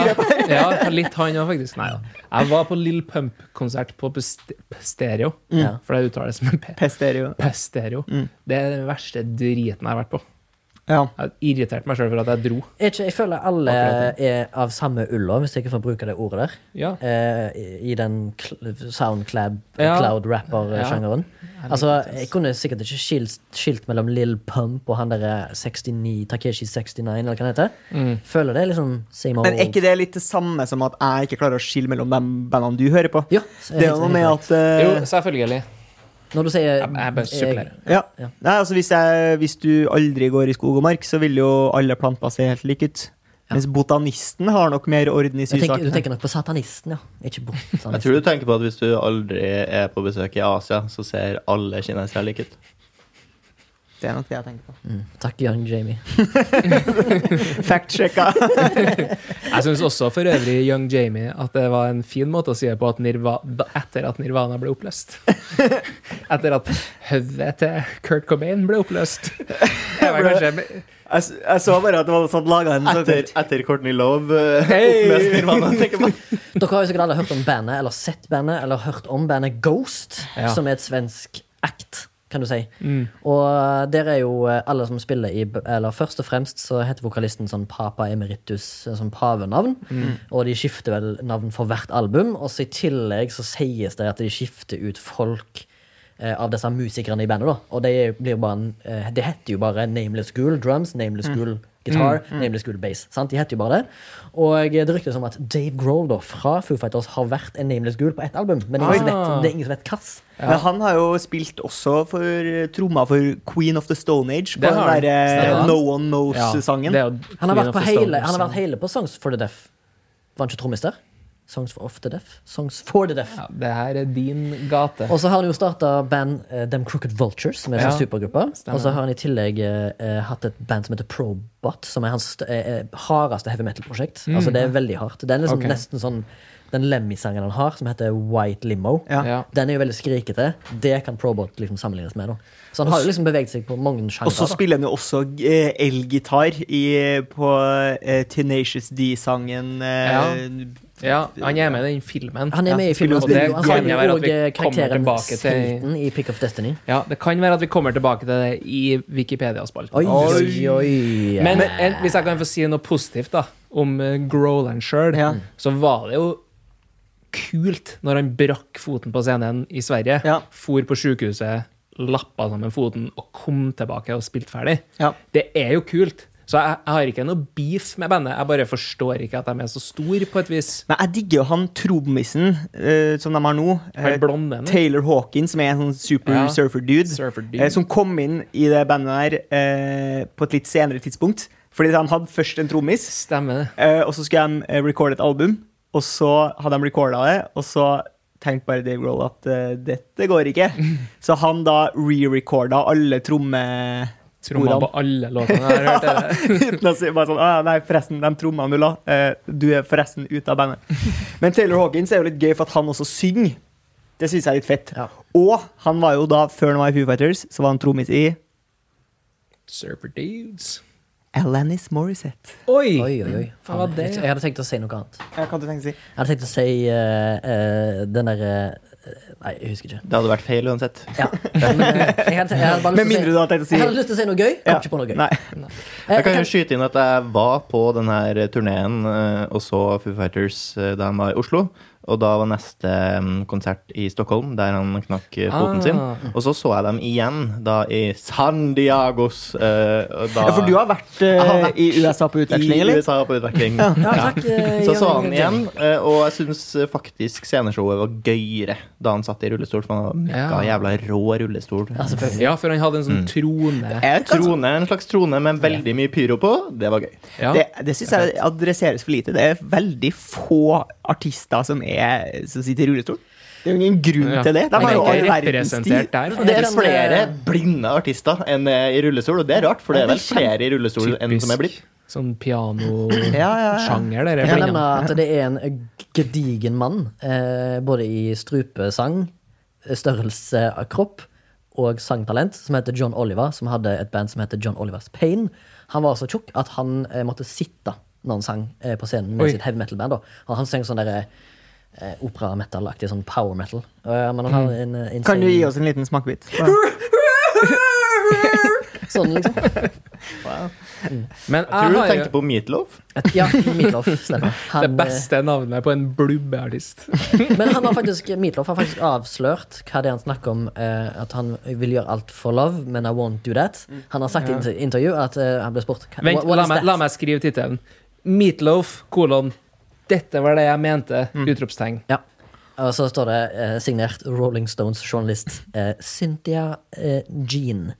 Speaker 1: ja, ja, litt han òg, faktisk. Nei da. Jeg var på Lill Pump-konsert på Pest- Pestereo,
Speaker 3: Ja.
Speaker 1: for det uttales som en P.
Speaker 4: Pestereo.
Speaker 1: Pestereo. Det er den verste driten jeg har vært på.
Speaker 4: Ja.
Speaker 1: Jeg har irritert meg sjøl for at jeg dro.
Speaker 3: Er ikke, jeg føler alle er av samme ulla, hvis jeg ikke får bruke det ordet der.
Speaker 1: Ja.
Speaker 3: eh, i- I den cl- soundclab
Speaker 1: Ja.
Speaker 3: cloud rapper-sjangeren. Altså, Jeg kunne sikkert ikke skilt, skilt mellom Lil Pump og han derre 69 Takeshi 69, eller hva han heter. Føler det er liksom same old.
Speaker 4: Men er ikke det litt det samme som at jeg ikke klarer å skille mellom de bandene du hører på?
Speaker 3: Ja,
Speaker 4: det er jo noe med at eh,
Speaker 1: Jo, selvfølgelig.
Speaker 3: Når du sier
Speaker 1: Jeg, jeg bare supplerer.
Speaker 4: ja.
Speaker 3: Ja.
Speaker 4: Nei, altså hvis, jeg, hvis du aldri går i skog og mark, så vil jo alle planter se helt like ut. Mens botanisten har nok mer orden i
Speaker 3: jeg tenker, du
Speaker 4: sysakene.
Speaker 3: tenker nok på satanisten, ja. Ikke botanisten.
Speaker 5: Jeg tror du tenker på at hvis du aldri er på besøk i Asia, så ser alle kinesere like ut.
Speaker 4: Det er nok det jeg tenker på.
Speaker 3: Takk, Young Jamie.
Speaker 4: Fact-sjekka.
Speaker 1: Jeg syns også for øvrig Young Jamie at det var en fin måte å si det på at Nirva, da- etter at Nirvana ble
Speaker 3: [LAUGHS]
Speaker 1: oppløst. Etter at hodet til Kurt Cobain ble
Speaker 3: [LAUGHS]
Speaker 1: oppløst. Det var kanskje
Speaker 4: Jeg, s- jeg så bare at det var noe sånt laga en sånn
Speaker 5: Etter,
Speaker 4: såkalt
Speaker 5: etter Courtney Love eh, oppløste Nirvana, tenker man.
Speaker 3: Dere har jo sikkert alle hørt om bandet, eller sett bandet, eller hørt om bandet Ghost,
Speaker 1: Ja.
Speaker 3: som er et svensk act, kan du si. Og der er jo eh, alle som spiller i b- Eller først og fremst så heter vokalisten sånn Papa Emeritus, eh, sånn pavenavn. Og de skifter vel navn for hvert album, og så i tillegg så sies det at de skifter ut folk. eh, Av disse musikerne i bandet. da Og det, blir bare en, eh, det heter jo bare Nameless Ghoul Drums, Nameless Ghoul Guitar, Nameless Ghoul Bass. Sant? De heter jo bare det. Og eh, det ryktes om at Dave Grohl da, fra Foo Fighters har vært en Nameless Ghoul på ett album, men ingen som vet,
Speaker 1: Ah.
Speaker 3: det er ingen som vet hvilket.
Speaker 4: Men han har jo spilt også for eh, tromma for Queen of the Stone Age, på
Speaker 1: Det har
Speaker 4: den
Speaker 1: han.
Speaker 4: der
Speaker 1: Det har
Speaker 4: eh,
Speaker 1: han.
Speaker 4: No One Knows-sangen.
Speaker 3: Han har vært, på hele, han har vært hele på Songs for the Deaf. Var han ikke trommis der? Songs for Off the Deaf? Songs for the Deaf.
Speaker 1: ja, Det her er din gate.
Speaker 3: Og så har han jo starta band eh, Them Crooked Vultures, som er en
Speaker 1: Ja.
Speaker 3: sånn supergruppe.
Speaker 1: Stemmer.
Speaker 3: Og så har han i tillegg eh, eh, hatt et band som heter Probot, som er hans st- eh, eh, hardeste heavy metal-prosjekt. Altså Det er veldig hardt. Det er liksom
Speaker 1: Ok.
Speaker 3: nesten sånn den Lemmy-sangen han har, som heter White Limo.
Speaker 4: Ja.
Speaker 1: Ja.
Speaker 3: Den er jo veldig skrikete. Det kan Probot liksom sammenlignes med. Da. Så han har jo liksom beveget seg på mange
Speaker 4: Og så
Speaker 3: sjangere. da.
Speaker 4: spiller han jo også eh, elgitar i- på eh, Tenacious D-sangen. Eh,
Speaker 1: Ja, han er med i den filmen.
Speaker 3: Han er med i filmen.
Speaker 1: Og det
Speaker 3: og Han
Speaker 1: kan jo
Speaker 3: spiller
Speaker 1: være
Speaker 3: jo
Speaker 1: at vi
Speaker 3: òg
Speaker 1: kommer
Speaker 3: karakteren
Speaker 1: tilbake til
Speaker 3: Satan i Pick of Destiny.
Speaker 1: Ja, det kan være at vi kommer tilbake til det i Wikipedia-spalten.
Speaker 3: Oi, oi, oi.
Speaker 1: Men en, hvis jeg kan få si noe positivt da om eh, Groland sjøl,
Speaker 4: Ja.
Speaker 1: så var det jo kult når han brakk foten på scenen i Sverige.
Speaker 4: Ja.
Speaker 1: For på sjukehuset, lappa sammen foten og kom tilbake og spilte ferdig.
Speaker 4: Ja.
Speaker 1: Det er jo kult. Så jeg, jeg har ikke noe beef med bandet. Jeg bare forstår ikke at de er så store, på et vis.
Speaker 4: Men jeg digger jo han trommisen eh, som de har nå. eh,
Speaker 1: Han blonde nå.
Speaker 4: Taylor Hawkins, som er en sånn super
Speaker 1: Ja.
Speaker 4: surfer-dude.
Speaker 1: Surfer dude.
Speaker 4: eh, som kom inn i det bandet der eh, på et litt senere tidspunkt. Fordi de hadde først en trommis,
Speaker 1: Stemmer det.
Speaker 4: eh, og så skulle de eh, recorde et album. Og så hadde de recorda det, og så tenkte bare Dave Grohl at eh, dette
Speaker 1: [LAUGHS]
Speaker 4: går ikke. Så han da re-recorda alle
Speaker 7: Tromma
Speaker 4: trommesporene.
Speaker 7: på alle låtene. Jeg har hørt det.
Speaker 1: [LAUGHS]
Speaker 4: [LAUGHS] Uten å si bare sånn, «Å, nei, forresten, de trommene du la, eh, du er forresten ute av bandet. [LAUGHS] Men Taylor Hawkins er jo litt gøy for at han også synger. Det synes jeg er litt fett.
Speaker 3: Ja.
Speaker 4: Og han var jo da, før han var i Foo Fighters, så var han trommis i
Speaker 7: Surfer Dudes.
Speaker 4: Alanis Morissette.
Speaker 7: Oi!
Speaker 3: Oi, oi, oi. Faen,
Speaker 7: Ja, det-
Speaker 3: jeg, jeg hadde tenkt å si noe annet.
Speaker 4: Ja, hva du tenker å si?
Speaker 3: Jeg hadde tenkt å si eh, eh, den derre Nei, jeg husker ikke.
Speaker 5: Det hadde vært feil uansett.
Speaker 3: Ja. Men, eh, jeg hadde, jeg hadde bare
Speaker 4: Med
Speaker 3: lyst
Speaker 4: mindre
Speaker 3: til å si
Speaker 4: du har tenkt å si
Speaker 3: Jeg hadde lyst til å si noe gøy. Kom ikke på noe gøy.
Speaker 4: Nei.
Speaker 3: Eh,
Speaker 5: Jeg kan jo
Speaker 3: jeg
Speaker 5: skyte inn at jeg var på den her turneen eh, og så Foo Fighters eh, da han var i Oslo. Og da var neste mm, konsert i Stockholm, der han knakk eh, foten
Speaker 7: Ah.
Speaker 5: sin. Og så så jeg dem igjen da i San Diagos. eh, og da,
Speaker 4: Ja, for du har vært, eh,
Speaker 5: Jeg har vært
Speaker 4: i USA på utveksling,
Speaker 5: I
Speaker 4: eller?
Speaker 5: USA på utveksling.
Speaker 3: Ja, takk, eh,
Speaker 5: Så jeg
Speaker 3: Jan
Speaker 5: så han
Speaker 3: Erik
Speaker 5: igjen,
Speaker 3: Jenny.
Speaker 5: eh, og jeg syns faktisk sceneshowet var gøyere da han satt i rullestol, for han var mekka
Speaker 7: Ja.
Speaker 5: jævla rå rullestol.
Speaker 3: Ja, selvfølgelig.
Speaker 7: Ja, for han hadde en sånn trone.
Speaker 4: Jeg tror-
Speaker 5: Trone, en slags trone med veldig mye pyro på. Det var gøy.
Speaker 7: Ja.
Speaker 4: Det, det syns jeg adresseres for lite. Det er veldig få artister som, er, som sitter i rullestol. Det er jo ingen grunn
Speaker 7: Ja.
Speaker 4: Mm, til det. De
Speaker 7: Han
Speaker 4: har jo all
Speaker 7: er ikke
Speaker 4: verdens tid.
Speaker 7: representert der.
Speaker 5: Det er
Speaker 3: den,
Speaker 5: flere
Speaker 3: eh,
Speaker 5: blinde artister enn eh, i rullestol, og det er rart, for det er vel flere i rullestol enn som er blitt.
Speaker 7: Typisk sånn
Speaker 4: Ja, ja, ja.
Speaker 7: pianosjanger, det
Speaker 3: Jeg
Speaker 7: der.
Speaker 3: kan nevne
Speaker 7: blinde.
Speaker 3: at det er en gedigen mann, eh, både i strupesang, størrelse av kropp og sangtalent, som heter John Oliver, som hadde et band som heter John Olivers Pain. Han var så tjukk at han eh, måtte sitte når han sang eh, på scenen med
Speaker 7: Oi.
Speaker 3: sitt heavy metal-band. da. Han- Han sang sånn derre eh, opera-metal-aktig, sånn power metal. Eh, men han har en, eh, insane-
Speaker 4: Kan du gi oss en liten [LAUGHS] smakebit?
Speaker 3: Sånn, liksom.
Speaker 7: Men jeg
Speaker 5: Tror du du
Speaker 7: har jo
Speaker 5: tenkte på Meatloaf?
Speaker 3: Et, ja, Meatloaf stemmer. Han,
Speaker 7: det
Speaker 4: eh,
Speaker 7: beste navnet på en
Speaker 4: [LAUGHS]
Speaker 7: blubbeartist.
Speaker 3: Men han har faktisk, Meatloaf har faktisk avslørt hva det er han snakker om. Eh, at han vil gjøre alt for love, men I won't do that. Han har sagt i inter- intervju at eh, han ble spurt hva-
Speaker 7: Mm. Vent,
Speaker 3: what- what
Speaker 7: la
Speaker 3: is
Speaker 7: meg,
Speaker 3: that?
Speaker 7: la meg skrive tittelen. Meatloaf, kolon. Dette var det jeg mente!
Speaker 4: Mm.
Speaker 7: Utropstegn.
Speaker 3: Ja. Og så står det eh, signert Rolling Stones journalist eh, Cynthia eh, Jean.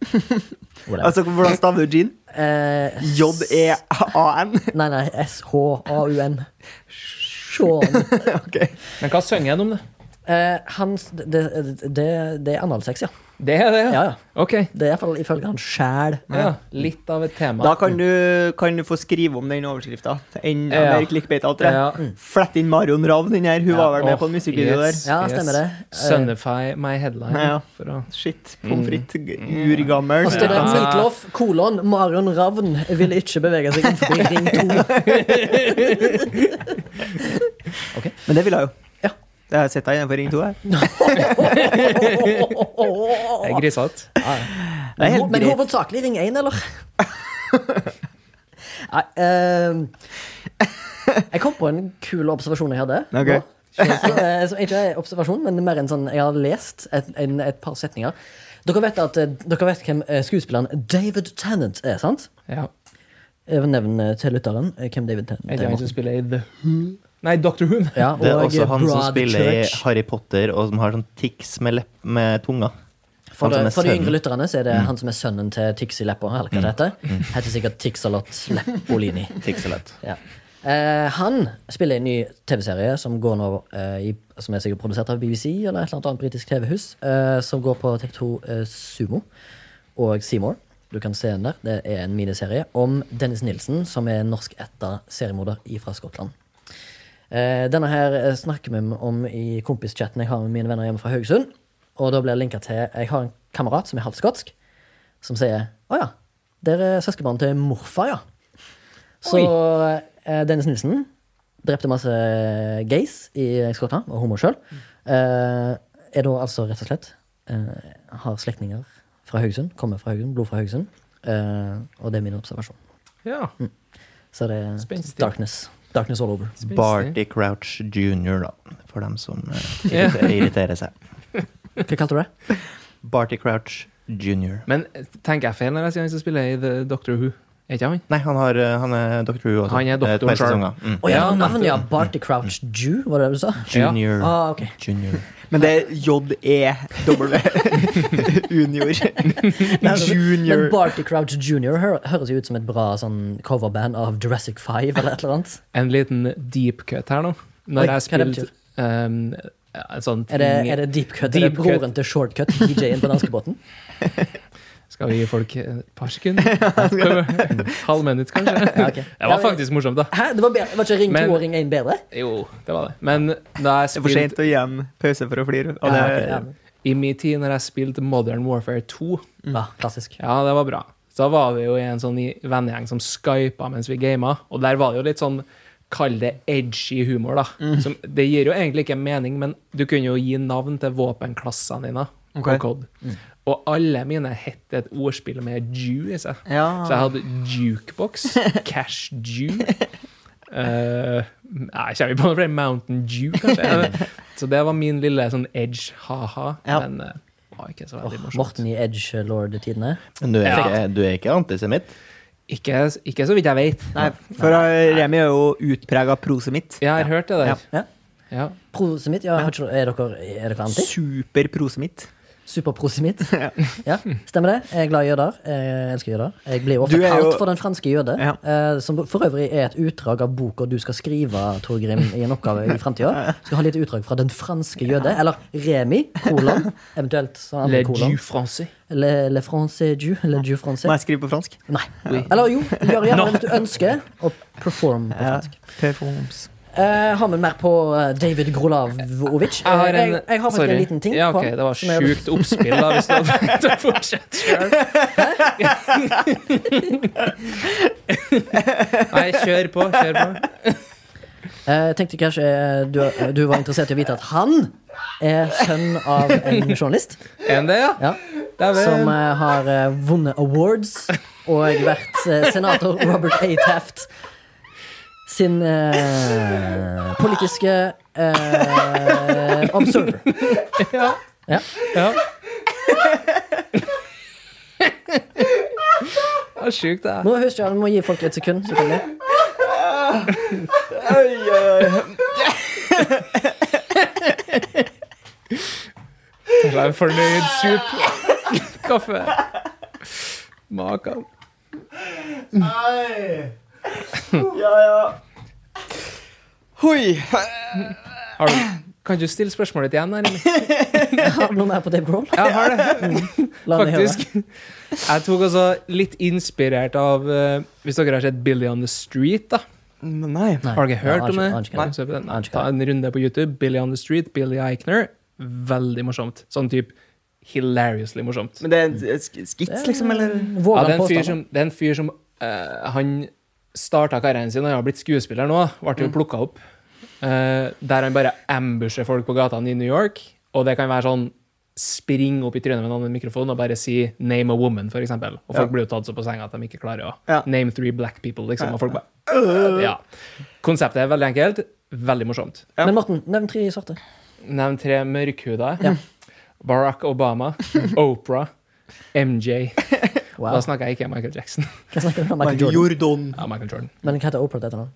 Speaker 3: Whatever.
Speaker 4: Altså, Hvordan staver du Jean?
Speaker 3: eh,
Speaker 7: E
Speaker 4: J-E-A-N.
Speaker 3: Nei, nei, S-H-A-U-N. Sean.
Speaker 7: Men hva synger han om, da?
Speaker 3: Eh, han Det, det, det er analsex, ja.
Speaker 7: Det er det,
Speaker 3: Ja, ja.
Speaker 7: Ok.
Speaker 3: Det er iallfall ifølge han sjæl.
Speaker 7: Ja, litt av et tema.
Speaker 4: Da kan du, kan du få skrive om den overskrifta. Enn
Speaker 7: Ja.
Speaker 4: mer clickbait, alt det.
Speaker 7: Mm. Ja.
Speaker 4: Flett inn Marion Ravn inn her. Hun var vel
Speaker 7: Åh,
Speaker 4: med på en musikkvideo
Speaker 7: yes,
Speaker 4: der.
Speaker 3: Ja, stemmer det.
Speaker 7: yes. Sunnify my headline.
Speaker 4: Ja, ja.
Speaker 7: For å
Speaker 4: Shit. Pommes frites. g- Urgammel.
Speaker 3: Og så står Mm. Altså, det Meatloaf, kolon, Marion Ravn vil ikke bevege seg
Speaker 5: [LAUGHS]
Speaker 3: innenfor ring 2.
Speaker 4: Men det ville jeg jo.
Speaker 3: Ja.
Speaker 4: Det har jeg sett deg innenfor Ring 2. her.
Speaker 7: Det er grisete.
Speaker 4: Det er helt
Speaker 3: Men
Speaker 4: greit.
Speaker 3: hovedsakelig ring 1,
Speaker 5: [LAUGHS]
Speaker 3: eller? Nei, eh, jeg kom på en kul observasjon jeg hadde. nå.
Speaker 4: Ok.
Speaker 3: Som, eh, som ikke er observasjon, men mer en sånn Jeg har lest et, en, et par setninger. Dere vet, at, eh, dere vet hvem eh, skuespilleren David Tennant er, sant?
Speaker 7: Ja.
Speaker 3: Eh, Nevn eh, til lytteren eh, hvem David Tennant
Speaker 7: Er det han som
Speaker 3: er.
Speaker 7: spiller i The Who? Nei, Dr. Who.
Speaker 3: Ja,
Speaker 5: Det er også
Speaker 3: eh,
Speaker 5: han som spiller i
Speaker 3: Broadchurch.
Speaker 5: Harry Potter, og som har sånn tics med, lepp, med tunga.
Speaker 3: For,
Speaker 5: Han som
Speaker 3: det, for
Speaker 5: er
Speaker 3: de
Speaker 5: sønnen. Mm.
Speaker 3: yngre lytterne så er det han som er sønnen til Tixi Leppo. Eller hva det heter. Heter sikkert Tixalot
Speaker 5: [LAUGHS]
Speaker 3: Leppolini.
Speaker 5: Tixelett.
Speaker 3: Ja. Eh, han spiller i en ny TV-serie som går nå eh, i, Som er sikkert produsert av BBC eller et eller annet britisk TV-hus. eh, som går på TV2 eh, Sumo og Seymour. Du kan se den der. Det er en miniserie om Dennis Nilsen, som er en norskætta seriemorder fra Skottland. Eh, denne her eh, snakker vi om i kompischatten jeg har med mine venner hjemme fra Haugesund. Og da blir jeg linka til Jeg har en kamerat som er halvt skotsk, som sier Å ja, dere er søskenbarn til morfar, ja. Så eh, Dennis Nilsen drepte masse gays i Skottland, og homo sjøl. Eh, er da altså rett og slett eh, Har slektninger fra Haugesund, kommer fra Haugesund, blod fra Haugesund. Eh, og det er min observasjon.
Speaker 7: Ja.
Speaker 3: Så det er
Speaker 7: Spenstig.
Speaker 3: darkness. Darkness all over.
Speaker 5: Barty Crouch jr., da. For dem som eh,
Speaker 7: Ja.
Speaker 5: irriterer, irriterer seg.
Speaker 3: Hva kalte du det?
Speaker 5: Barty Crouch jr.
Speaker 7: Men
Speaker 1: eh,
Speaker 7: tenker jeg feil når jeg sier han som spiller i The Doctor Who? Er ikke han?
Speaker 5: Nei, han, har, eh, han er Dr. Who også. Eh,
Speaker 7: Han er
Speaker 5: Et par
Speaker 7: doktoren selv.
Speaker 5: sesonger. Mm.
Speaker 3: Å ja,
Speaker 7: Ja,
Speaker 3: navnet, ja. Barty Crouch Jew, var det det du sa?
Speaker 7: Ja.
Speaker 5: Junior.
Speaker 3: Ah, ok.
Speaker 5: Junior.
Speaker 4: Men det er J-E-W.
Speaker 3: [LAUGHS]
Speaker 4: Junior. sånn-
Speaker 3: Men
Speaker 4: Junior.
Speaker 3: Barty Crouch Junior hø høres jo ut som et bra sånn coverband av Jurassic 5 eller et eller annet.
Speaker 7: En liten deep cut her nå. Når jeg
Speaker 3: Oi, hva er det
Speaker 7: spilte um,
Speaker 1: ja, en sånn ting.
Speaker 3: Er det, er det deep cut? er
Speaker 1: Deep
Speaker 3: det broren til shortcut, DJ-en på
Speaker 1: [LAUGHS]
Speaker 3: danskebåten?
Speaker 1: Skal vi gi folk et par
Speaker 3: [LAUGHS]
Speaker 1: sekunder? Mm, Halv minutt, kanskje? Det var faktisk morsomt, da.
Speaker 3: Hæ? Det var, bedre. var ikke ring
Speaker 1: Men-
Speaker 3: to og ring én bedre?
Speaker 1: Jo, det var det. Men da jeg
Speaker 4: Det er for
Speaker 1: spilte
Speaker 4: sent å gi en pause for å flire. Og det,
Speaker 3: Ja, ok, ja. Mm.
Speaker 1: i min tid, når jeg spilte Modern Warfare 2,
Speaker 3: Ja, klassisk.
Speaker 1: Ja, det var bra. Så da var vi jo i en sånn i- vennegjeng som skypa mens vi gama, og der var det jo litt sånn Kall det edgy humor, da.
Speaker 3: Mm.
Speaker 1: Som, det gir jo egentlig ikke mening, men du kunne jo gi navn til våpenklassene dine.
Speaker 4: Ok.
Speaker 1: på COD.
Speaker 3: Mm.
Speaker 1: Og alle mine het et ordspill med Jew i seg.
Speaker 4: Ja.
Speaker 1: Så jeg hadde
Speaker 3: [LAUGHS]
Speaker 1: jukebox, cash Jew eh, Nei, kommer vi på noe flere? Mountain Jew,
Speaker 3: [LAUGHS]
Speaker 1: kanskje? så det var min lille sånn edge, ha-ha.
Speaker 4: Ja.
Speaker 1: Men eh, var ikke så
Speaker 3: Åh,
Speaker 1: veldig morsomt.
Speaker 3: Morten i Edge Lord-tidene.
Speaker 5: Men [LAUGHS] du er,
Speaker 1: Ja.
Speaker 5: ikke, du er ikke antisemitt?
Speaker 1: Ikke, ikke så vidt jeg vet.
Speaker 4: nei, for eh, Remi er jo utprega prosemitt.
Speaker 1: Jeg har hørt det der.
Speaker 3: Ja.
Speaker 1: Ja.
Speaker 3: Prosemitt? Ja, har ikke, er, dere, er dere anti?
Speaker 4: Super prosemitt. [LAUGHS]
Speaker 3: Superprosemitt? Ja, stemmer det. Jeg er glad i jøder. Jeg elsker jøder. Jeg blir jo ofte
Speaker 4: Du er jo-
Speaker 3: kalt for den franske jøde,
Speaker 4: Ja.
Speaker 3: eh, som for øvrig er et utdrag av boka du skal skrive, Torgrim, i en oppgave i framtida. Skal ha litt utdrag fra Den franske jøde, eller Remi, kolon, eventuelt så andre
Speaker 1: Le
Speaker 3: kolon.
Speaker 1: du français.
Speaker 3: Le, le français du, le du français.
Speaker 4: Må jeg skrive på fransk?
Speaker 3: Nei. Eller jo, gjør gjerne det hvis du ønsker å performe på fransk.
Speaker 4: Performs.
Speaker 3: Eh, har vi mer på eh, David Grolavovic?
Speaker 1: Jeg har en,
Speaker 3: Eh, jeg, jeg har faktisk
Speaker 1: sorry.
Speaker 3: en liten ting.
Speaker 1: Ja,
Speaker 3: på
Speaker 1: ok,
Speaker 3: han,
Speaker 1: Det var
Speaker 3: som jeg hadde-
Speaker 1: sjukt oppspill, da, hvis du hadde tenkt å fortsette
Speaker 3: [LAUGHS]
Speaker 1: sjøl. Nei, kjør på. Kjør på.
Speaker 3: Eh, Jeg tenkte kanskje eh, du, du var interessert i å vite at han er sønn av en journalist
Speaker 1: Enn det, ja?
Speaker 3: ja, som
Speaker 1: Dæven.
Speaker 3: eh, har eh, vunnet awards og vært eh, senator Robert A. Taft sin eh, politiske eh, observer.
Speaker 1: Ja.
Speaker 3: Ja.
Speaker 1: ja. Det var sjukt, det.
Speaker 3: Må, husk, ja, vi må gi folk et sekund. selvfølgelig.
Speaker 1: Det var en fornøyd sup. Kaffe. Makan.
Speaker 4: Ja, ja. Hoi!
Speaker 1: Har du- Kan du stille spørsmålet ditt igjen? Eller?
Speaker 3: Har du noe mer på Dave Grohl?
Speaker 1: Jeg har det.
Speaker 3: La meg høre.
Speaker 1: Faktisk. Jeg tok også litt inspirert av eh, Hvis dere har sett Billy on the Street, da.
Speaker 4: Nei.
Speaker 3: Nei,
Speaker 1: Har dere hørt
Speaker 3: jeg
Speaker 1: om det?
Speaker 3: har ikke- jeg har ikke-
Speaker 1: se på den.
Speaker 3: Nei, jeg
Speaker 1: Ta
Speaker 3: har ikke-
Speaker 1: en runde på YouTube. Billy on the Street, Billy Eichner. Veldig morsomt. Sånn type hilariously morsomt.
Speaker 4: Men det er en sk- skits, liksom? Eller?
Speaker 1: Ja,
Speaker 3: Vågan
Speaker 1: det er en fyr
Speaker 3: påstander.
Speaker 1: som, det er en fyr som eh, Han starta karrieren sin og har blitt skuespiller nå. Ble jo plukka opp. eh, der han bare ambusher folk på gatene i New York. Og det kan være sånn Spring opp i trynet med noen med mikrofon og bare si 'name a woman', for eksempel. Og folk
Speaker 4: Ja.
Speaker 1: blir jo tatt så på senga at de ikke klarer å
Speaker 4: Ja.
Speaker 1: name three black people, liksom. Og folk bare «Øh». Ja. Konseptet er veldig enkelt. Veldig morsomt.
Speaker 3: Men Morten, nevn tre sorter.
Speaker 1: Nevn tre mørkhuda. Barack Obama. Oprah. MJ.
Speaker 3: Wow.
Speaker 1: Da snakker jeg ikke om Michael Jackson.
Speaker 3: Hva snakker du om? Michael Jordan.
Speaker 4: Jordan.
Speaker 1: Ja, Michael Jordan.
Speaker 3: Men hva heter Oprah til etternavn?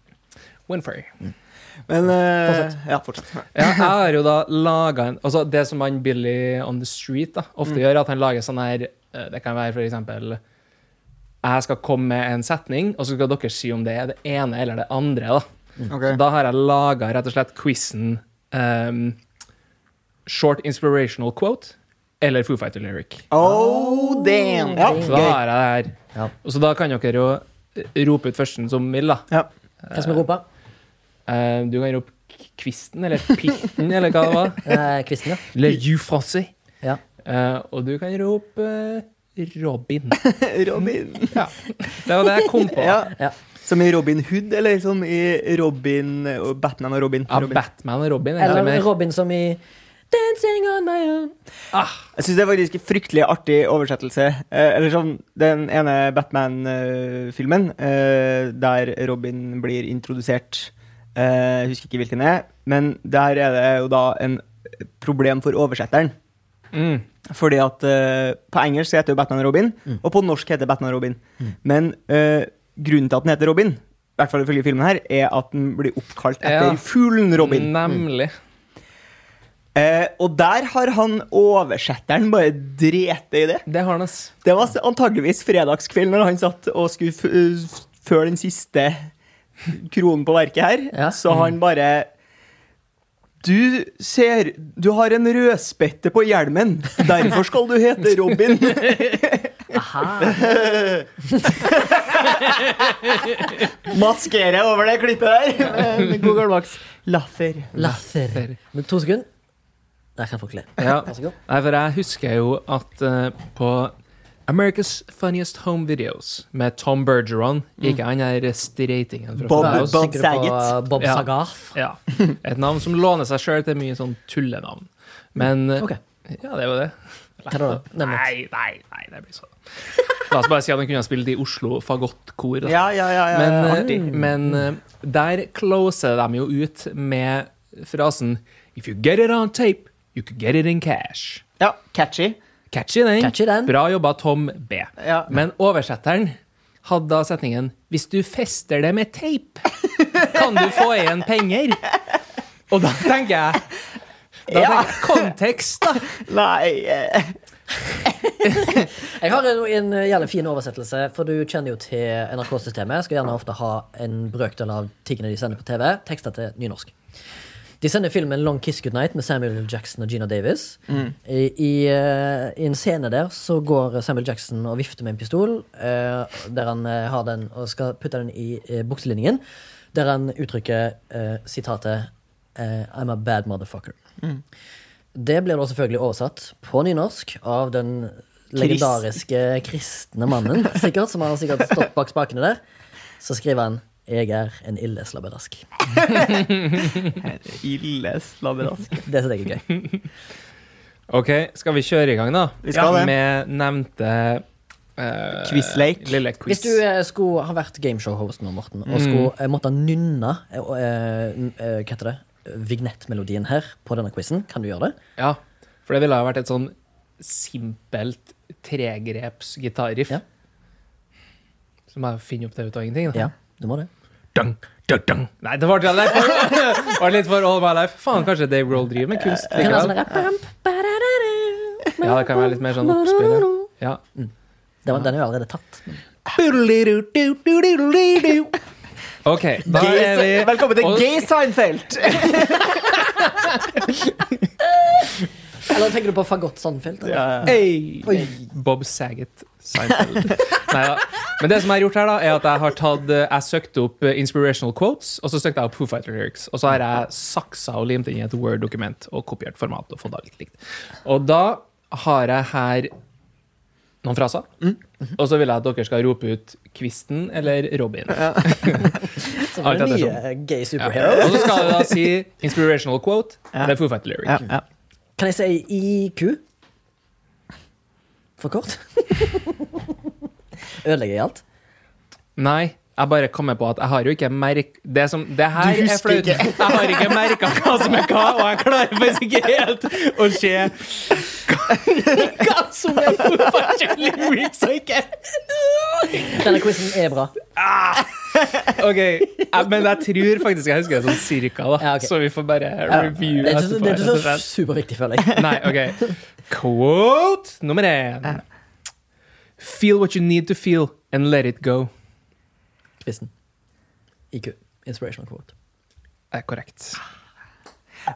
Speaker 1: Winfrey.
Speaker 4: Men eh,
Speaker 3: Fortsett.
Speaker 4: Ja, fortsett.
Speaker 1: Ja, jeg har jo da laga en Altså, det som han Billy on the street da, ofte gjør, er at han lager sånn her eh, Det kan være for eksempel Jeg skal komme med en setning, og så skal dere si om det er det ene eller det andre. da. Så da har jeg laga rett og slett quizen ehm, Short inspirational quote eller Foo Fighter lyric.
Speaker 4: Oh, damn! Ja,
Speaker 1: Så da
Speaker 4: gøy.
Speaker 1: har jeg det her.
Speaker 3: Ja.
Speaker 1: Og så da kan dere jo eh, rope ut førsten som vil, da.
Speaker 4: Ja.
Speaker 3: Hvem som roper?
Speaker 1: Eh, du kan rope k- kvisten eller pitten eller hva det var.
Speaker 3: Eh, Kvisten, ja.
Speaker 1: Le you français.
Speaker 3: Ja.
Speaker 1: Eh, og du kan rope eh, Robin.
Speaker 4: Robin.
Speaker 1: Ja. Det var det jeg kom på.
Speaker 4: [LAUGHS] Ja.
Speaker 3: Ja.
Speaker 4: Som i Robin Hood, eller som i Robin eh, og Batman og Robin?
Speaker 1: Ja,
Speaker 4: Robin.
Speaker 1: Batman og Robin. er det
Speaker 3: Eller
Speaker 1: mer.
Speaker 3: Robin som i Dancing on my own.
Speaker 4: Jeg syns det er faktisk en fryktelig artig oversettelse. Eh, eller sånn, Den ene Batman-filmen eh, der Robin blir introdusert eh, Jeg husker ikke hvilken det er, men der er det jo da en problem for oversetteren.
Speaker 1: Mm.
Speaker 4: Fordi at eh, på engelsk så heter jo Batman Robin, og på norsk heter Batman Robin. Men eh, grunnen til at den heter Robin, i hvert fall ifølge filmen her, er at den blir oppkalt etter
Speaker 1: Ja. Mm.
Speaker 4: fuglen Robin.
Speaker 1: Nemlig.
Speaker 4: Eh, og der har han oversetteren bare drete i det.
Speaker 1: Det har han, ass.
Speaker 4: Det var antageligvis fredagskveld når han satt og skulle f eh, f- før den siste kronen på verket her.
Speaker 3: Ja.
Speaker 4: Så han bare Du ser Du har en rødspette på hjelmen. Derfor skal du hete [LAUGHS] Robin. [LAUGHS] Maskerer over det klippet der med [LAUGHS] god gammeldags laffer.
Speaker 3: Latter. Men to sekunder. Der kan folk le.
Speaker 1: Ja.
Speaker 3: Vær så god.
Speaker 1: Nei, for jeg husker jo at eh, på America's Funniest Home Videos med Tom Bergeron gikk jeg den der streitingen fra
Speaker 4: Bob-
Speaker 3: Jeg er
Speaker 1: Flåås.
Speaker 3: jo sikker på
Speaker 4: Saget.
Speaker 3: Bob
Speaker 1: Ja.
Speaker 3: Sagar.
Speaker 1: Ja. Et navn som låner seg sjøl til mye sånn tullenavn. Men eh,
Speaker 3: OK.
Speaker 1: ja, det var det.
Speaker 3: Hva da? Nevn et.
Speaker 1: Nei, nei, nei, det blir sånn. La oss bare si at han kunne ha spilt i Oslo fagottkor. da.
Speaker 4: Ja, ja, ja. ja, ja.
Speaker 1: Men,
Speaker 4: Artig.
Speaker 1: eh, men eh, der closer de jo ut med frasen If you get it on tape, you could get it in cash.
Speaker 4: Ja, catchy.
Speaker 1: Catchy den.
Speaker 3: Catchy den.
Speaker 1: Bra jobba, Tom B.
Speaker 4: Ja.
Speaker 1: Men oversetteren hadde da setningen Hvis du fester det med teip, kan du få igjen penger. Og da tenker jeg da
Speaker 4: Ja.
Speaker 1: tenker jeg, Kontekst, da.
Speaker 4: Nei eh,
Speaker 3: Jeg har en, en eh, jævlig fin oversettelse, for du kjenner jo til NRK-systemet. Skal gjerne ofte ha en brøkdel av tingene de sender på TV, teksta til nynorsk. De sender filmen Long Kiss Goodnight med Samuel L. Jackson og Gina Davis. I, i, eh, I en scene der så går Samuel Jackson og vifter med en pistol, eh, der han eh, har den og skal putte den i eh, bukselinningen, der han uttrykker eh, sitatet eh, I'm a bad motherfucker. Det ble da selvfølgelig oversatt på nynorsk av den legendariske eh, kristne mannen, sikkert, som har sikkert stått bak spakene der. Så skriver han 'Jeg er en ille slabbedask'.
Speaker 4: Ille altså. slabberask.
Speaker 3: Det syns jeg er gøy.
Speaker 1: OK, skal vi kjøre i gang, da?
Speaker 4: Vi skal det.
Speaker 1: Med nevnte eh,
Speaker 4: Quizleik.
Speaker 1: Lille quiz.
Speaker 3: Hvis du eh, skulle ha vært gameshow-host nå, Morten, og
Speaker 1: Mm.
Speaker 3: skulle eh, måtte nynne eh, og, eh, n- eh, Hva heter det? Vignettmelodien her på denne quizen, kan du gjøre det?
Speaker 1: Ja, for det ville ha vært et sånn simpelt tregreps gitarriff.
Speaker 3: Ja.
Speaker 1: Som jeg finner opp det ut av ingenting.
Speaker 3: Ja,
Speaker 1: da.
Speaker 3: du må det.
Speaker 1: Dang, dang, dang. Nei, det var, [LAUGHS] det var for- var litt for all my life. Faen, kanskje Dave Roll driver med kunst
Speaker 3: Kan være sånn
Speaker 1: likevel.
Speaker 3: der, bam, ba-da-da-da.
Speaker 1: Ja, det kan være litt mer sånn oppspill. Ja.
Speaker 3: Den den er jo allerede tatt.
Speaker 1: OK, da er vi
Speaker 4: Gay- Velkommen til
Speaker 1: Og-
Speaker 4: Gay Seinfeld!
Speaker 3: Eller tenker du på fagott Sandfeld? eller?
Speaker 1: Hey. Bob Saget Seinfeld. Neida. Men det som jeg har gjort her, da, er at jeg har tatt eh, Jeg søkte opp eh, inspirational quotes, og så søkte jeg opp Foo Fighter lyrics. Og så har jeg saksa og limt inn i et Word-dokument og kopiert format og fått det litt likt. Og da har jeg her noen fraser.
Speaker 4: Mm, mhm.
Speaker 1: Og så vil jeg at dere skal rope ut Kvisten eller Robin.
Speaker 3: Som
Speaker 1: [LAUGHS] Alt
Speaker 3: er
Speaker 1: etter
Speaker 3: nye
Speaker 1: sånn.
Speaker 3: eh, gay
Speaker 1: Ja.
Speaker 3: superheroes.
Speaker 1: Og så skal du da si inspirational quote
Speaker 4: Ja.
Speaker 1: eller Foo Fighter lyric.
Speaker 4: Ja, ja.
Speaker 3: Kan jeg si IQ? For kort? [LAUGHS] Ødelegger jeg alt?
Speaker 1: Nei, jeg bare kommer på at jeg har jo ikke merk... Det, som, det her
Speaker 4: Du
Speaker 1: er
Speaker 4: husker
Speaker 1: flaut.
Speaker 4: ikke.
Speaker 1: Jeg har ikke merka hva som er hva, og jeg klarer faktisk ikke helt å se hva, hva som er forskjellig reeks og ikke.
Speaker 3: Denne quizen er bra.
Speaker 1: OK, jeg, men jeg tror faktisk jeg husker det sånn cirka, da.
Speaker 3: Ja, ok.
Speaker 1: Så vi får bare review
Speaker 3: Det er ikke, så- det er
Speaker 1: rett
Speaker 3: ikke
Speaker 1: og
Speaker 3: så
Speaker 1: slett.
Speaker 3: superviktig, føler jeg.
Speaker 1: Nei, ok. Quote nummer én. Feel what you need to feel, and let it go.
Speaker 3: Quizen. IQ. Inspirational quote.
Speaker 1: Det er korrekt.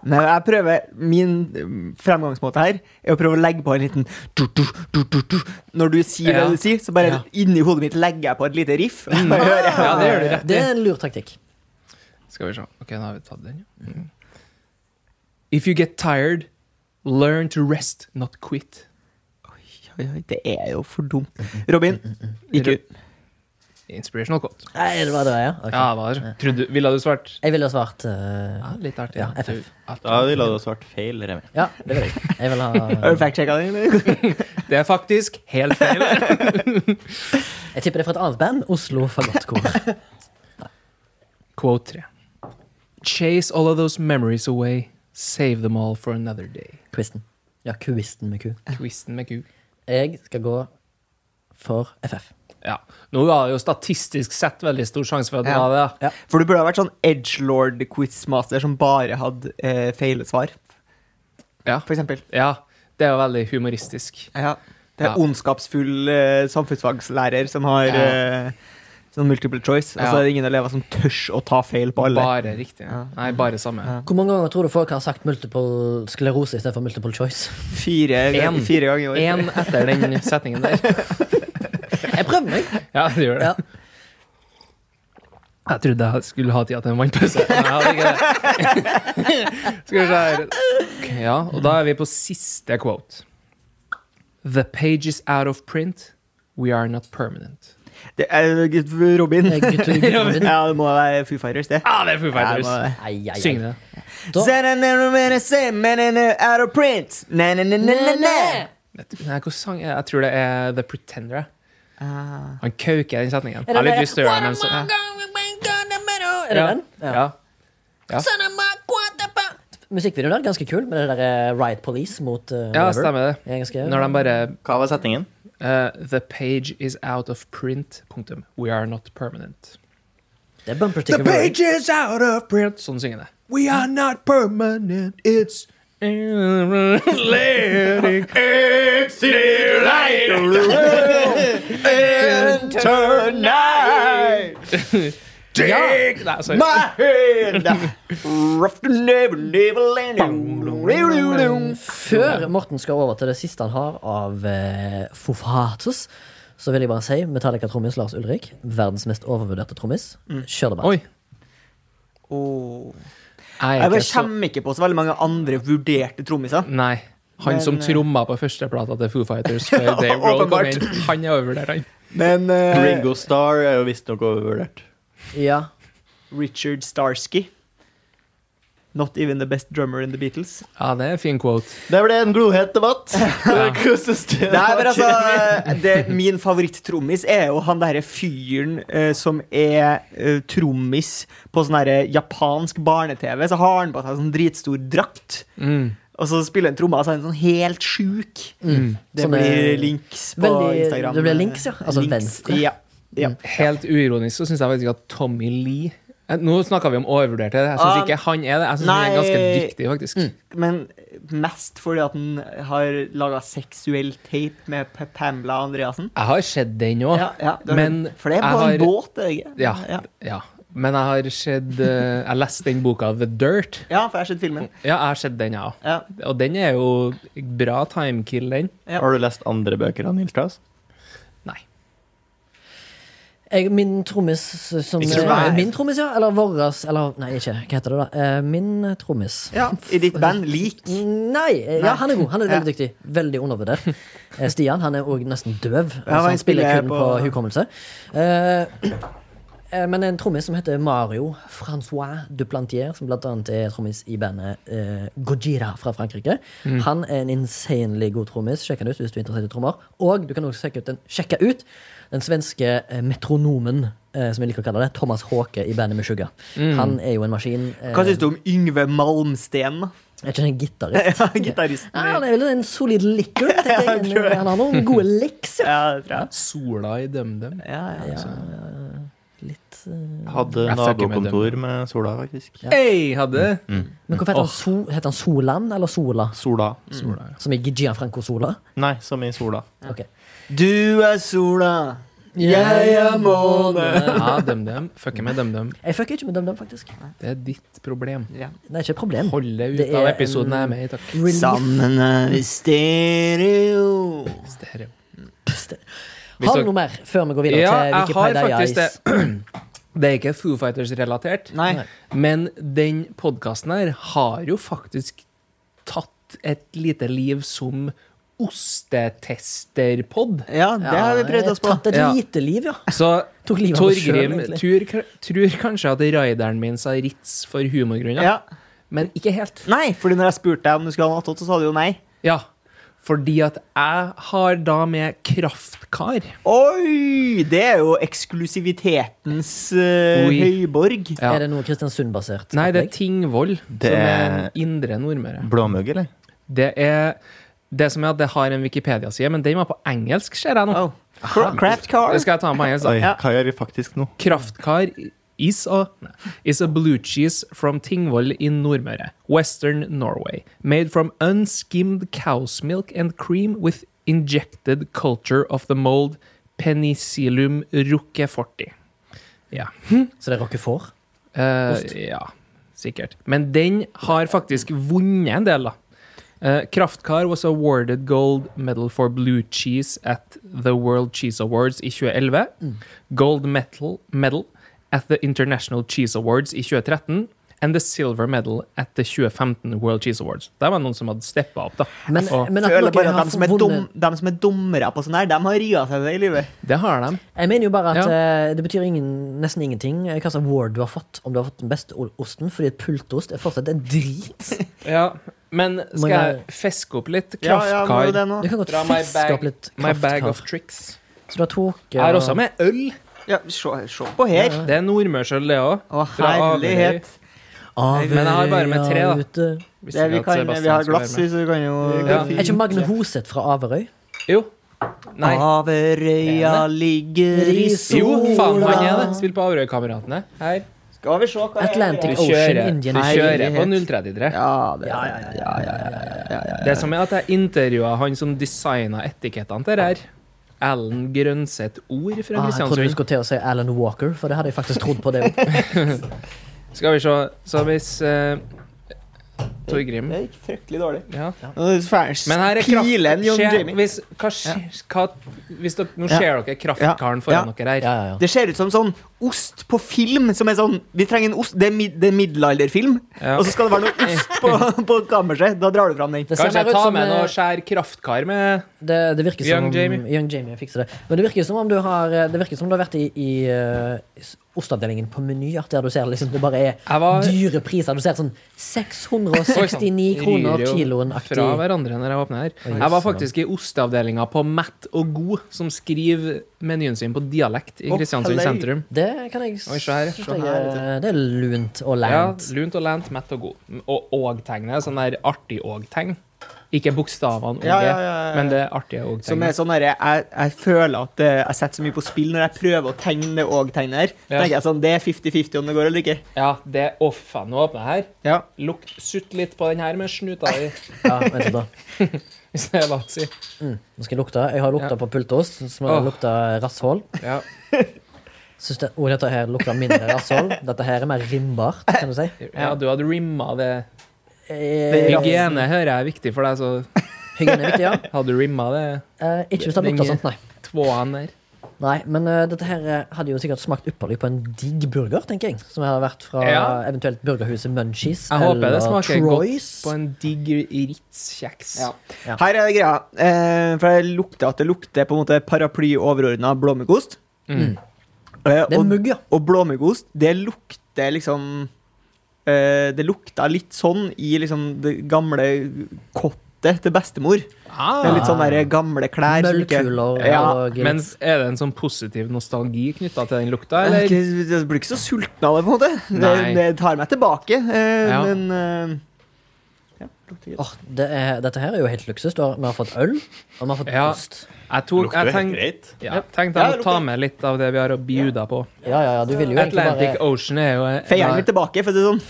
Speaker 4: Men jeg prøver Min mm, fremgangsmåte her er å prøve å legge på en liten du, du, du, du, du. Når du sier
Speaker 1: Ja.
Speaker 4: det du sier, så bare
Speaker 1: Ja. Mm.
Speaker 4: inni hodet mitt legger jeg på et lite riff. Og så [LAUGHS] bare hører jeg
Speaker 1: Ja, det gjør du rett i.
Speaker 3: Det er en lur taktikk.
Speaker 1: Skal vi se. Ok, da har vi tatt den, ja. Mm. If you get tired, learn to rest, not quit.
Speaker 4: Oi, oi, Det er jo for dumt.
Speaker 1: Mm,
Speaker 4: Robin, IQ.
Speaker 1: Inspirational quote.
Speaker 3: Nei, det var det, ja. Ok.
Speaker 1: Ja, hva er det? Trodde, ville du svart?
Speaker 3: Jeg ville ha svart eh,
Speaker 1: Ja, litt artig.
Speaker 3: Ja, FF.
Speaker 5: Da ville du ha svart feil, Remi.
Speaker 3: Ja, det vil jeg. Jeg vil ha
Speaker 4: Har du fact-checka den? eller?
Speaker 1: [LAUGHS] Det er faktisk helt feil.
Speaker 3: Jeg tipper det er fra et annet band. Oslo Fagottkor.
Speaker 1: Quote 3. Chase all of those memories away. Save them all for another day.
Speaker 3: Quizen. Ja, Q-isten med Q.
Speaker 1: Quizen med Q.
Speaker 3: Jeg skal gå for FF.
Speaker 1: Ja. Nå var det jo statistisk sett veldig stor sjanse for at du
Speaker 4: Ja.
Speaker 1: var det. da.
Speaker 4: For du burde ha vært sånn edgelord-quizmaster som bare hadde eh, feil svar,
Speaker 1: Ja.
Speaker 4: for eksempel.
Speaker 1: ja. Det er jo veldig humoristisk.
Speaker 4: Ja. Det er
Speaker 1: Ja.
Speaker 4: ondskapsfull eh, samfunnsfagslærer som har
Speaker 1: Ja.
Speaker 4: eh, Sånn multiple choice.
Speaker 1: Ja.
Speaker 4: Altså, det er ingen elever som tør å ta feil på alle.
Speaker 1: Bare riktig. Nei, bare samme.
Speaker 3: Hvor mange ganger tror du folk har sagt multiple sklerose istedenfor multiple choice?
Speaker 4: Fire,
Speaker 1: En.
Speaker 4: fire ganger i år.
Speaker 1: Én etter den setningen der.
Speaker 3: Jeg prøver meg!
Speaker 1: Ja, det gjør det.
Speaker 3: Ja.
Speaker 1: Jeg trodde jeg skulle ha tid til en vannpause. Nei, jeg hadde ikke det. Skal vi se her. Ok, Ja, og da er vi på siste quote. The page is out of print. We are not permanent.
Speaker 4: Det er Robin.
Speaker 3: Eh, gutt- gutt- gutt-
Speaker 4: [LAUGHS] ja, det må være Foo Fighters, det.
Speaker 1: Ah, det er Foo
Speaker 4: Ja, det
Speaker 1: Fighters.
Speaker 4: må være det.
Speaker 3: Ai, ai, ai.
Speaker 1: Syng det.
Speaker 3: Da-
Speaker 4: Out of print. Na, na, na, na, na, na.
Speaker 1: Nei, hvilken sang er det? Jeg tror det er The Pretender. jeg. Han kauker i den setningen.
Speaker 3: Ah. det
Speaker 1: Jeg har litt
Speaker 3: det?
Speaker 1: lyst til å gjøre den. men så-
Speaker 3: Er det
Speaker 1: Ja.
Speaker 3: den?
Speaker 1: Ja.
Speaker 3: Musikkvideoen er ganske kul, med det derre Riot Police mot eh,
Speaker 1: ja,
Speaker 3: whatever.
Speaker 1: stemmer det.
Speaker 3: Det er ganske-
Speaker 1: Når de bare
Speaker 5: Hva var setningen?
Speaker 1: eh, The page is out of print. Punktum. We are not permanent.
Speaker 3: Det er bumper sticker. Murray.
Speaker 1: is out of print. Sånn synger det. We are not permanent. It's Letting it still
Speaker 4: Tonight,
Speaker 1: Take Nei, altså, sorry.
Speaker 4: my hand. Rough to never, never land.
Speaker 3: Før Morten skal over til det siste han har av eh, Fofatus, så vil jeg bare si Metallica-trommis Lars Ulrik, verdens mest overvurderte trommis. Kjør det,
Speaker 1: Oi.
Speaker 3: bare.
Speaker 4: Åh.
Speaker 1: Jeg er
Speaker 4: Jeg
Speaker 1: ikke
Speaker 4: bare
Speaker 1: så
Speaker 4: kommer ikke på så veldig mange andre vurderte trommiser.
Speaker 1: Nei. Han
Speaker 4: Men,
Speaker 1: som
Speaker 4: eh,
Speaker 1: tromma på førsteplata til Foo
Speaker 4: [LAUGHS]
Speaker 1: Fighters før Dave Roll kom
Speaker 4: Åpenbart.
Speaker 1: inn, han er overvurdert, han.
Speaker 4: Men eh,
Speaker 5: Ringo Starr er jo visstnok overvurdert.
Speaker 3: Ja.
Speaker 4: Richard Starsky Not even the best drummer in the Beatles.
Speaker 1: Ja, det er en fin quote.
Speaker 5: Det ble en glohet debatt. Hva synes du?
Speaker 4: [LAUGHS] Nei, men altså eh, det, Min favoritt-trommis er jo han derre fyren eh, som er eh, trommis på sånn derre japansk barne-TV. Så har han på seg sånn dritstor drakt,
Speaker 1: Mm.
Speaker 4: og så spiller han trommer, og så er han sånn helt sjuk. Det
Speaker 3: Sånn,
Speaker 4: blir
Speaker 3: eh,
Speaker 4: links på
Speaker 3: veldig-
Speaker 4: Instagram.
Speaker 3: det blir links, ja. Altså
Speaker 4: Links,
Speaker 3: venstre.
Speaker 4: Ja. ja.
Speaker 1: Helt uironisk så syns jeg faktisk at Tommy Lee Eh, Nå snakka vi om overvurderte. Jeg syns
Speaker 4: Ah,
Speaker 1: ikke han er det. Jeg syns han er
Speaker 4: nei. Mm.
Speaker 1: ganske dyktig, faktisk.
Speaker 4: Men mest fordi at han har laga seksuell tape med P- Pamela Andreassen.
Speaker 1: Jeg har sett den òg.
Speaker 4: Ja, ja, det har-
Speaker 1: Men
Speaker 4: for det er på
Speaker 1: jeg har-
Speaker 4: en båt, er det ikke?
Speaker 1: Ja,
Speaker 4: ja.
Speaker 1: ja. Men jeg har sett eh, Jeg leste den boka The Dirt.
Speaker 4: Ja, for jeg har sett filmen.
Speaker 1: Ja, jeg har sett den, jeg òg.
Speaker 4: Ja.
Speaker 1: Og den er jo bra timekill, den.
Speaker 4: Ja.
Speaker 5: Har du lest andre bøker av Nils Claus?
Speaker 1: Nei.
Speaker 3: Jeg, min trommis som
Speaker 5: Ikke som
Speaker 3: eh,
Speaker 4: meg.
Speaker 3: Min trommis, ja? Eller våres Eller nei, ikke. Hva heter det, da? Eh, min trommis.
Speaker 4: Ja, I ditt band Lik.
Speaker 3: Nei. eh, Ja,
Speaker 4: Nei.
Speaker 3: han er god. Han er
Speaker 4: Ja.
Speaker 3: veldig dyktig. Veldig undervurdert. Eh, Stian han er òg nesten døv.
Speaker 4: Ja,
Speaker 3: altså,
Speaker 4: han
Speaker 3: han spiller
Speaker 4: spiller
Speaker 3: kun på,
Speaker 4: på-
Speaker 3: hukommelse. Eh, eh, men en trommis som heter Mario Francois Duplantier, som blant annet er trommis i bandet eh, Gojira fra Frankrike.
Speaker 4: Mm.
Speaker 3: Han er en insanely god trommis. Sjekk han ut hvis du er interessert i trommer. Og du kan også sjekke ut den, sjekke ut den svenske eh, metronomen, eh, som jeg liker å kalle det, Thomas Haake i bandet Meshuggah.
Speaker 4: Mm.
Speaker 3: Han er jo en maskin. eh,
Speaker 4: Hva syns du om Yngve Malmsten? da? [LAUGHS]
Speaker 3: Er ikke han en gitarist?
Speaker 4: Ja, Gitaristen.
Speaker 3: Ja, han er vel en solid licker. tenker
Speaker 4: [LAUGHS] Ja, jeg
Speaker 3: jeg.
Speaker 4: tror det.
Speaker 3: Han har noen gode licks. Ja.
Speaker 4: Ja, det tror jeg.
Speaker 1: Sola i DumDum.
Speaker 4: Ja, ja.
Speaker 3: Litt, eh.
Speaker 5: Hadde
Speaker 1: Jeg fucker med
Speaker 5: nabokontor med Sola, faktisk.
Speaker 1: Hey, hadde
Speaker 4: Mm.
Speaker 3: Men hvorfor heter han, so, heter han Solan eller Sola?
Speaker 5: Sola.
Speaker 1: Sola, ja.
Speaker 3: Som i Gianfranco Sola?
Speaker 5: Nei, som i Sola.
Speaker 3: Ok.
Speaker 4: Du er sola, jeg er måne.
Speaker 1: Ja, DumDum. Fucker med DumDum.
Speaker 3: Jeg fucker ikke med DumDum, faktisk.
Speaker 1: Det er ditt problem.
Speaker 3: Det er ikke et problem.
Speaker 1: Hold det ut
Speaker 3: Det
Speaker 1: av
Speaker 3: er
Speaker 1: episoden jeg
Speaker 3: en-
Speaker 1: er med i, takk.
Speaker 3: Relief.
Speaker 4: Sammen er vi stereo.
Speaker 1: Stereo.
Speaker 3: Har du noe mer før vi går videre
Speaker 1: Ja,
Speaker 3: til
Speaker 1: jeg har
Speaker 3: Wikipedia?
Speaker 1: faktisk
Speaker 3: Ice?
Speaker 1: det. [CLEARS THROAT] Det er ikke Foo Fighters-relatert,
Speaker 4: Nei.
Speaker 1: men den podkasten her har jo faktisk tatt et lite liv som ostetester-pod.
Speaker 4: Ja, det har vi prøvd oss på.
Speaker 3: Tatt et
Speaker 1: Ja.
Speaker 3: lite liv, ja.
Speaker 1: Så
Speaker 3: Tok [LAUGHS] livet av oss selv,
Speaker 1: Torgrim
Speaker 3: egentlig.
Speaker 1: tror, tror kanskje at rideren min sa Ritz for humorgrunner,
Speaker 4: Ja.
Speaker 1: men ikke helt.
Speaker 4: Nei, fordi når jeg spurte deg om du skulle ha en 88, så sa du jo nei.
Speaker 1: Ja, fordi at jeg har da med Kraftkar.
Speaker 4: Oi! Det er jo eksklusivitetens eh,
Speaker 1: Oi.
Speaker 4: høyborg.
Speaker 1: Ja.
Speaker 3: Er det noe Kristiansund-basert?
Speaker 1: Nei, det er
Speaker 3: opplegg?
Speaker 1: Tingvoll,
Speaker 5: Det-
Speaker 1: som er indre Nordmøre.
Speaker 5: Blåmugg, eller?
Speaker 1: Det er det som er at det har en Wikipedia-side, men den var på engelsk, ser jeg nå.
Speaker 4: Oh. Cra- Craft car.
Speaker 1: Det skal jeg ta med på engelsk. da.
Speaker 5: Oi,
Speaker 4: Ja.
Speaker 5: hva gjør vi faktisk nå?
Speaker 1: Kraftkar is a, nei, is a blue cheese from Tingvoll in Nordmøre, western Norway, made from unskimmed cow's milk and cream with injected culture of the mold Penicillium roqueforti. Ja.
Speaker 3: Så det er Roquefort?
Speaker 1: Eh, ja, sikkert. Men den har faktisk vunnet en del, da. Eh, Kraftkar was awarded gold medal for blue cheese at the World Cheese Awards i 2011. Gold metal medal at the International Cheese Awards i 2013. And the silver medal at the 2015 World Cheese Awards. Der var noen som hadde steppa opp, da.
Speaker 3: Men,
Speaker 1: Og
Speaker 3: men at
Speaker 4: Føler
Speaker 3: noen
Speaker 4: bare at
Speaker 3: har
Speaker 4: de som, er
Speaker 3: vunnet-
Speaker 4: dum, de som er dommere på sånn her, de har ria seg det i livet.
Speaker 1: det har de.
Speaker 3: Jeg mener jo bare at
Speaker 1: Ja.
Speaker 3: eh, det betyr ingen, nesten ingenting eh, hva slags award du har fått, om du har fått den beste o- osten, fordi et pultost er fortsatt en drit.
Speaker 1: Ja, men skal
Speaker 3: Men, eh,
Speaker 1: jeg feske opp litt?
Speaker 4: Ja, ja, må
Speaker 1: Kraftkar.
Speaker 4: jo det nå.
Speaker 3: Du kan godt
Speaker 1: Dra my
Speaker 3: fiske
Speaker 1: bag,
Speaker 3: opp litt
Speaker 1: my bag of
Speaker 3: kraftkar.
Speaker 1: tricks.
Speaker 3: Så du har tok
Speaker 1: Jeg
Speaker 3: eh,
Speaker 1: har også med øl.
Speaker 4: Ja, se, se på her.
Speaker 1: Det er nordmørsøl, det òg.
Speaker 4: Å,
Speaker 1: Fra Averøy.
Speaker 4: herlighet.
Speaker 3: Averøya
Speaker 1: Men jeg har bare med tre, da.
Speaker 3: ute.
Speaker 4: Det vi, kan, vi har glass i, så vi kan jo
Speaker 1: Ja.
Speaker 3: Er ikke Magne Hoseth fra Averøy?
Speaker 1: Jo. Nei.
Speaker 4: Averøya ligger i
Speaker 1: Jo, faen,
Speaker 4: sola
Speaker 1: han er det. Spill på Averøy-kameratene. Her.
Speaker 4: Skal vi se hva er
Speaker 1: Du
Speaker 3: Atlantic
Speaker 4: det?
Speaker 3: Ocean
Speaker 1: kjører, du
Speaker 3: Indian
Speaker 1: kjører på 033.
Speaker 4: Ja, det
Speaker 3: Ja,
Speaker 4: er
Speaker 3: ja, ja.
Speaker 1: Det som er at jeg intervjua han som designa etikettene til det her. Alan Grønseth Ord fra
Speaker 3: Ah, jeg trodde du
Speaker 1: Kristiansund.
Speaker 3: skulle til å si Alan Walker, for det hadde jeg faktisk trodd
Speaker 1: [LAUGHS]
Speaker 3: på. det også.
Speaker 1: Skal vi se. Så hvis eh, Torgrim
Speaker 4: Det gikk fryktelig dårlig.
Speaker 1: Ja. Men
Speaker 4: Men
Speaker 1: her er
Speaker 4: Pilen, John
Speaker 1: kraft...
Speaker 4: Jamie.
Speaker 1: Hvis, hva, skj- hva, hvis dere, nå
Speaker 4: Ja.
Speaker 1: ser dere kraftkaren foran
Speaker 4: Ja.
Speaker 1: dere her.
Speaker 3: Ja, ja, ja.
Speaker 4: Det ser ut som sånn ost på film. Som er sånn, vi trenger en ost Det er, mid, det er middelalderfilm,
Speaker 1: Ja.
Speaker 4: og så skal det være noe ost på,
Speaker 1: [LAUGHS]
Speaker 4: på kammerset. Da drar du fram den.
Speaker 3: Det ser
Speaker 1: Kanskje
Speaker 3: mer
Speaker 1: jeg
Speaker 3: ut
Speaker 1: tar
Speaker 3: som
Speaker 1: med
Speaker 3: eh,
Speaker 1: noe skjær kraftkar med
Speaker 3: det, det virker som
Speaker 1: Young
Speaker 3: om-
Speaker 1: Jamie.
Speaker 3: Young Jamie fikser det. Men det virker som om du har, eh, det virker som om du har vært i, i eh, s- ostavdelingen på Meny, at der du ser liksom, det bare er
Speaker 1: Jeg var
Speaker 3: dyre priser. Du ser sånn 669 kroner
Speaker 1: Ryr sånn. jo
Speaker 3: kiloen-aktig.
Speaker 1: Fra hverandre når jeg åpner her. Jeg var faktisk i osteavdelinga på Matt og God, som skriver menyen sin på dialekt i
Speaker 4: Å,
Speaker 1: Kristiansund
Speaker 4: hallei.
Speaker 1: sentrum.
Speaker 3: Det kan jeg
Speaker 1: Oi, se her,
Speaker 3: synes
Speaker 1: se
Speaker 3: jeg
Speaker 1: her,
Speaker 3: er- Det er lunt og
Speaker 1: Ja,
Speaker 3: land.
Speaker 1: lunt og lent, Matt og God. Og og-tegnet. Sånn der artig og-tegn. Ikke bokstavene og,
Speaker 4: Ja, ja, ja, ja.
Speaker 1: men det artige
Speaker 4: Som er
Speaker 1: og-tegnet.
Speaker 4: sånn herre jeg, jeg føler at eh, jeg setter så mye på spill når jeg prøver å tegne det og tegne her.
Speaker 1: Ja.
Speaker 4: tenker jeg sånn, Det er 50-50 om det går eller ikke.
Speaker 1: Ja, det Å, faen, nå åpner jeg her.
Speaker 4: Ja.
Speaker 1: Lukt, sutt litt på den her med snuta di, [LAUGHS]
Speaker 3: Ja, vent litt da.
Speaker 1: hvis det er lov å si.
Speaker 3: Nå skal jeg lukte. Jeg har lukta
Speaker 1: Ja.
Speaker 3: på pultost, som har
Speaker 1: Åh.
Speaker 3: lukta rasshold.
Speaker 1: Ja.
Speaker 3: Syns det, og dette her lukter mindre rasshold.
Speaker 1: [LAUGHS]
Speaker 3: Dette her er mer rimbart, kan du si.
Speaker 1: ja, du hadde rimma det.
Speaker 3: Eh,
Speaker 1: Hygiene hører jeg er viktig for deg, så
Speaker 3: Hygiene er viktig, ja.
Speaker 1: hadde du rimma det
Speaker 3: Eh, ikke hvis det hadde lukta sånn, nei.
Speaker 1: tvåan der.
Speaker 3: nei men eh, dette her eh, hadde jo sikkert smakt ypperlig på en digg burger, tenker jeg. Som har vært fra
Speaker 1: Ja.
Speaker 3: eventuelt burgerhuset Munchies
Speaker 1: Jeg håper det smaker
Speaker 3: Troy's.
Speaker 1: godt på en digg Ritz-kjeks.
Speaker 4: Ja. Her er det greia. Eh, for jeg lukter at det lukter på en måte paraply overordna blåmuggost.
Speaker 1: Mm.
Speaker 4: Eh,
Speaker 3: Det er
Speaker 4: og,
Speaker 3: mugg, ja.
Speaker 4: og blåmuggost, det lukter liksom eh, Det lukta litt sånn i liksom det gamle kottet til bestemor. Det er
Speaker 1: Ah,
Speaker 4: litt sånn der gamle klær. som ikke-
Speaker 3: Møllkuler
Speaker 4: Ja.
Speaker 3: og
Speaker 1: men er det en sånn positiv nostalgi knytta til den lukta,
Speaker 4: Jeg er
Speaker 1: eller?
Speaker 4: ikke- jeg blir ikke så sulten av det, på en måte. Det,
Speaker 1: Nei.
Speaker 4: det tar meg tilbake, eh,
Speaker 1: Ja.
Speaker 4: men eh, ja, lukter greit.
Speaker 3: Åh, det er, dette her er jo helt luksus. Du har, vi har fått øl, og vi har fått
Speaker 1: Ja.
Speaker 3: ost.
Speaker 1: Jeg tok, jeg
Speaker 5: Lukter jo helt
Speaker 1: tenk,
Speaker 5: greit.
Speaker 1: ja, tenkte jeg
Speaker 4: Ja,
Speaker 1: må ta med litt av det vi har å bjuda på.
Speaker 3: Ja, ja, ja, du vil jo egentlig
Speaker 1: Atlantic
Speaker 3: bare
Speaker 1: Ocean er jo
Speaker 4: Feieren vil
Speaker 1: Ja.
Speaker 4: tilbake, for å si det sånn.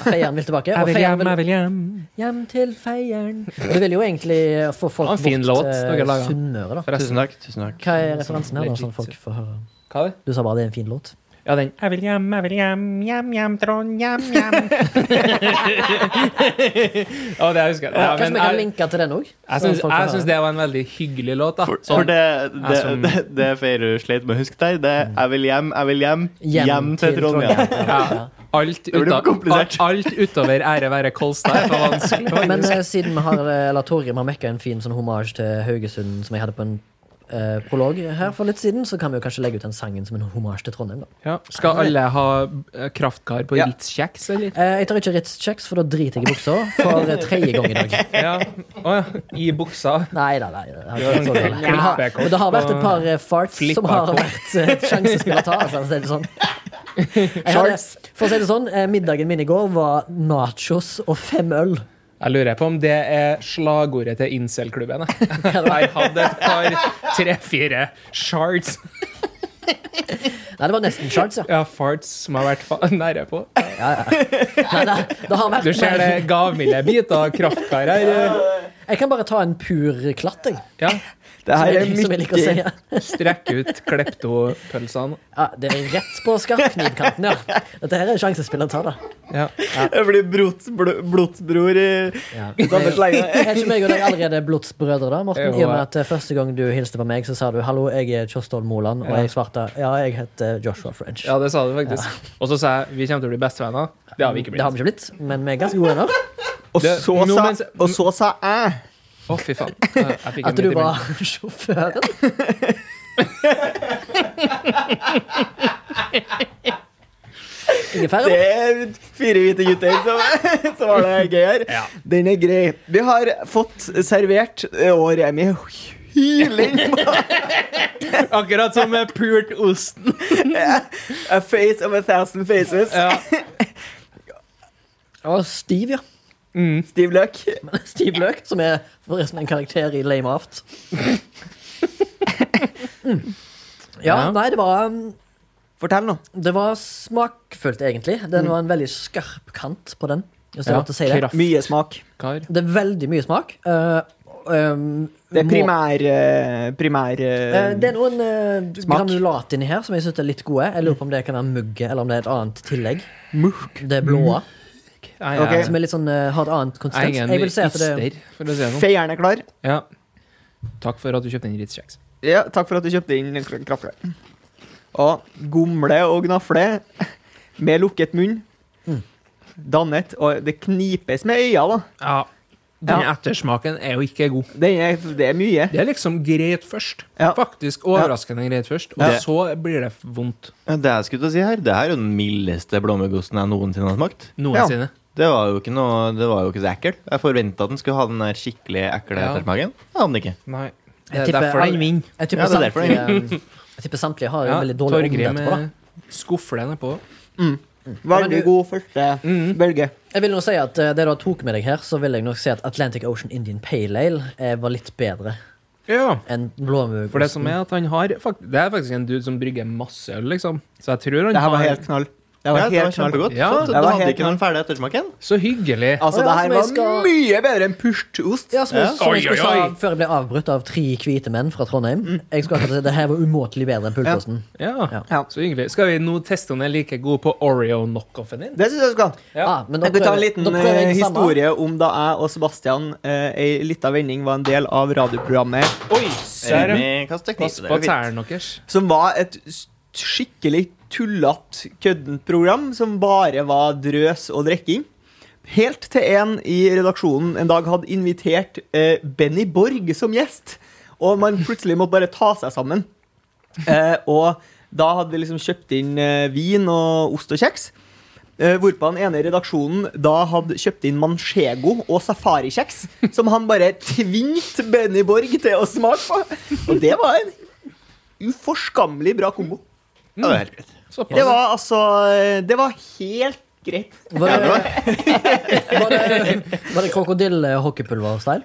Speaker 3: Feieren vil tilbake.
Speaker 1: [LAUGHS] Jeg
Speaker 3: Og
Speaker 1: vil hjem,
Speaker 3: feieren vil
Speaker 1: jeg vil hjem.
Speaker 3: hjem til feieren. Du vil jo egentlig få folk
Speaker 1: Det var en fin
Speaker 3: bort
Speaker 1: låt dere
Speaker 3: til
Speaker 1: laget.
Speaker 3: Sunnmøre, da.
Speaker 5: Tusen takk. tusen takk
Speaker 3: Hva er referansen her, da,
Speaker 1: Legit.
Speaker 3: sånn folk får høre?
Speaker 1: Hva er det?
Speaker 3: Du sa bare det er en fin låt.
Speaker 1: Ja, den
Speaker 8: Jeg vil hjem, jeg vil hjem, hjem, hjem, Trondhjem, hjem.
Speaker 1: Å, det husker jeg. [LAUGHS] Ja,
Speaker 3: Kanskje
Speaker 1: men
Speaker 3: vi kan
Speaker 1: jeg
Speaker 3: linke til den òg?
Speaker 1: jeg syns- jeg syns det var en veldig hyggelig låt, da.
Speaker 5: For,
Speaker 1: Sånn.
Speaker 5: for det, det,
Speaker 1: Jeg som-
Speaker 5: det, det Feirud sleit med å huske der, det er 'jeg vil hjem, jeg vil hjem, Mm. hjem, til Trondheim'.
Speaker 3: Ja.
Speaker 1: Alt,
Speaker 5: blir
Speaker 1: uta, alt,
Speaker 5: komplisert.
Speaker 1: alt utover ære være Kolstad er for vanskelig. [LAUGHS] å
Speaker 3: Men
Speaker 1: huske.
Speaker 3: eh, siden vi har eh, Eller Torgrim har mekka en fin sånn hommage til Haugesund som jeg hadde på en eh, prolog her for litt siden, så kan vi jo kanskje legge ut den sangen som en hommage til Trondheim, da.
Speaker 1: Ja. Skal alle ha eh, kraftkar på
Speaker 4: Ja.
Speaker 1: Ritz-kjeks, eller?
Speaker 3: Eh, jeg tar ikke Ritz-kjeks, for da driter jeg i buksa for eh, tredje gang i dag. [LAUGHS]
Speaker 1: Ja. Å ja. I buksa.
Speaker 3: Nei da, nei. Det har ikke vært så galt. Men det har-
Speaker 1: klippekort
Speaker 3: men det har vært et par eh, farts som har
Speaker 1: Flippakort.
Speaker 3: vært eh, sjansespill å ta. Altså, for å si det [LAUGHS] sånn. Jeg hadde, for å si det sånn, eh, middagen min i går var nachos og fem øl.
Speaker 1: Jeg lurer på om det er slagordet til incel-klubben. [LAUGHS] jeg. Jeg hadde et par tre-fire shards.
Speaker 3: Nei, det var nesten charts, ja.
Speaker 1: Ja, farts som har vært fa nære på.
Speaker 3: Nei, det, det har vært
Speaker 1: Du ser det
Speaker 3: mer-
Speaker 1: gavmilde biter av kraftkar her. eh,
Speaker 3: Jeg kan bare ta en pur klatt, jeg.
Speaker 1: Ja,
Speaker 4: Det
Speaker 3: Som
Speaker 4: her
Speaker 3: jeg,
Speaker 4: er
Speaker 3: som jeg liker å si.
Speaker 4: mye
Speaker 1: Strekke ut kleptopølsene.
Speaker 3: Ja, det er rett på skarpknivkanten, ja. Dette her er sjansespillet tar, da.
Speaker 1: Ja.
Speaker 4: Jeg blir brot, bl blodbror i
Speaker 3: Ja.
Speaker 4: samme slenge.
Speaker 3: Er ikke meg og deg allerede blodsbrødre, da, Morten?
Speaker 1: Jo,
Speaker 3: I og med
Speaker 1: ja.
Speaker 3: at eh, Første gang du hilste på meg, så sa du 'hallo, jeg er Kjostolv Moland', og
Speaker 1: Ja.
Speaker 3: jeg svarte 'ja, jeg heter Joshua French'.
Speaker 1: ja, det sa du faktisk. Og så sa jeg vi kommer til å bli bestevenner. Det har vi ikke
Speaker 3: Det har
Speaker 1: blitt.
Speaker 3: vi ikke blitt, men vi er ganske gode venner.
Speaker 4: Og
Speaker 1: Det-
Speaker 4: så
Speaker 1: nå
Speaker 4: sa,
Speaker 1: mens-
Speaker 4: og så sa jeg
Speaker 1: Å, fy
Speaker 3: [LAUGHS]
Speaker 1: faen. Jeg jeg fikk en
Speaker 3: At du
Speaker 1: bit i munnen.
Speaker 3: var [LAUGHS]
Speaker 1: [LAUGHS]
Speaker 3: sjåføren.
Speaker 4: Det
Speaker 3: Ingefær?
Speaker 4: er fire hvite gutter som, [LAUGHS] som har det gøy her. Den er grei. Vi har fått servert eh, Og Remi hyling
Speaker 3: [LAUGHS]
Speaker 1: Akkurat som med pult osten.
Speaker 4: A face of a thousand faces.
Speaker 1: Ja.
Speaker 3: Og stiv, ja. Mm.
Speaker 4: Stiv løk.
Speaker 3: [LAUGHS] Stiv løk, som er forresten en karakter i Lame Aft. Mm. Ja,
Speaker 1: Ja.
Speaker 3: nei, det var um,
Speaker 4: Fortell nå.
Speaker 3: Det var smakfullt, egentlig. Den var en veldig skarp kant på den. Hvis det er lov
Speaker 1: Mm. Ja,
Speaker 3: til å si det.
Speaker 1: kraft.
Speaker 4: Mye smak.
Speaker 1: Kar.
Speaker 3: det er veldig mye smak. Eh, um,
Speaker 4: Det er
Speaker 3: må-
Speaker 4: primær eh,
Speaker 3: Eh,
Speaker 4: Primær
Speaker 3: Det er
Speaker 4: eh,
Speaker 3: noen eh,
Speaker 4: Smak.
Speaker 3: granulat inni her som jeg synes er litt gode. Jeg lurer på om det kan være mugge, eller om det er et annet tillegg. Det
Speaker 1: Mm.
Speaker 3: er blåa,
Speaker 1: Nei,
Speaker 4: Ok.
Speaker 1: jeg-
Speaker 3: som er litt sånn, eh, har et annet
Speaker 1: jeg er
Speaker 3: konsistens.
Speaker 1: ingen
Speaker 3: Jeg vil si at det
Speaker 1: yster, for å si det sånn.
Speaker 4: Feieren er klar.
Speaker 1: Ja. Takk for at du kjøpte inn Ritz-kjeks.
Speaker 4: Ja, takk for at du kjøpte inn kr- kraftkar. Og gomle og gnafle med lukket munn.
Speaker 3: Mm.
Speaker 4: Dannet. Og det knipes med øya, da.
Speaker 1: Ja. Den ettersmaken er jo ikke god.
Speaker 4: Det er, det er mye.
Speaker 1: Det er liksom greit først.
Speaker 4: Ja.
Speaker 1: Faktisk overraskende greit først. Og
Speaker 5: Ja.
Speaker 1: så blir det vondt
Speaker 5: Det jeg skulle til å si her, det her er jo den mildeste blåmuggosten jeg noensinne har smakt.
Speaker 1: noensinne.
Speaker 5: Det var jo ikke noe, det var jo ikke så ekkel. Jeg forventa at den skulle ha den der skikkelig ekle
Speaker 1: Ja.
Speaker 5: ettersmaken. Det hadde den ikke.
Speaker 1: Nei. Det
Speaker 3: Jeg
Speaker 1: er
Speaker 3: tipper
Speaker 1: derfor
Speaker 3: alle-
Speaker 1: den vinner.
Speaker 3: Jeg
Speaker 5: Ja,
Speaker 3: tipper
Speaker 5: det er derfor
Speaker 3: samtlige, [LAUGHS] jeg tipper samtlige har jo
Speaker 1: Ja,
Speaker 3: veldig dårlig ånd
Speaker 1: Torgrim
Speaker 3: etterpå. Da.
Speaker 1: eh, skuffer den nedpå. Mm.
Speaker 4: Veldig god første bølge.
Speaker 3: Jeg vil nå si at eh, Det du tok med deg her, så vil jeg nok si at Atlantic Ocean Indian Pale Ale eh, var litt bedre
Speaker 1: Ja.
Speaker 3: enn blåmugg.
Speaker 1: For det som er at han har fak- Det er faktisk en dude som brygger masse øl, liksom. Så jeg tror han
Speaker 4: Det her var
Speaker 1: har
Speaker 4: helt knall. Det
Speaker 5: Ja,
Speaker 4: var
Speaker 5: det var
Speaker 4: helt knall.
Speaker 5: kjempegodt.
Speaker 1: Ja,
Speaker 5: Så
Speaker 4: det
Speaker 5: det
Speaker 4: var
Speaker 5: hadde
Speaker 4: helt
Speaker 5: ikke den ferdige ettersmaken.
Speaker 1: Så hyggelig.
Speaker 4: Altså,
Speaker 3: Å, ja, så
Speaker 4: det her
Speaker 3: vi
Speaker 4: var
Speaker 3: skal-
Speaker 4: mye bedre enn purtost.
Speaker 3: Ja, som jeg,
Speaker 5: Ja.
Speaker 3: som jeg
Speaker 1: Oi,
Speaker 3: skulle
Speaker 1: oi, oi.
Speaker 3: sa før jeg ble avbrutt av tre hvite menn fra Trondheim. Jeg skulle akkurat si Det her var umåtelig bedre enn Pulkosten.
Speaker 1: Ja.
Speaker 4: Ja.
Speaker 1: Så hyggelig. Skal vi nå teste om jeg er like god på Oreo knockoffen din?
Speaker 4: Det syns jeg du skal.
Speaker 1: Ja.
Speaker 3: Ah, men da
Speaker 4: Jeg kan ta en
Speaker 3: prøver-
Speaker 4: liten
Speaker 3: da prøver jeg
Speaker 4: eh,
Speaker 3: det samme.
Speaker 4: historie om da jeg og Sebastian eh, ei lita vending var en del av radioprogrammet
Speaker 1: Oi, serr!
Speaker 5: Remi kaster kniv.
Speaker 1: Pass
Speaker 5: Det
Speaker 1: på
Speaker 5: er jo fint.
Speaker 1: tærne deres.
Speaker 4: som var et s- skikkelig tullete, køddent program som bare var drøs og drikking. Helt til en i redaksjonen en dag hadde invitert eh, Benny Borg som gjest. Og man plutselig måtte bare ta seg sammen. Eh, og da hadde vi liksom kjøpt inn eh, vin og ost og kjeks. Eh, hvorpå han ene i redaksjonen da hadde kjøpt inn manchego og safarikjeks. Som han bare tvingte Benny Borg til å smake på. Og det var en uforskammelig bra kombo.
Speaker 5: Ja, det er helt greit.
Speaker 1: Såpass.
Speaker 4: Det var altså Det var helt greit.
Speaker 3: Var [LAUGHS] det, var det, var det krokodille-hockeypulver-style?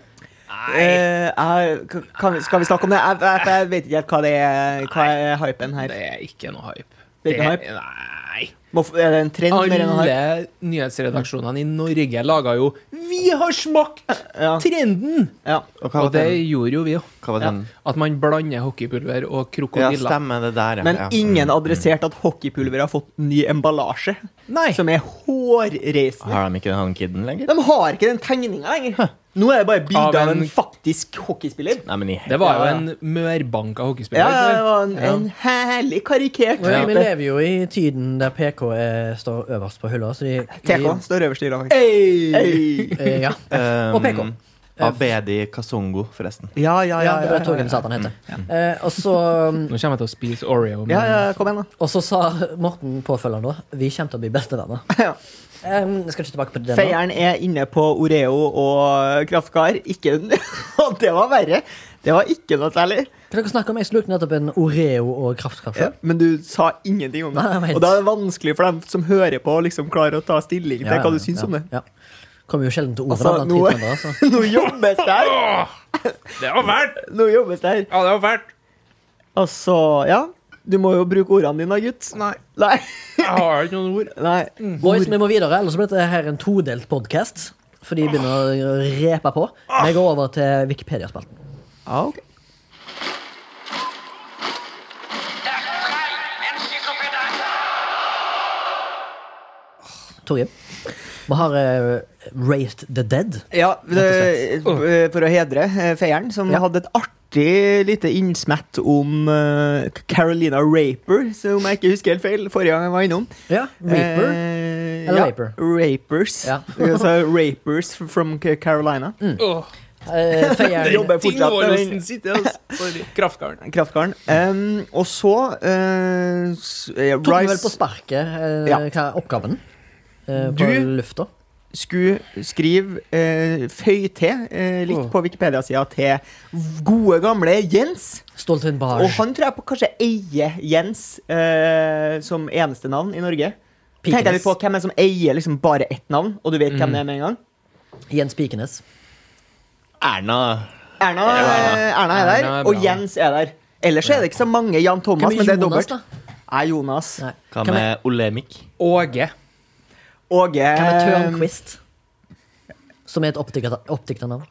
Speaker 4: Eh, jeg- kan, vi- skal vi snakke om det? Jeg, jeg, jeg vet ikke helt hva det er, hva er hypen her.
Speaker 1: Det er ikke noe hype.
Speaker 4: Det er ikke noe hype?
Speaker 1: Nei.
Speaker 4: Må f- Er det en trend mer enn en hype?
Speaker 1: Alle nyhetsredaksjonene i Norge laga jo 'Vi har smakt
Speaker 4: Ja,
Speaker 1: trenden'!
Speaker 4: ja.
Speaker 5: Og hva
Speaker 1: Og det
Speaker 5: var den?
Speaker 1: gjorde jo vi òg.
Speaker 5: Hva var den?
Speaker 1: At man blander hockeypulver og
Speaker 5: Ja,
Speaker 1: krokodiller.
Speaker 5: stemmer det der, ja.
Speaker 4: Men
Speaker 5: ja.
Speaker 4: ingen adresserte at hockeypulver har fått ny emballasje,
Speaker 1: Nei.
Speaker 4: som er hårreisende.
Speaker 5: Har de ikke han kiden lenger?
Speaker 4: De har ikke den tegninga lenger. Nå er det bare
Speaker 1: Av
Speaker 4: bilde av
Speaker 1: en-
Speaker 4: en faktisk hockeyspiller.
Speaker 5: Nei, men i
Speaker 1: Det var jo
Speaker 4: Ja, ja.
Speaker 1: en mørbanka hockeyspiller.
Speaker 4: Ja, ja, det
Speaker 1: ikke
Speaker 4: var en, en herlig karikert
Speaker 3: Men Vi
Speaker 4: type.
Speaker 3: lever jo i tiden der PK er, står øverst på hylla. Så de,
Speaker 4: TK
Speaker 3: de-
Speaker 4: står øverst i laget.
Speaker 3: eh, ja.
Speaker 5: um,
Speaker 3: Og PK.
Speaker 5: Abedi Kasongo, forresten.
Speaker 4: Ja, ja,
Speaker 3: ja,
Speaker 4: ja. Mm,
Speaker 3: det
Speaker 4: ja,
Speaker 3: var
Speaker 4: ja,
Speaker 3: Torgrim Satan heter. Eh, og så
Speaker 1: det? Nå kommer jeg til å spise Oreo. Men
Speaker 4: ja, ja kom igjen, da.
Speaker 3: Og så sa Morten påfølgende Vi kommer til å bli bestevenner.
Speaker 4: [LAUGHS] Ja.
Speaker 3: Um, jeg skal ikke tilbake på det nå.
Speaker 4: Feieren er inne på Oreo og Kraftkar. Ikke [LAUGHS] Og det var verre. Det var ikke noe særlig.
Speaker 3: Kan dere snakke om Jeg slukte nettopp en Oreo og kraftkaffe.
Speaker 4: Men du sa ingenting om det.
Speaker 3: Nei, jeg vet.
Speaker 4: Og da er det vanskelig for dem som hører på, å liksom klare å ta stilling til hva du syns om det. [LAUGHS]
Speaker 3: Ja. Kommer jo sjelden til ordet.
Speaker 4: Altså,
Speaker 3: blant
Speaker 4: noe-
Speaker 3: hvite andre, altså.
Speaker 4: Nå jobbes det her!
Speaker 1: Det var fælt!
Speaker 4: Nå jobbes det her.
Speaker 1: Ja, det var fælt.
Speaker 4: Altså, ja. Du må jo bruke ordene dine, da, gutt. Nei. Nei.
Speaker 1: Jeg har ikke noen ord.
Speaker 4: Nei.
Speaker 3: Boys, vi må videre, ellers blir dette her en todelt podkast. for de begynner å repe på. Vi går over til Wikipedia-spalten.
Speaker 4: Ah, ok.
Speaker 3: Torje, vi har uh, Raised the Dead.
Speaker 4: Ja, det, for å hedre eh, feieren, som
Speaker 3: Ja.
Speaker 4: hadde et artig lite innsmett om eh, Carolina Raper, som jeg ikke husker helt feil forrige gang jeg var innom.
Speaker 3: Ja, Reaper.
Speaker 4: Eh,
Speaker 3: eller
Speaker 4: ja,
Speaker 3: Raper?
Speaker 4: Rapers. [LAUGHS]
Speaker 3: Ja.
Speaker 4: altså Rapers from Ca- Carolina.
Speaker 3: Eh, feieren-
Speaker 4: [LAUGHS] Jobber fortsatt med den
Speaker 9: Tingvollosen sitter, altså.
Speaker 4: [LAUGHS]
Speaker 9: Sorry. Kraftgarn.
Speaker 4: kraftkaren. Um, og så eh, s- eh,
Speaker 3: Tok vi vel på
Speaker 4: Rice
Speaker 3: sparket eh,
Speaker 4: Ja.
Speaker 3: hva er oppgaven eh, på
Speaker 4: Du-
Speaker 3: lufta.
Speaker 4: skulle skrive eh, føy til eh, litt på Wikipedia-sida til gode, gamle Jens.
Speaker 3: Stolten Barge.
Speaker 4: Og han tror jeg på kanskje eier Jens eh, som eneste navn i Norge.
Speaker 3: Pikenes.
Speaker 4: Tenker jeg litt på Hvem er det som eier liksom bare ett navn, og du vet
Speaker 3: Mm.
Speaker 4: hvem det er med en gang?
Speaker 3: Jens Pikenes.
Speaker 5: Erna
Speaker 4: Erna, eh, Erna er der,
Speaker 9: Erna er bra.
Speaker 4: og Jens er der. Ellers er det ikke så mange Jan Thomas,
Speaker 3: Hvem
Speaker 4: men
Speaker 3: er
Speaker 4: det er
Speaker 3: Jonas,
Speaker 4: dobbelt.
Speaker 3: da?
Speaker 4: Nei, Jonas.
Speaker 3: Nei.
Speaker 5: Hva
Speaker 3: Hvem er,
Speaker 5: med Olemic?
Speaker 9: Åge.
Speaker 4: Åge
Speaker 3: hvem er
Speaker 9: Ehm,
Speaker 3: Tørnquist? Som er et oppdikta oppdikta navn.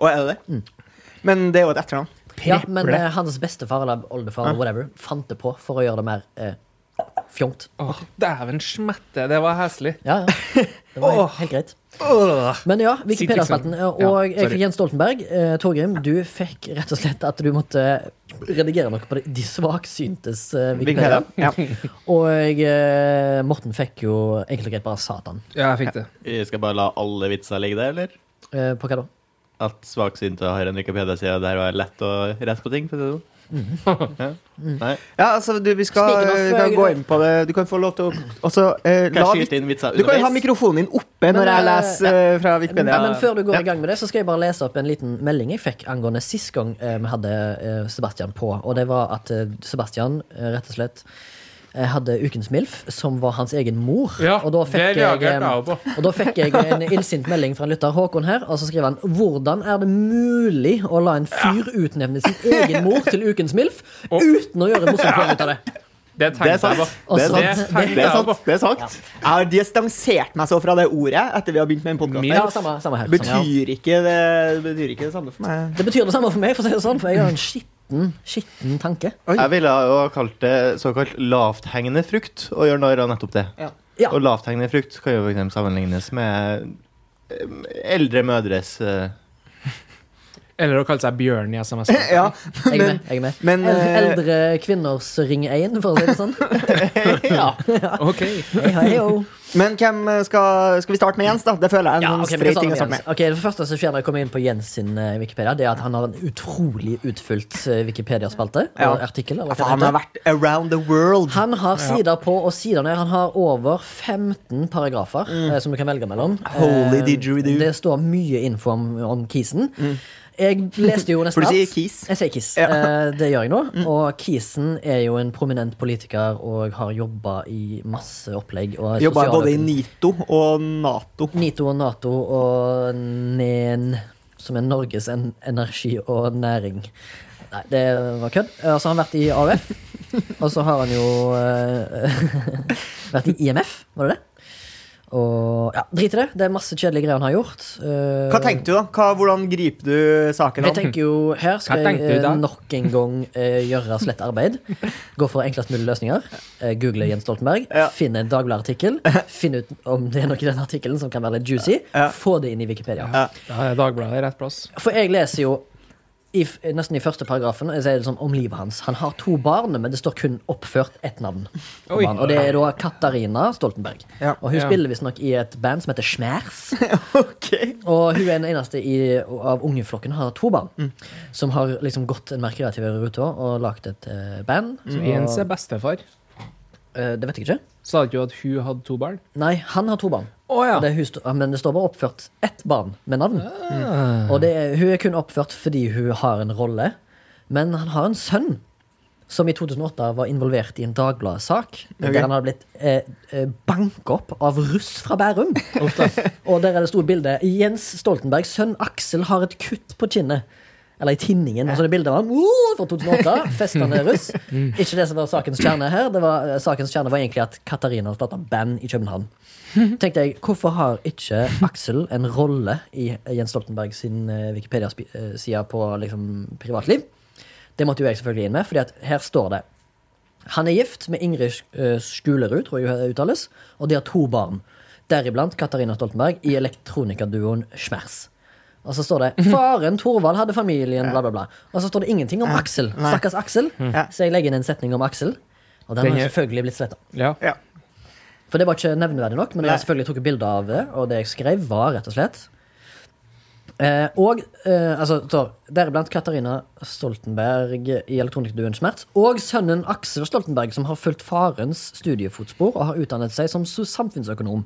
Speaker 4: Å, er det det?
Speaker 3: Mm.
Speaker 4: Men det er jo et etternavn.
Speaker 3: Ja, men eh, hans bestefar eller oldefar eller whatever, fant det på for å gjøre det mer eh, fjongt.
Speaker 9: Åh, Dæven smette, det var heslig.
Speaker 3: Ja, ja. Det
Speaker 9: [LAUGHS]
Speaker 3: var helt, helt greit. Men ja, Wikipedia-spalten. eh,
Speaker 9: Ja,
Speaker 3: Og jeg
Speaker 9: sorry.
Speaker 3: fikk Jens Stoltenberg. Eh, Torgrim, du fikk rett og slett at du måtte redigere noe på de- de svaksyntes eh, Wikipedia.
Speaker 4: Wikipedia. Ja.
Speaker 3: Og eh, Morten fikk jo enkelt og greit bare Satan.
Speaker 9: Ja, jeg fikk det.
Speaker 5: Vi skal bare la alle vitser ligge der, eller?
Speaker 3: Eh, på hva da?
Speaker 5: At svaksynte har en Wikipedia-side der og er lett og rett på ting? For å si det. sånn. Ja. Nei.
Speaker 4: ja, altså, du, vi skal
Speaker 3: Speaking of,
Speaker 4: vi kan
Speaker 3: eh,
Speaker 4: gå inn på det. Du kan få lov til
Speaker 3: [CLEARS THROAT]
Speaker 4: å også, eh,
Speaker 5: Kan
Speaker 4: la
Speaker 5: jeg
Speaker 4: vik-
Speaker 5: skyte inn vitser
Speaker 4: Du kan jo ha
Speaker 5: underveis?
Speaker 4: mikrofonen din oppe
Speaker 3: Men,
Speaker 4: når jeg
Speaker 3: eh,
Speaker 4: leser eh, fra Wikipedia.
Speaker 3: Men, men før du går
Speaker 4: Ja.
Speaker 3: i gang med det, så skal jeg bare lese opp en liten melding jeg fikk angående sist gang eh, vi hadde eh, Sebastian på. Og det var at eh, Sebastian eh, rett og slett eh, hadde Ukens Milf, som var hans egen mor.
Speaker 9: Ja,
Speaker 3: og, da
Speaker 9: det
Speaker 3: fikk jeg,
Speaker 9: reagerte jeg
Speaker 3: eh,
Speaker 9: også på.
Speaker 3: og da fikk jeg en illsint melding fra en lytter, Håkon her, og så skriver han Hvordan er det mulig å la en fyr utnevne sin egen mor til Ukens Milf uten å gjøre morsomt poeng ut av det?
Speaker 9: Det
Speaker 5: Det er
Speaker 9: tenkte jeg
Speaker 5: sant.
Speaker 9: på.
Speaker 3: Og sånn.
Speaker 5: Det er
Speaker 3: så-
Speaker 5: sant.
Speaker 9: tenkte
Speaker 5: Det
Speaker 9: jeg
Speaker 5: er
Speaker 9: på.
Speaker 5: sant. Det er sant.
Speaker 4: Jeg har distansert meg så fra det ordet etter vi har begynt med en podcast
Speaker 3: Ja,
Speaker 4: her.
Speaker 3: samme, samme her.
Speaker 4: Det
Speaker 3: Samme her.
Speaker 4: betyr ikke det, det betyr ikke det samme for meg.
Speaker 3: Det betyr det samme for meg, for å si det sånn, for jeg har en skitten, skitten tanke.
Speaker 5: Jeg ville jo ha kalt det såkalt lavthengende frukt, og gjør narr av nettopp det.
Speaker 3: Ja.
Speaker 5: Og lavthengende frukt kan jo for eksempel sammenlignes med eh, eldre mødres eh,
Speaker 9: Eller å kalle seg Bjørn i SMS.
Speaker 4: Ja,
Speaker 3: Jeg er
Speaker 4: men,
Speaker 3: med. jeg er med
Speaker 4: men
Speaker 3: El-
Speaker 4: eh, [LAUGHS]
Speaker 3: Eldre kvinners Ring 1, for å si det sånn.
Speaker 9: Ok.
Speaker 3: Hei, hei, ho.
Speaker 4: men hvem skal, skal vi starte med Jens, da? Det føler jeg er
Speaker 3: Ja,
Speaker 4: en sånn
Speaker 3: ok, vi kan
Speaker 4: streit
Speaker 3: starte
Speaker 4: ting å
Speaker 3: med
Speaker 4: starte
Speaker 3: Jens.
Speaker 4: med.
Speaker 3: Ok, Det første som skjer når jeg kommer inn på Jens sin eh, Wikipedia, Det er at han har en utrolig utfylt eh, Wikipedia-spalte.
Speaker 4: Ja.
Speaker 3: Og artikkel. Eller hva
Speaker 4: Altså,
Speaker 3: det
Speaker 4: han har
Speaker 3: heter.
Speaker 4: vært around the world.
Speaker 3: han har sider på og sider ned. Han har over 15 paragrafer eh, som du kan velge mellom.
Speaker 4: Mm. Holy
Speaker 3: Eh,
Speaker 4: didgeridoo. Mm.
Speaker 3: Det står mye info om, om kisen. Jeg leste jo nesten
Speaker 4: For du sier
Speaker 3: alt.
Speaker 4: Kis.
Speaker 3: Jeg sier Kis.
Speaker 4: Ja. Mm.
Speaker 3: Eh, det gjør jeg nå. Og Kisen er jo en prominent politiker og har jobba i masse opplegg. Og er
Speaker 4: Jobba både i
Speaker 3: sosialøkonom-
Speaker 4: NITO og Nato.
Speaker 3: NITO og Nato og NEN, som er Norges en energi og næring. Nei, det var kødd. Eh, Og så har han vært i
Speaker 4: [LAUGHS]
Speaker 3: AUF. Og så har han jo eh, [LAUGHS] vært i IMF, var det det? Og ja, drit i det. Det er masse kjedelige greier han har gjort. Eh,
Speaker 4: Hva tenkte du, da? Hva, hvordan griper du saken
Speaker 3: jeg
Speaker 4: an?
Speaker 3: tenker jo, Her skal
Speaker 9: Hva
Speaker 3: jeg
Speaker 9: tenkte du da?
Speaker 3: eh, nok en gang eh, gjøre slett arbeid. Gå for enklest mulig løsninger. Eh, google Jens Stoltenberg.
Speaker 4: Ja.
Speaker 3: Finne en Dagbladet-artikkel. Finne ut om det er noe i den artikkelen som kan være litt juicy.
Speaker 4: Ja.
Speaker 3: Få det inn i Wikipedia.
Speaker 9: Da er Dagbladet i rett plass.
Speaker 3: For jeg leser jo i, f- nesten i første paragrafen så er det sånn om livet hans. Han har to barn, men det står kun oppført ett navn. på
Speaker 9: Oi.
Speaker 3: barn, og det er da Katarina Stoltenberg.
Speaker 4: Ja.
Speaker 3: Og hun
Speaker 9: Ja.
Speaker 3: spiller visstnok i et band som heter Schmerz.
Speaker 4: [LAUGHS] Ok.
Speaker 3: Og hun er den eneste i, av ungeflokken har to barn.
Speaker 4: Mm.
Speaker 3: Som har liksom gått en mer kreativ rute og lagd et eh, band.
Speaker 4: Mm.
Speaker 9: Så
Speaker 3: Og,
Speaker 9: Jens er bestefar.
Speaker 3: eh, det vet jeg ikke.
Speaker 9: Sa du ikke at hun hadde to barn?
Speaker 3: Nei, han har to barn.
Speaker 9: Å ja.
Speaker 3: Og Det er hun sto- ja, men det står bare oppført ett barn med navn.
Speaker 9: Ah.
Speaker 3: Og det er, hun er kun oppført fordi hun har en rolle. Men han har en sønn som i 2008 var involvert i en Dagbladet-sak. Der han hadde blitt eh, eh, banket opp av russ fra Bærum. [LAUGHS] og der er det stort bilde. Jens Stoltenbergs sønn Aksel har et kutt på kinnet. Eller i tinningen. Og så er det bilde av han uh, fra 2008. Festende russ.
Speaker 9: Mm.
Speaker 3: Ikke det som var sakens kjerne her. Det var, eh, sakens kjerne var egentlig at Katarina starta band i København.
Speaker 4: Mhm.
Speaker 3: Tenkte jeg, Hvorfor har ikke Aksel en rolle i Jens Stoltenberg sin eh, Wikipedia-side på liksom, privatliv? Det måtte jo jeg selvfølgelig inn med, fordi at her står det han er gift med Ingrid eh, Skulerud, tror jeg hun uttales, og de har to barn. Deriblant Katarina Stoltenberg i elektronikaduoen Schmerz. Og så står
Speaker 4: Mhm.
Speaker 3: det 'Faren Thorvald hadde familien', bla, bla, bla. Og så står det ingenting om Aksel.
Speaker 4: Nei.
Speaker 3: Stakkars Aksel.
Speaker 4: Ja.
Speaker 3: Så jeg legger inn en setning om Aksel, og den har
Speaker 9: Den er-
Speaker 3: selvfølgelig blitt sletta.
Speaker 9: Ja.
Speaker 4: Ja.
Speaker 3: For det var ikke nevneverdig nok, men jeg har
Speaker 4: Nei.
Speaker 3: selvfølgelig tok bilde av det, og det jeg skrev, var rett og slett Eh, og eh, altså, så, deriblant Katarina Stoltenberg i elektronikkduen Smerts. Og sønnen Aksel Stoltenberg, som har fulgt farens studiefotspor og har utdannet seg som su- samfunnsøkonom.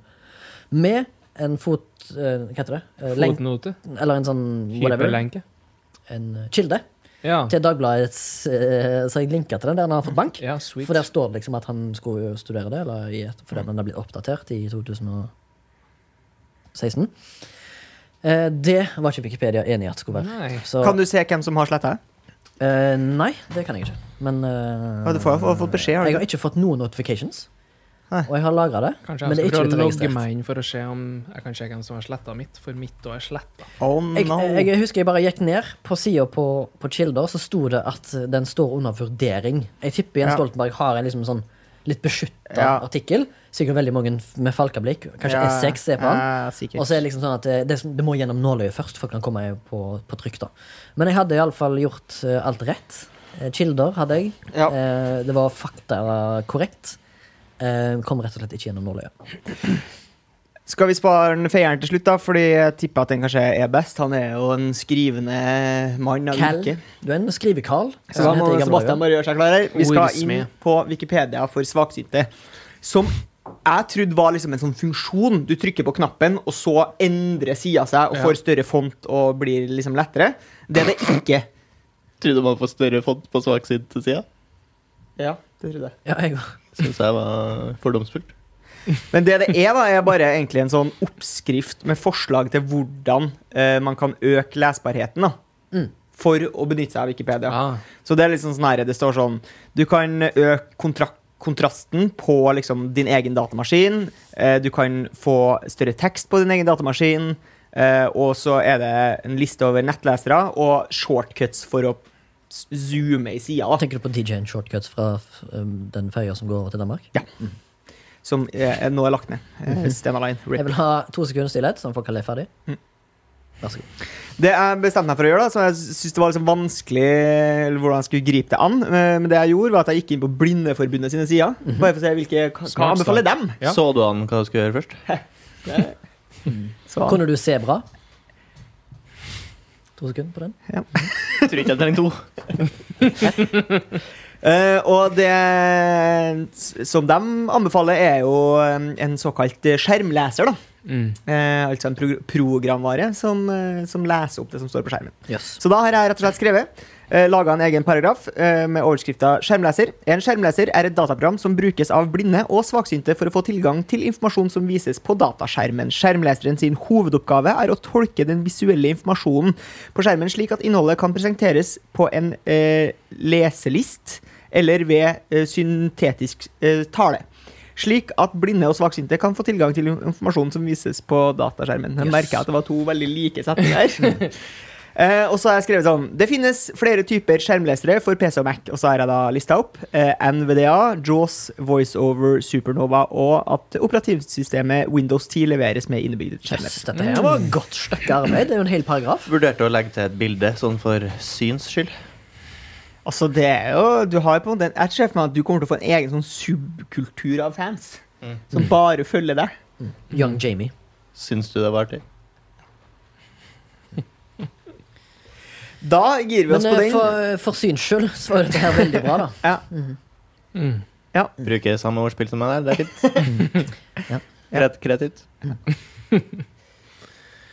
Speaker 3: Med en fot... Eh, hva heter det? Eh, lenk,
Speaker 9: Fotnote.
Speaker 3: eller en sånn whatever.
Speaker 9: Hyperlenke.
Speaker 3: En eh, kilde
Speaker 9: Ja.
Speaker 3: til Dagbladets eh, Så jeg linka til den der han har fått bank.
Speaker 9: ja, sweet.
Speaker 3: For der står det liksom at han skulle jo studere det, eller i et,
Speaker 4: Mm.
Speaker 3: fordi den har blitt oppdatert i 2016. Eh, det var ikke Wikipedia enig i at skulle være.
Speaker 9: Nei.
Speaker 3: Så,
Speaker 4: Kan du se hvem som har sletta?
Speaker 3: eh, nei, det kan jeg ikke. Men eh,
Speaker 4: Ja, du får- har fått beskjed, har du
Speaker 3: Jeg
Speaker 4: ikke?
Speaker 3: har ikke fått noen notifications.
Speaker 4: Nei.
Speaker 3: Og jeg har lagra det,
Speaker 9: Kanskje
Speaker 3: men det
Speaker 9: jeg
Speaker 3: er ikke
Speaker 9: skal
Speaker 3: blitt
Speaker 9: prøve å logge
Speaker 3: registrert.
Speaker 9: meg inn for å se om jeg kan se hvem som har sletta mitt, for mitt òg er sletta.
Speaker 4: Oh,
Speaker 3: Jeg,
Speaker 4: no.
Speaker 3: jeg husker jeg bare gikk ned på sida på, på Kilder, så sto det at den står under vurdering. Jeg tipper Jens
Speaker 4: Ja.
Speaker 3: Stoltenberg har en liksom sånn litt beskytta
Speaker 4: Ja.
Speaker 3: artikkel. Sikkert veldig mange f- med falkablikk. Kanskje
Speaker 4: Ja.
Speaker 3: S6 er på han.
Speaker 4: Ja, sikkert.
Speaker 3: Og så er det liksom sånn at det, det, som- det må gjennom nåløyet først for å kan komme på, på trykk. da Men jeg hadde iallfall gjort eh, alt rett. Eh, Kilder hadde jeg.
Speaker 4: Ja.
Speaker 3: Eh, det var fakta korrekt. Eh, kom rett og slett ikke gjennom nåløyet.
Speaker 4: Skal vi spare den feieren til slutt, da? Fordi jeg tipper at den kanskje er best. Han er jo en skrivende mann av
Speaker 3: Cal.
Speaker 4: yrke.
Speaker 3: Du er en skrive-Carl.
Speaker 4: Så da må Sebastian bare gjøre seg klar her. Vi skal inn
Speaker 9: Ordsmed.
Speaker 4: på Wikipedia for svaksynte. Som jeg trodde var liksom en sånn funksjon. Du trykker på knappen, og så endrer sida seg og
Speaker 9: Ja.
Speaker 4: får større font og blir liksom lettere. Det er det ikke.
Speaker 5: Tror du man får større font på svaksynte-sida?
Speaker 4: Ja, det trodde jeg.
Speaker 3: ja, jeg,
Speaker 5: Syns jeg var fordomsfullt.
Speaker 4: Men det det er, da, er bare egentlig en sånn oppskrift med forslag til hvordan eh, man kan øke lesbarheten. da. For å benytte seg av Wikipedia.
Speaker 9: Ah.
Speaker 4: Så det er liksom sånn her, det står sånn Du kan øke kontra- kontrasten på liksom din egen datamaskin. eh, Du kan få større tekst på din egen datamaskin. eh, Og så er det en liste over nettlesere og shortcuts for å s- zoome i sida,
Speaker 3: Tenker du på DJ-en Shortcuts fra f- um, den ferja som går over til Danmark?
Speaker 4: som eh, nå er lagt ned. Eh, Stena Line.
Speaker 3: Mhm.
Speaker 4: RIP.
Speaker 3: Jeg vil ha to sekunder stillhet, sånn at folk kan le ferdig. Vær så god.
Speaker 4: Det jeg bestemte meg for å gjøre, da, som jeg syntes det var liksom vanskelig eller hvordan jeg skulle gripe det an, eh, men det jeg gjorde, var at jeg gikk inn på Blindeforbundet sine sider.
Speaker 3: Mhm.
Speaker 4: Bare for å se hvilke, hva, hva
Speaker 9: Smart
Speaker 4: anbefaler dem.
Speaker 9: Ja.
Speaker 5: Så du an hva du skulle gjøre først?
Speaker 4: Så,
Speaker 3: Kunne du se bra? To sekunder på den.
Speaker 5: Jeg tror ikke jeg trenger to.
Speaker 4: eh, og det s- som de anbefaler, er jo en, en såkalt eh, skjermleser, da.
Speaker 9: Mm.
Speaker 4: Eh, altså en pro programvare som, eh, som leser opp det som står på skjermen.
Speaker 3: Yes.
Speaker 4: Så da har jeg rett og slett skrevet eh, Laga en egen paragraf eh, med overskrifta 'Skjermleser'. En skjermleser er et dataprogram som brukes av blinde og svaksynte for å få tilgang til informasjon som vises på dataskjermen. Skjermleseren sin hovedoppgave er å tolke den visuelle informasjonen på skjermen slik at innholdet kan presenteres på en eh, leselist eller ved eh, syntetisk eh, tale. Slik at blinde og svaksynte kan få tilgang til informasjon som vises på dataskjermen. Jeg
Speaker 3: Yes.
Speaker 4: merker at det var to veldig like setninger.
Speaker 3: [LAUGHS]
Speaker 4: Eh, og så har jeg skrevet sånn Det finnes flere typer skjermlesere for PC og Mac, og så har jeg da lista opp eh, NVDA, Jaws, VoiceOver, Supernova, og at operativsystemet Windows 10 leveres med innebygd
Speaker 3: Yes,
Speaker 4: skjermleser.
Speaker 3: dette her var et godt stykke arbeid. Det er jo en hel paragraf.
Speaker 5: [LAUGHS] Vurderte å legge til et bilde, sånn for syns skyld.
Speaker 4: Altså, det er jo Du har på en måte en- Jeg ser for meg at du kommer til å få en egen sånn subkultur av fans
Speaker 3: Mm.
Speaker 4: som bare følger deg.
Speaker 3: Young Jamie.
Speaker 5: Syns du det var artig?
Speaker 4: Da gir vi oss
Speaker 3: Men
Speaker 4: på
Speaker 3: eh,
Speaker 4: den.
Speaker 3: for, for syns skyld så var dette her veldig bra, da.
Speaker 4: Ja.
Speaker 9: Mm.
Speaker 5: Bruker samme ordspill som meg der. Det er fint.
Speaker 3: Ja.
Speaker 5: Kret- Kreativt.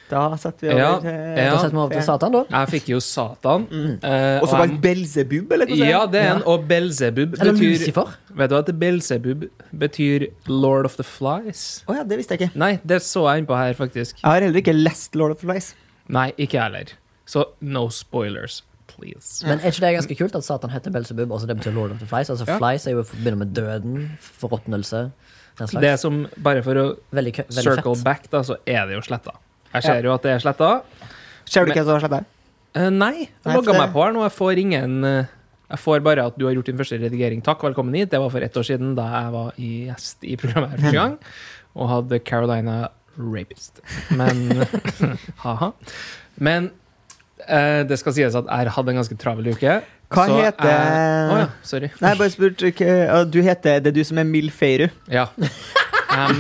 Speaker 4: Da setter vi over
Speaker 9: Ja,
Speaker 4: til
Speaker 9: ja.
Speaker 3: Da setter vi over til Satan, da.
Speaker 9: Jeg fikk jo Satan. eh,
Speaker 4: Også
Speaker 9: og
Speaker 4: kalt Belzebub, eller
Speaker 9: jeg,
Speaker 4: noe
Speaker 9: ja, det er en. Og Belzebub
Speaker 3: Eller
Speaker 9: betyr
Speaker 3: Lucifer.
Speaker 9: Vet du at Belzebub betyr Lord of the Flies?
Speaker 4: Å ja, det visste jeg ikke.
Speaker 9: Nei, det så jeg innpå her, faktisk.
Speaker 4: Jeg har heller ikke lest Lord of the Flies.
Speaker 9: Nei, ikke jeg heller. Så no spoilers.
Speaker 1: please.
Speaker 3: Men er ikke det ganske kult at Satan heter Belzebub? Altså det betyr Lord of the Flies. Altså
Speaker 1: Ja.
Speaker 3: Flies er jo forbinder med døden, forråtnelse, den slags.
Speaker 1: Det som, bare for å
Speaker 3: veldig, kø- veldig
Speaker 1: circle
Speaker 3: fett.
Speaker 1: back, da, så er det jo sletta. Jeg ser jo at det er sletta.
Speaker 4: Ser du
Speaker 1: Men-
Speaker 4: hva som har skjedd der?
Speaker 1: Eh, nei, jeg
Speaker 4: Nei, for
Speaker 1: logga
Speaker 4: det-
Speaker 1: meg på her nå. Jeg får ingen eh, Jeg får bare at du har gjort din første redigering. Takk, velkommen hit. Det var for ett år siden, da jeg var i gjest i programmet
Speaker 4: [LAUGHS]
Speaker 1: her første gang, og hadde Carolina Rapist. Men [LAUGHS] Ha-ha. Men eh, det skal sies at jeg hadde en ganske travel uke.
Speaker 4: Hva
Speaker 1: så jeg-
Speaker 4: heter- Eh.
Speaker 1: Å ja, sorry.
Speaker 4: Nei, jeg bare spurte hva- Du heter Det er du som er Milf Feiru.
Speaker 1: Ja. M,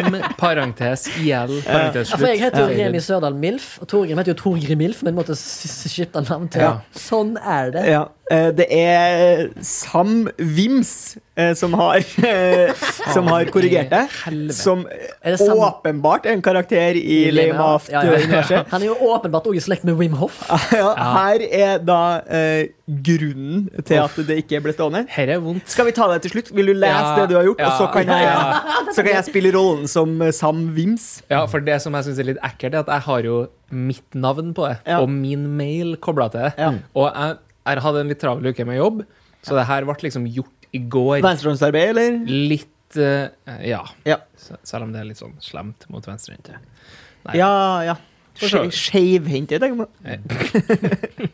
Speaker 1: M parentes IL parentes
Speaker 3: Ja, for jeg
Speaker 1: slutt.
Speaker 3: heter jo
Speaker 1: Faded.
Speaker 3: Remi Sørdal Milf, og Torgrim heter jo Torgrim Milf, men måtte s- s- skifte navn til
Speaker 1: Ja.
Speaker 3: Sånn er det.
Speaker 4: Ja. eh, Det er Sam Vims eh, som har eh, Som har korrigert deg. Som
Speaker 3: Er det Sam-
Speaker 4: åpenbart er en karakter i Lame Aft.
Speaker 3: Ja, ja, ja. Han er jo åpenbart også i slekt med Wim Hoff.
Speaker 4: Ja, her er da eh, grunnen til at det ikke ble stående.
Speaker 1: Her er vondt.
Speaker 4: Skal vi ta det til slutt? Vil du lese
Speaker 1: Ja,
Speaker 4: det du har gjort, og så
Speaker 1: ja,
Speaker 4: kan,
Speaker 1: ja.
Speaker 4: jeg, så kan jeg spille rollen som eh, Sam Vims?
Speaker 1: Ja, for det som jeg synes er litt ekkelt, er at jeg har jo mitt navn på det,
Speaker 4: Ja.
Speaker 1: og min mail kobla til det.
Speaker 4: Ja.
Speaker 1: Og jeg, jeg hadde en litt travel uke med jobb, så det her ble liksom gjort i går.
Speaker 4: Venstrehåndsarbeid, eller?
Speaker 1: Litt eh, Ja.
Speaker 4: Ja.
Speaker 1: S- Selv om det er litt sånn slemt mot venstrehendte. Nei.
Speaker 4: Ja, ja.
Speaker 1: For så
Speaker 4: Ske-
Speaker 1: vidt.
Speaker 4: Skeivhentet, tenker man.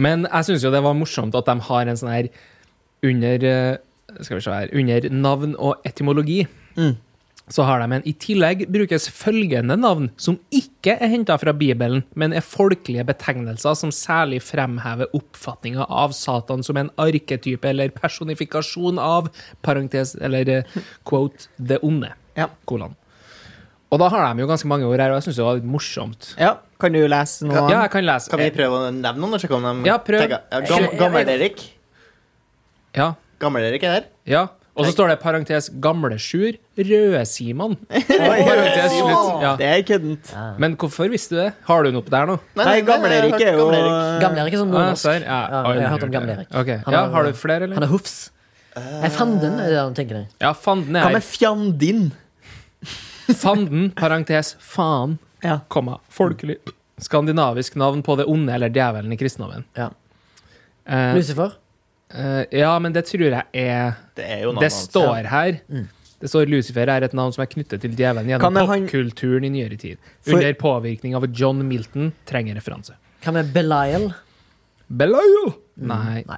Speaker 1: Men jeg syns jo det var morsomt at de har en sånn her under eh, Skal vi se her Under navn og etymologi.
Speaker 4: Mm.
Speaker 1: Så har de en I tillegg brukes følgende navn, som ikke er henta fra Bibelen, men er folkelige betegnelser som særlig fremhever oppfatninga av Satan som en arketype eller personifikasjon av parentes, eller eh, quote, det onde.
Speaker 4: Ja.
Speaker 1: Kolon. Og da har de jo ganske mange ord her, og jeg syns det var litt morsomt.
Speaker 4: ja. Kan du lese noe?
Speaker 1: Ja, jeg kan lese.
Speaker 5: Kan vi prøve å nevne noen? og sjekke om de
Speaker 1: Ja, prøv.
Speaker 5: tenker- Ja, gam, Gammel-Erik.
Speaker 1: Ja,
Speaker 5: Gammel-Erik er her.
Speaker 1: Ja, og så står det parentes gamle Sjur,
Speaker 3: [LAUGHS]
Speaker 1: røde Simon. Parentes slutt. Ja.
Speaker 4: Det er køddent.
Speaker 1: Men hvorfor visste du det? Har du noe på der nå?
Speaker 4: Nei, Gammel-Erik er jo
Speaker 3: Gamle Erik er sånn
Speaker 1: Ah,
Speaker 3: nordnorsk.
Speaker 1: ser. Ja,
Speaker 3: Ja, jeg har hørt om gamle Erik.
Speaker 1: Ok.
Speaker 3: Han
Speaker 1: Ja,
Speaker 3: har-
Speaker 1: har du flere,
Speaker 3: Han
Speaker 1: eller?
Speaker 3: er hofs. Nei, fanden er det han tenker. jeg.
Speaker 1: Ja, fanden
Speaker 4: Hva
Speaker 1: er
Speaker 4: med Fjandin?
Speaker 1: [LAUGHS] Fanden, parentes faen,
Speaker 4: Ja.
Speaker 1: komma, folkelig. Skandinavisk navn på det onde eller djevelen i kristendommen.
Speaker 3: Ja.
Speaker 1: Eh,
Speaker 3: Lucifer.
Speaker 1: eh, ja, men det tror jeg er
Speaker 5: Det er jo navnet
Speaker 1: Det
Speaker 5: hans.
Speaker 1: står her. Det står Lucifer er et navn som er knyttet til djevelen
Speaker 4: Hva
Speaker 1: gjennom
Speaker 4: med han-
Speaker 1: popkulturen i nyere tid.
Speaker 4: For-
Speaker 1: Under påvirkning av John Milton trenger referanse.
Speaker 3: Hva med Belial?
Speaker 1: Belial! Nei.
Speaker 3: Nei.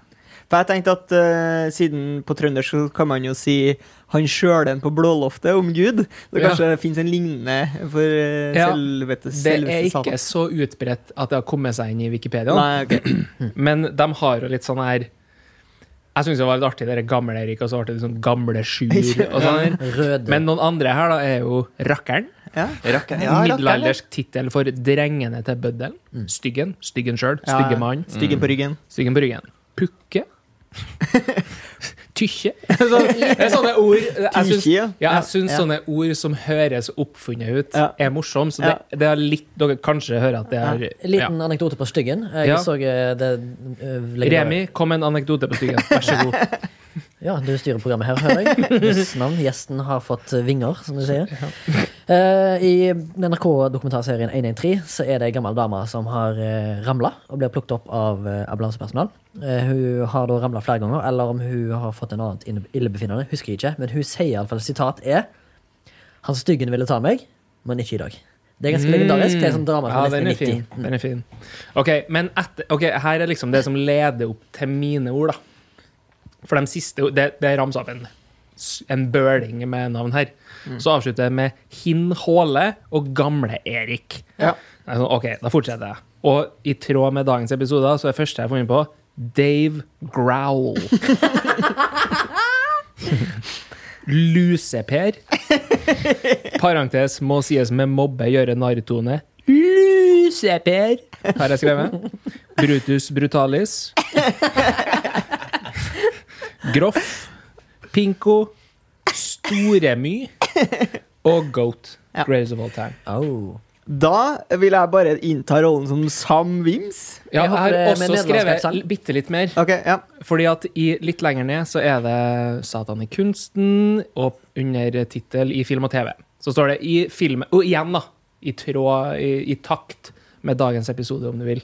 Speaker 4: For jeg tenkte at eh, siden på trøndersk så kan man jo si 'han sjølen på blåloftet' om Gud. Så
Speaker 1: Ja.
Speaker 4: kanskje det finnes en lignende for uh,
Speaker 1: Ja,
Speaker 4: selvete,
Speaker 1: Det er
Speaker 4: selveste
Speaker 1: ikke
Speaker 4: Satan.
Speaker 1: så utbredt at det har kommet seg inn i Wikipedia, Mm.
Speaker 4: Nei, ok.
Speaker 1: men de har jo litt sånn her Jeg syns det var litt artig, det der gamle Erik, og så ble det sånn gamle Sjur og sånn. her.
Speaker 3: Røde.
Speaker 1: Men noen andre her da er jo Rakkeren.
Speaker 5: Rakk- Ja, Rakkeren.
Speaker 1: Middelaldersk tittel for drengene til bøddelen. Styggen. Styggen sjøl.
Speaker 4: Ja,
Speaker 1: Stygge mann.
Speaker 5: Mm.
Speaker 4: Styggen på ryggen.
Speaker 1: Styggen på ryggen. [LAUGHS] Pukke. Tykkje. Så, det er sånne ord jeg syns,
Speaker 4: Tykkje, ja.
Speaker 1: ja, jeg syns
Speaker 4: Ja.
Speaker 1: sånne ord som høres oppfunnet ut,
Speaker 4: Ja.
Speaker 1: er morsomme. Så det, det er litt Dere kanskje hører at det er
Speaker 3: En liten anekdote på styggen. Jeg
Speaker 1: Ja.
Speaker 3: så eh, det eh,
Speaker 1: ja.
Speaker 3: legendar-
Speaker 1: Remi, kom med en anekdote på styggen. Vær så god.
Speaker 3: Ja, du styrer programmet her, hører jeg.
Speaker 1: [LAUGHS]
Speaker 3: Hvis navn, gjesten har fått eh, vinger, som du sier. Eh, I NRK-dokumentarserien 113 så er det ei gammel dame som har uh, ramla og blir plukket opp av eh, ambulansepersonal. Eh, hun har da ramla flere ganger, eller om hun har fått en annet inne- illebefinnende, husker jeg ikke. Men hun sier iallfall sitat er Han styggen ville ta meg, men ikke i dag. Det er ganske legendarisk. Det er sånn drama fra Mm.
Speaker 1: Ja, den er fin.
Speaker 3: 1990.
Speaker 1: Den er fin. OK, men etter, ok, her er liksom det som leder opp til mine ord, da. For de siste ord- Det, det er ramsa opp en, s- en bøling med navn her.
Speaker 3: Mm.
Speaker 1: Så avslutter jeg med Hin Håle og Gamle-Erik.
Speaker 4: Ja.
Speaker 1: Det er sånn, OK, da fortsetter jeg. Og i tråd med dagens episoder så er det første jeg har funnet på, Dave
Speaker 3: [LAUGHS]
Speaker 1: Growl. Luseper. Parentes må sies med mobbe gjøre narretone. Luseper, har jeg skrevet. Brutus brutalis. Groff. Pinko. Storemy. Og Goat.
Speaker 4: Ja.
Speaker 1: Greatest of all time.
Speaker 3: Au.
Speaker 4: Da vil jeg bare innta rollen som Sam Vims.
Speaker 3: Jeg
Speaker 1: Ja, jeg
Speaker 3: håper
Speaker 1: har
Speaker 3: det er med
Speaker 1: også
Speaker 3: nederlandsk
Speaker 1: skrevet
Speaker 3: aksent.
Speaker 1: bitte litt mer.
Speaker 4: Ok, ja.
Speaker 1: Fordi at i, litt lenger ned så er det Satan i kunsten, og under tittel i film og TV. Så står det i film Og igjen, da. I tråd, i, i takt med dagens episode, om du vil.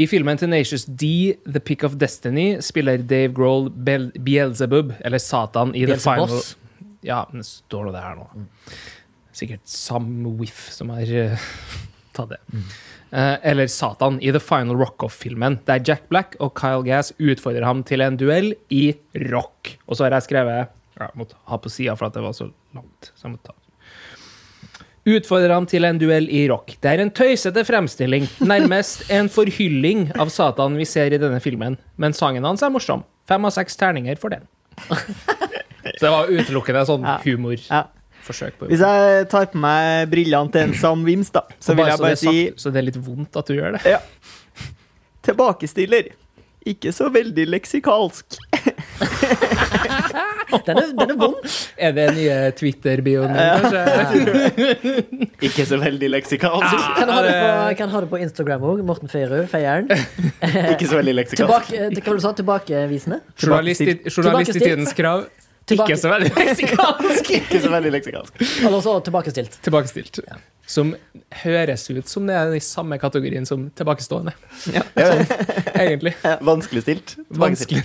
Speaker 1: I filmen Tenacious D, The Pick of Destiny, spiller Dave Grohl Bel Beelzebub, eller Satan, i The Final
Speaker 3: Beelzebos.
Speaker 1: Ja, men det står nå det her nå. Sikkert Sam Whiff som har eh, [LAUGHS] tatt det.
Speaker 4: Mm.
Speaker 1: Eh, eller Satan i The Final Rock-Off-filmen, der Jack Black og Kyle Gass utfordrer ham til en duell i rock. Og så har jeg skrevet ja, Jeg måtte ha på sida for at det var så langt. Så jeg måtte ta utfordrer ham til en duell i rock. Det er en tøysete fremstilling, nærmest en forhylling av Satan vi ser i denne filmen. Men sangen hans er morsom. Fem av seks terninger for
Speaker 4: [LAUGHS]
Speaker 1: den. Så det var utelukkende sånn
Speaker 4: Ja.
Speaker 1: humor.
Speaker 4: Ja.
Speaker 1: Forsøk på
Speaker 4: Hvis jeg tar på meg brillene til en Sam Wims, da, så vil
Speaker 1: Bare
Speaker 4: jeg bare
Speaker 1: det er
Speaker 4: si
Speaker 1: sagt, så det er litt vondt at du gjør det.
Speaker 4: tilbakestiller. Ikke så veldig leksikalsk.
Speaker 3: Den er, den er
Speaker 1: [LAUGHS]
Speaker 3: vond.
Speaker 1: Er det nye Twitter-bioen din?
Speaker 5: Ikke så veldig leksikalsk.
Speaker 3: Kan ha det
Speaker 1: Ah,
Speaker 3: på, kan ha det på Instagram òg. Morten Feierud, Feieren.
Speaker 5: Ikke så veldig leksikalsk.
Speaker 3: Tilbake, eh, hva du sa du? Tilbakevisende?
Speaker 1: Journalist, i- journalist i
Speaker 3: Tilbakestilt.
Speaker 1: tidens krav.
Speaker 3: Tilbake-
Speaker 1: Ikke så veldig meksikansk.
Speaker 5: Ikke så veldig leksikalsk.
Speaker 3: Eller så tilbakestilt.
Speaker 1: Tilbakestilt. Som høres ut som det er i samme kategorien som tilbakestående, egentlig.
Speaker 5: [LAUGHS] Vanskelig stilt.
Speaker 1: Vanskelig.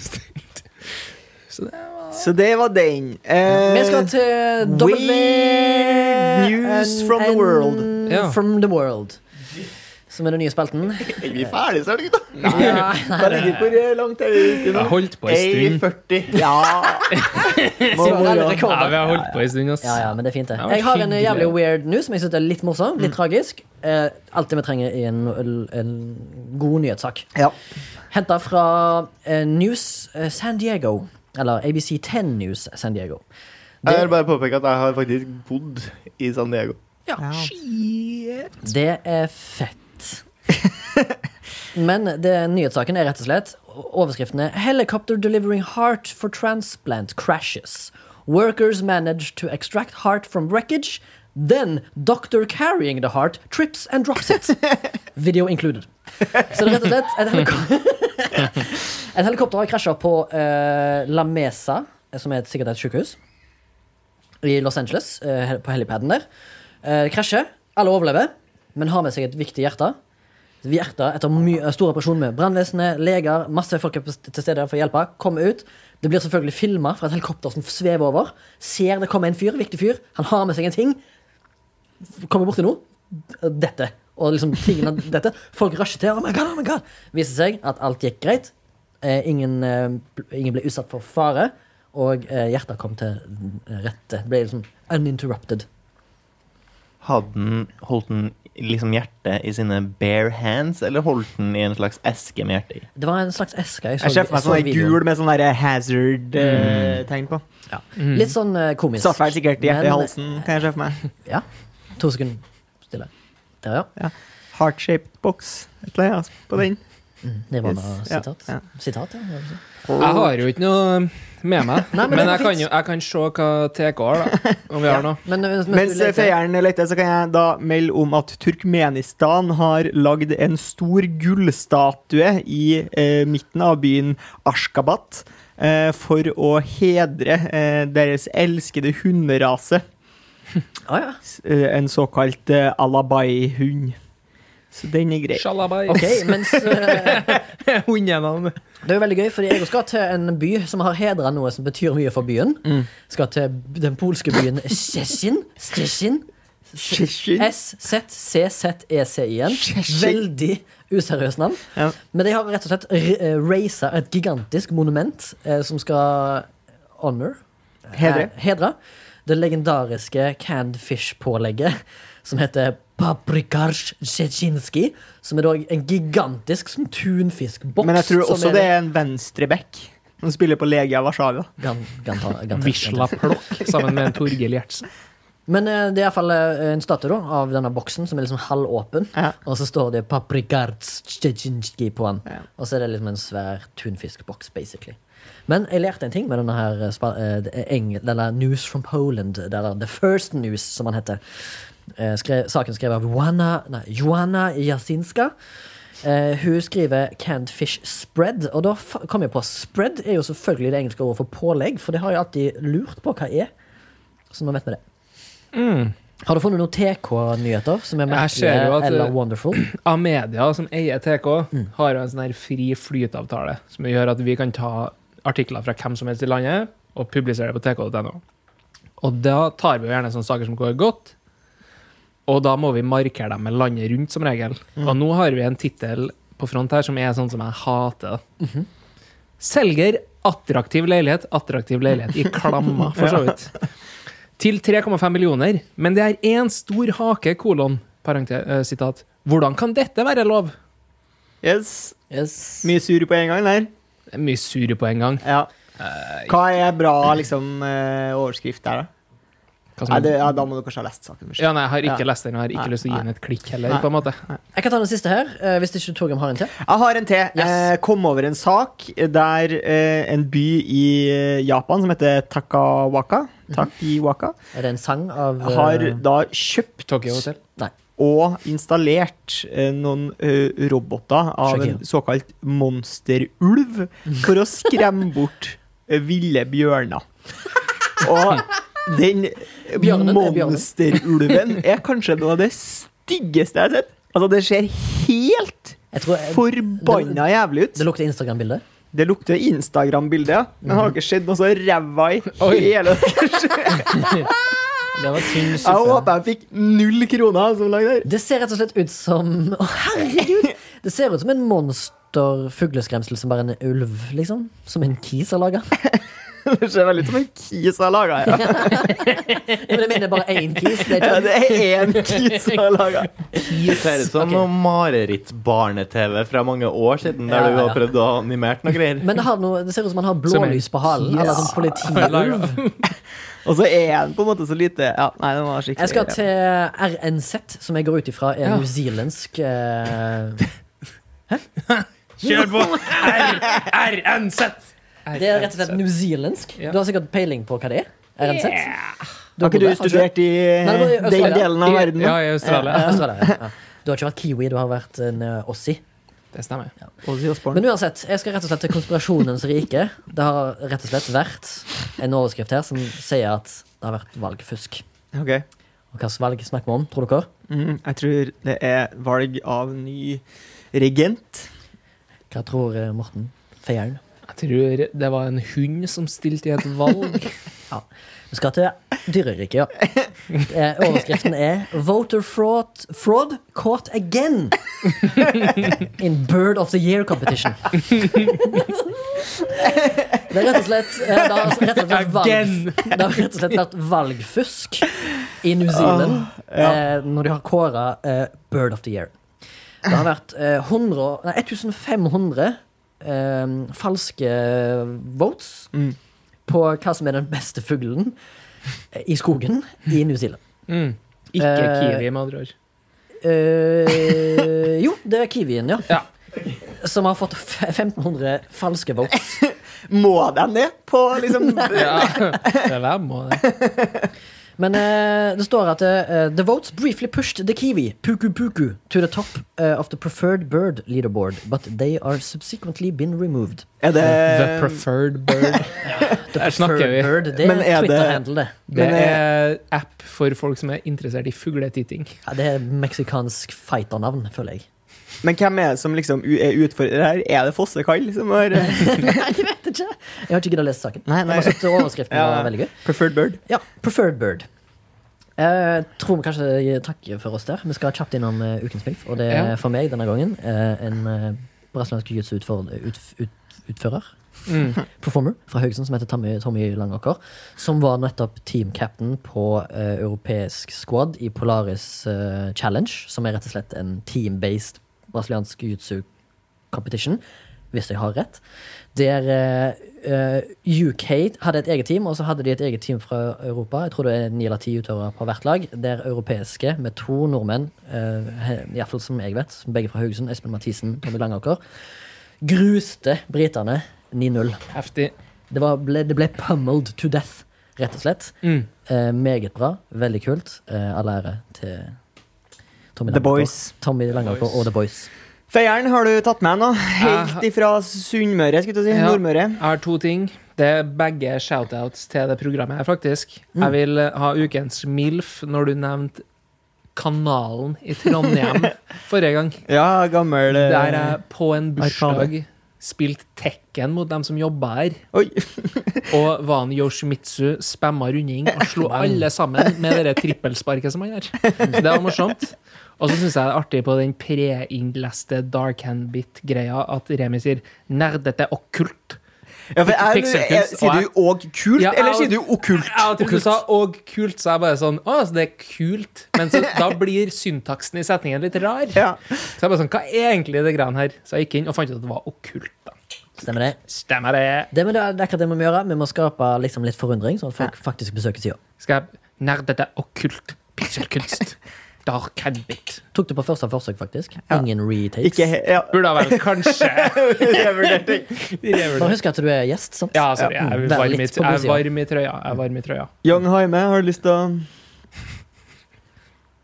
Speaker 4: Så det var den. Eh,
Speaker 3: Vi skal til W
Speaker 4: Weird news from the world.
Speaker 3: and
Speaker 1: Ja.
Speaker 3: From the world. Som er den nye spalten.
Speaker 5: Er vi ferdige snart, gutta?
Speaker 4: Hva ligger hvor langt er vi ute nå?
Speaker 1: Jeg holdt på en stund.
Speaker 5: 1,40.
Speaker 4: Ja. Må,
Speaker 3: Sier
Speaker 4: må,
Speaker 3: alle
Speaker 4: ja.
Speaker 1: Ja,
Speaker 3: rekorder.
Speaker 1: vi har holdt på en stund, ass. Mm.
Speaker 3: Ja, ja, men det er fint, det.
Speaker 1: Ja, men
Speaker 3: Jeg har en
Speaker 1: hyggelig. Mm.
Speaker 3: jævlig weird news som jeg syns er litt morsom. Litt tragisk. Eh, alt det vi trenger, er en, en god nyhetssak.
Speaker 4: Ja.
Speaker 3: Henta fra eh, News eh, San Diego. Eller ABC10 News San Diego.
Speaker 1: Eh,
Speaker 5: Jeg vil bare påpeke at jeg har faktisk bodd i San Diego.
Speaker 3: Det er fett. [LAUGHS] Men det, nyhetssaken er rett og slett overskriften er 'Helicopter delivering heart for transplant crashes'. Workers manage to extract heart from wreckage. Then doctor carrying the heart trips and drops it. Video included. Så det er rett og slett et, heliko [LAUGHS] et helikopter har krasja på eh, La Mesa, som er et- sikkert et sykehus, i Los Angeles, eh, hel- på helipaden der. Eh, det krasjer. Alle overlever, men har med seg et viktig hjerte. Hjertet etter mye, eh, store operasjoner med brannvesenet, leger, masse folk er på- til stede for å hjelpe. Kommer ut. Det blir selvfølgelig filma fra et helikopter som svever over. Ser det kommer en fyr, viktig fyr. Han har med seg en ting. F- Kommer borti noe. Dette. Og liksom tingene [LAUGHS] dette. Folk rusher til. Oh my god, oh my god. Viser seg at alt gikk greit. Eh, ingen, eh, bl- ingen ble utsatt for fare. Og eh, hjertet kom til rette. Det ble liksom uninterrupted.
Speaker 5: Hadde den, holdt den liksom hjertet i sine bare hands, eller holdt den i en slags eske med hjertet i?
Speaker 3: Det var en slags eske.
Speaker 4: Jeg ser for meg sånn der
Speaker 3: videoen.
Speaker 4: gul med sånn der hazard-tegn på.
Speaker 3: Ja.
Speaker 1: Mm.
Speaker 3: Litt sånn eh, komisk.
Speaker 4: Satt vel sikkert hjertet i
Speaker 3: Men-
Speaker 4: halsen, kan jeg se for meg.
Speaker 3: Ja. To sekunder stille. Der, ja.
Speaker 4: Heart-shaped box. Et eller annet altså, på den.
Speaker 3: Mm. Det var
Speaker 4: Yes.
Speaker 3: noe
Speaker 4: Ja,
Speaker 3: sitat.
Speaker 4: ja.
Speaker 3: Sitat, ja.
Speaker 1: Jeg har jo ikke noe med meg,
Speaker 3: Nei, men
Speaker 1: men
Speaker 3: det
Speaker 1: jeg kan,
Speaker 3: finnes.
Speaker 1: jo, jeg kan se hva TK har, da. Om vi har noe.
Speaker 3: Men, eh, mens
Speaker 4: Mens
Speaker 3: du leter-
Speaker 4: feieren leter, så kan jeg da melde om at Turkmenistan har lagd en stor gullstatue i eh, midten av byen Ashkabat eh, for å hedre eh, deres elskede hunderase.
Speaker 3: Å, Ah, ja.
Speaker 4: S- eh, En såkalt eh, alabai-hund. Så den er
Speaker 3: [LAUGHS]
Speaker 4: grei.
Speaker 1: Shalabais.
Speaker 3: Ok, mens eh, [LAUGHS]
Speaker 1: Hundenavn.
Speaker 3: Det er jo veldig gøy, fordi jeg skal til en by som har hedra noe som betyr mye for byen.
Speaker 4: Mm.
Speaker 3: Skal til den polske byen Szczecin. Szczecin.
Speaker 4: Shishir.
Speaker 3: E S-Z-C-Z-E-C-I-N. Veldig useriøst navn.
Speaker 4: Ja.
Speaker 3: Men de har rett og slett r- eh, raisa et gigantisk monument eh, som skal honor
Speaker 4: Hedre.
Speaker 3: eh, hedre det legendariske canned fish-pålegget som heter paprikarz tsjetsjinski. Som er da en gigantisk sånn tunfiskboks.
Speaker 4: Men jeg tror
Speaker 3: som
Speaker 4: også det er en venstreback som spiller på Legia Warszawa.
Speaker 3: gan, ganta, ganta,
Speaker 1: Visla Plokk sammen med en Torgill Gjertsen.
Speaker 3: Men eh, det er iallfall en statue da, av denne boksen som er liksom halvåpen.
Speaker 4: Ja.
Speaker 3: Og så står det 'Paprikarz Szczeciński' på den.
Speaker 4: Ja.
Speaker 3: Og så er det liksom en svær tunfiskboks, basically. Men jeg lærte en ting med denne her eh, spa- eh, det er eng- denne News from Poland, eller The First News, som han heter. Eh, Skrev, saken skrev av Joanna, nei, Joanna Jasinska. Eh, hun skriver 'canned fish spread', og da fa- kom jeg på spread er jo selvfølgelig det engelske ordet for pålegg, for det har jeg alltid lurt på hva er. Så nå vet vi det. Har du funnet noen TK-nyheter som er
Speaker 1: Mm. Jeg ser jo
Speaker 3: merkelige
Speaker 1: at- eh,
Speaker 3: eller wonderful?
Speaker 1: Amedia, som eier TK, har jo en sånn her fri flytavtale som gjør at vi kan ta artikler fra hvem som helst i landet og publisere det på tk.no. Og da tar vi jo gjerne sånne saker som går godt, og da må vi markere dem med landet rundt, som regel. Og nå har vi en tittel på front her som er sånn som jeg hater. Selger attraktiv leilighet, attraktiv leilighet i klammer, for så vidt. Til 3,5 millioner, men det er én stor hake, kolon, parente, eh, sitat. Hvordan kan dette være lov?
Speaker 4: Yes.
Speaker 3: Yes.
Speaker 4: Mye sur på en gang der.
Speaker 1: Det er Mye sure på en gang.
Speaker 4: Ja. Hva er bra liksom, eh, overskrift der, da?
Speaker 1: Hva som-
Speaker 4: Nei, det, ja, da må du kanskje ha lest saken først.
Speaker 1: ja, nei, jeg har ikke
Speaker 4: Ja.
Speaker 1: lest den, og jeg har ikke
Speaker 4: Nei,
Speaker 1: lyst til å gi
Speaker 4: nei.
Speaker 1: den et klikk heller,
Speaker 4: Nei.
Speaker 1: på en måte.
Speaker 3: Jeg kan ta den siste her, eh, hvis ikke Torgrim har en til.
Speaker 4: Jeg har en til.
Speaker 3: Yes.
Speaker 4: Eh, kom over en sak der eh, en by i eh, Japan som heter Takawaka, Takiwaka
Speaker 3: Er det en sang av eh,
Speaker 4: har da kjøpt
Speaker 1: Tokyo Hotel.
Speaker 3: Nei.
Speaker 4: og installert eh, noen eh, roboter av en
Speaker 3: Shakira.
Speaker 4: såkalt monsterulv for å skremme bort eh, ville bjørner. Og den
Speaker 3: Bjørnen er bjørnen.
Speaker 4: monsterulven er kanskje noe av det styggeste jeg har sett. Altså, det ser helt
Speaker 3: Jeg tror jeg-
Speaker 4: forbanna jævlig ut.
Speaker 3: Det lukter Instagram-bilde.
Speaker 4: Det lukter Instagram-bilde, ja. Men har ikke skjedd noe så ræva i
Speaker 1: Oi.
Speaker 3: [LAUGHS]
Speaker 4: hele deres
Speaker 1: Det var tynn
Speaker 4: Jeg håper jeg fikk null kroner som lagde det.
Speaker 3: Det ser rett og slett ut som Å, herregud! Det ser ut som en monster-fugleskremsel som bare en ulv, liksom. Som en kis har laga.
Speaker 4: [LAUGHS] Det ser veldig ut som en kis jeg har laga. Ja.
Speaker 3: Men jeg mener bare én kis. Det
Speaker 4: Ja,
Speaker 3: er ikke
Speaker 4: det er én kis jeg har laga.
Speaker 5: Det ser ut som
Speaker 3: Ok.
Speaker 5: noe mareritt-barne-TV fra mange år siden, der
Speaker 3: Ja,
Speaker 5: du
Speaker 3: ja,
Speaker 5: har
Speaker 3: ja.
Speaker 5: prøvd å animere noe greier.
Speaker 3: men det, har noe, det ser ut som han har
Speaker 1: Som en
Speaker 3: blålys på halen.
Speaker 4: kis.
Speaker 3: Eller sånn
Speaker 1: [LAUGHS]
Speaker 3: politiulv.
Speaker 4: Og så er han på en måte så lite Ja, nei, den var skikkelig
Speaker 3: Jeg skal til RNZ, som jeg går ut ifra er newzealandsk
Speaker 1: [LAUGHS]
Speaker 3: eh,
Speaker 1: Kjør på! RNZ!
Speaker 3: Det er rett og slett newzealandsk.
Speaker 1: Ja.
Speaker 3: Du har sikkert peiling på hva det er? RNZ?
Speaker 4: Har ikke du
Speaker 3: bodde-
Speaker 4: studert i
Speaker 3: Nei, det var i
Speaker 4: den
Speaker 3: Australia.
Speaker 4: delen av verden?
Speaker 1: Ja, i
Speaker 4: da?
Speaker 3: Ja,
Speaker 1: Australia.
Speaker 3: Australia, ja. Du har ikke vært kiwi, du har vært en eh, ossie.
Speaker 1: Det stemmer.
Speaker 4: Ozzy Osbourne.
Speaker 3: Men uansett, jeg skal rett og slett til konspirasjonens rike. Det har rett og slett vært en overskrift her som sier at det har vært valgfusk.
Speaker 4: Ok.
Speaker 3: Og hva slags valg snakker vi om, tror dere?
Speaker 4: Mm, jeg tror det er valg av ny regent.
Speaker 3: Hva tror eh, Morten Feieren?
Speaker 1: Jeg tror det var en hund som stilte i et
Speaker 4: [LAUGHS]
Speaker 1: valg.
Speaker 3: Vi skal til dyreriket, ja. Eh, Overskriften er 'Voter fraud, fraud caught again' in Bird of the Year competition. Det er rett og slett, eh, det har rett og slett,
Speaker 1: Again.
Speaker 3: valg, det har rett og slett vært valgfusk i New Zealand eh, når de har kåra eh, Bird of the Year. Det har vært eh, 100, og- nei, 1500 eh, falske votes på hva som er den beste fuglen eh, i skogen i New Zealand.
Speaker 1: Mm. Ikke
Speaker 3: Eh,
Speaker 1: kiwi, med andre ord.
Speaker 3: Eh, jo, det er kiwien, ja.
Speaker 1: Ja.
Speaker 3: Som har fått f- 1500 falske votes.
Speaker 4: Må de det på
Speaker 1: [LAUGHS]
Speaker 4: liksom [LAUGHS]
Speaker 1: Det var må det.
Speaker 3: Men eh, det står at eh, The votes briefly pushed the kiwi, puku puku, to the top eh, of the preferred bird leaderboard, but they are subsequently been removed.
Speaker 4: Er det
Speaker 1: The preferred bird.
Speaker 3: The
Speaker 1: Der snakker vi.
Speaker 3: preferred bird, det
Speaker 4: Men er
Speaker 3: er
Speaker 4: det-
Speaker 3: Twitter-handle, det.
Speaker 1: Det
Speaker 4: Men,
Speaker 1: er app for folk som er interessert i fugletitting.
Speaker 3: Ja, det er meksikansk fighternavn, føler
Speaker 4: [LAUGHS]
Speaker 3: jeg.
Speaker 4: Men hvem er det som liksom u- er utfordrer her? Er det Fossekall som har eh,
Speaker 3: Jeg har ikke giddet å lese saken.
Speaker 4: Nei, nei.
Speaker 3: Jeg har sett overskriften,
Speaker 4: [LAUGHS] Ja.
Speaker 3: det var veldig gøy.
Speaker 4: Preferred Bird?
Speaker 3: Ja, Preferred Bird. Eh, tror vi kanskje jeg takker for oss der. Vi skal kjapt innom eh, ukens MILF. Og det er
Speaker 1: Ja.
Speaker 3: for meg denne gangen eh, en eh, brasiliansk jiu-jitsu-utfører ut, ut, utfører.
Speaker 1: Mm.
Speaker 3: Performer fra Haugesund som heter Tommy, Tommy Langåker. Som var nettopp team captain på eh, europeisk squad i Polaris eh, Challenge. Som er rett og slett en team-based brasiliansk jiu-jitsu competition, hvis jeg har rett. Der eh, eh, UK hadde et eget team, og så hadde de et eget team fra Europa. Jeg tror det er ni eller ti utøvere på hvert lag. Der europeiske, med to nordmenn, eh, he- i hvert fall som jeg vet, som begge fra Haugesund, Espen Mathisen, Tommy Langaker, gruste britene 9-0.
Speaker 1: Heftig.
Speaker 3: Det, var- ble, det ble pummeled to death, rett og slett.
Speaker 1: Mm.
Speaker 3: Eh, meget bra. Veldig kult. Eh, all ære til Tommy
Speaker 4: The
Speaker 3: Langaker.
Speaker 4: Boys.
Speaker 3: Tommy Langaker og The Boys.
Speaker 4: Feieren har du tatt med nå. Helt ifra Sunnmøre, skulle du si.
Speaker 1: Ja.
Speaker 4: Nordmøre.
Speaker 1: Jeg har to ting. Det er begge shoutouts til det programmet her, faktisk.
Speaker 4: Mm.
Speaker 1: Jeg vil eh, ha ukens MILF når du nevnte Kanalen i
Speaker 4: [LAUGHS]
Speaker 1: Trondheim forrige gang.
Speaker 4: Ja, gammel eh,
Speaker 1: Der jeg på en bursdag
Speaker 4: Arkade.
Speaker 1: spilte Tekken mot dem som jobba her.
Speaker 4: Oi.
Speaker 1: [LAUGHS] Og Van Yoshimitsu spamma runding og slo alle sammen med det der trippelsparket som han gjør. Så det var morsomt. Og så syns jeg det er artig på den preinnleste Dark Hand-bit-greia at Remi sier 'nerdete og kult'.
Speaker 4: Ja, for jeg,
Speaker 1: Pixel Kunst,
Speaker 4: jeg,
Speaker 1: og
Speaker 4: sier
Speaker 1: jeg-
Speaker 4: du òg kult,
Speaker 1: Ja, jeg-
Speaker 4: eller sier du okkult?
Speaker 1: Jeg trodde du sa 'og kult', så jeg bare sånn 'Å, så det er kult'. Men så, da blir syntaksen i setningen litt rar.
Speaker 4: Ja.
Speaker 1: Så jeg bare sånn, hva er egentlig det greiene her? Så jeg gikk inn og fant ut at det var okkult. da.
Speaker 3: Stemmer det?
Speaker 1: Stemmer det.
Speaker 3: Det, men det er akkurat det vi må gjøre. Vi må skape liksom, litt forundring, sånn at folk faktisk besøker sida.
Speaker 1: Skal jeg nerdete okkult pikselkunst? Dark handbit.
Speaker 3: Tok det på første forsøk, faktisk.
Speaker 4: Ja.
Speaker 3: Ingen retakes.
Speaker 4: Ikke he- ja. [LAUGHS]
Speaker 1: Burde ha vel kanskje
Speaker 3: Bare husk at du er gjest, sånn. sant?
Speaker 1: Ja, sorry. Jeg er
Speaker 3: Vær
Speaker 1: varm i,
Speaker 3: litt på
Speaker 1: jeg er
Speaker 3: bussida.
Speaker 1: varm i trøya. Jeg er varm i trøya.
Speaker 4: Young Haime, har du lyst til å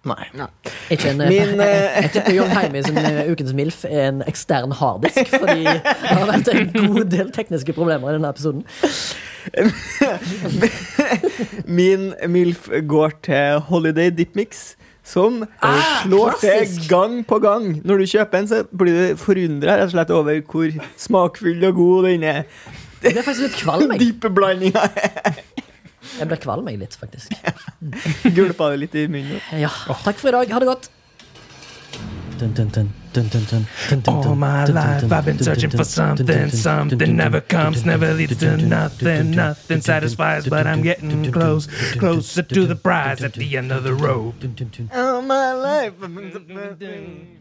Speaker 5: Nei.
Speaker 3: Ikke en,
Speaker 4: Min, eh,
Speaker 3: jeg tipper Jon Heimi sin eh, Ukens MILF er en ekstern harddisk, fordi det har vært en god del tekniske problemer i denne episoden.
Speaker 4: Min MILF går til Holiday Dipmix, som eh, slår
Speaker 3: klassisk!
Speaker 4: til gang på gang. Når du kjøper en, så blir du forundra rett og slett over hvor smakfull og god denne
Speaker 3: Jeg blir faktisk litt kvalm. Jeg,
Speaker 4: dype blandinga er. [LAUGHS]
Speaker 3: jeg blir kvalm jeg litt, faktisk.
Speaker 4: Gulpa det litt i munnen.
Speaker 3: Ja, takk for i dag. Ha det godt. Dun, dun, dun, dun, dun, dun, dun, dun,
Speaker 10: All my
Speaker 3: dun, dun,
Speaker 10: life
Speaker 3: dun,
Speaker 10: I've been
Speaker 3: dun,
Speaker 10: searching
Speaker 3: dun,
Speaker 10: for
Speaker 3: dun, dun, dun,
Speaker 10: something.
Speaker 3: dun,
Speaker 10: Something
Speaker 3: dun,
Speaker 10: never
Speaker 3: dun,
Speaker 10: comes,
Speaker 3: dun,
Speaker 10: never
Speaker 3: dun,
Speaker 10: leads
Speaker 3: dun,
Speaker 10: to
Speaker 3: dun, dun,
Speaker 10: nothing.
Speaker 3: dun,
Speaker 10: Nothing
Speaker 3: dun,
Speaker 10: satisfies,
Speaker 3: dun,
Speaker 10: but I'm
Speaker 3: dun,
Speaker 10: getting
Speaker 3: dun,
Speaker 10: close,
Speaker 3: dun, dun,
Speaker 10: closer
Speaker 3: dun,
Speaker 10: to the
Speaker 3: dun,
Speaker 10: prize
Speaker 3: dun,
Speaker 10: at
Speaker 3: dun,
Speaker 10: the end of the road.
Speaker 3: dun, dun, dun.
Speaker 4: Oh, my life.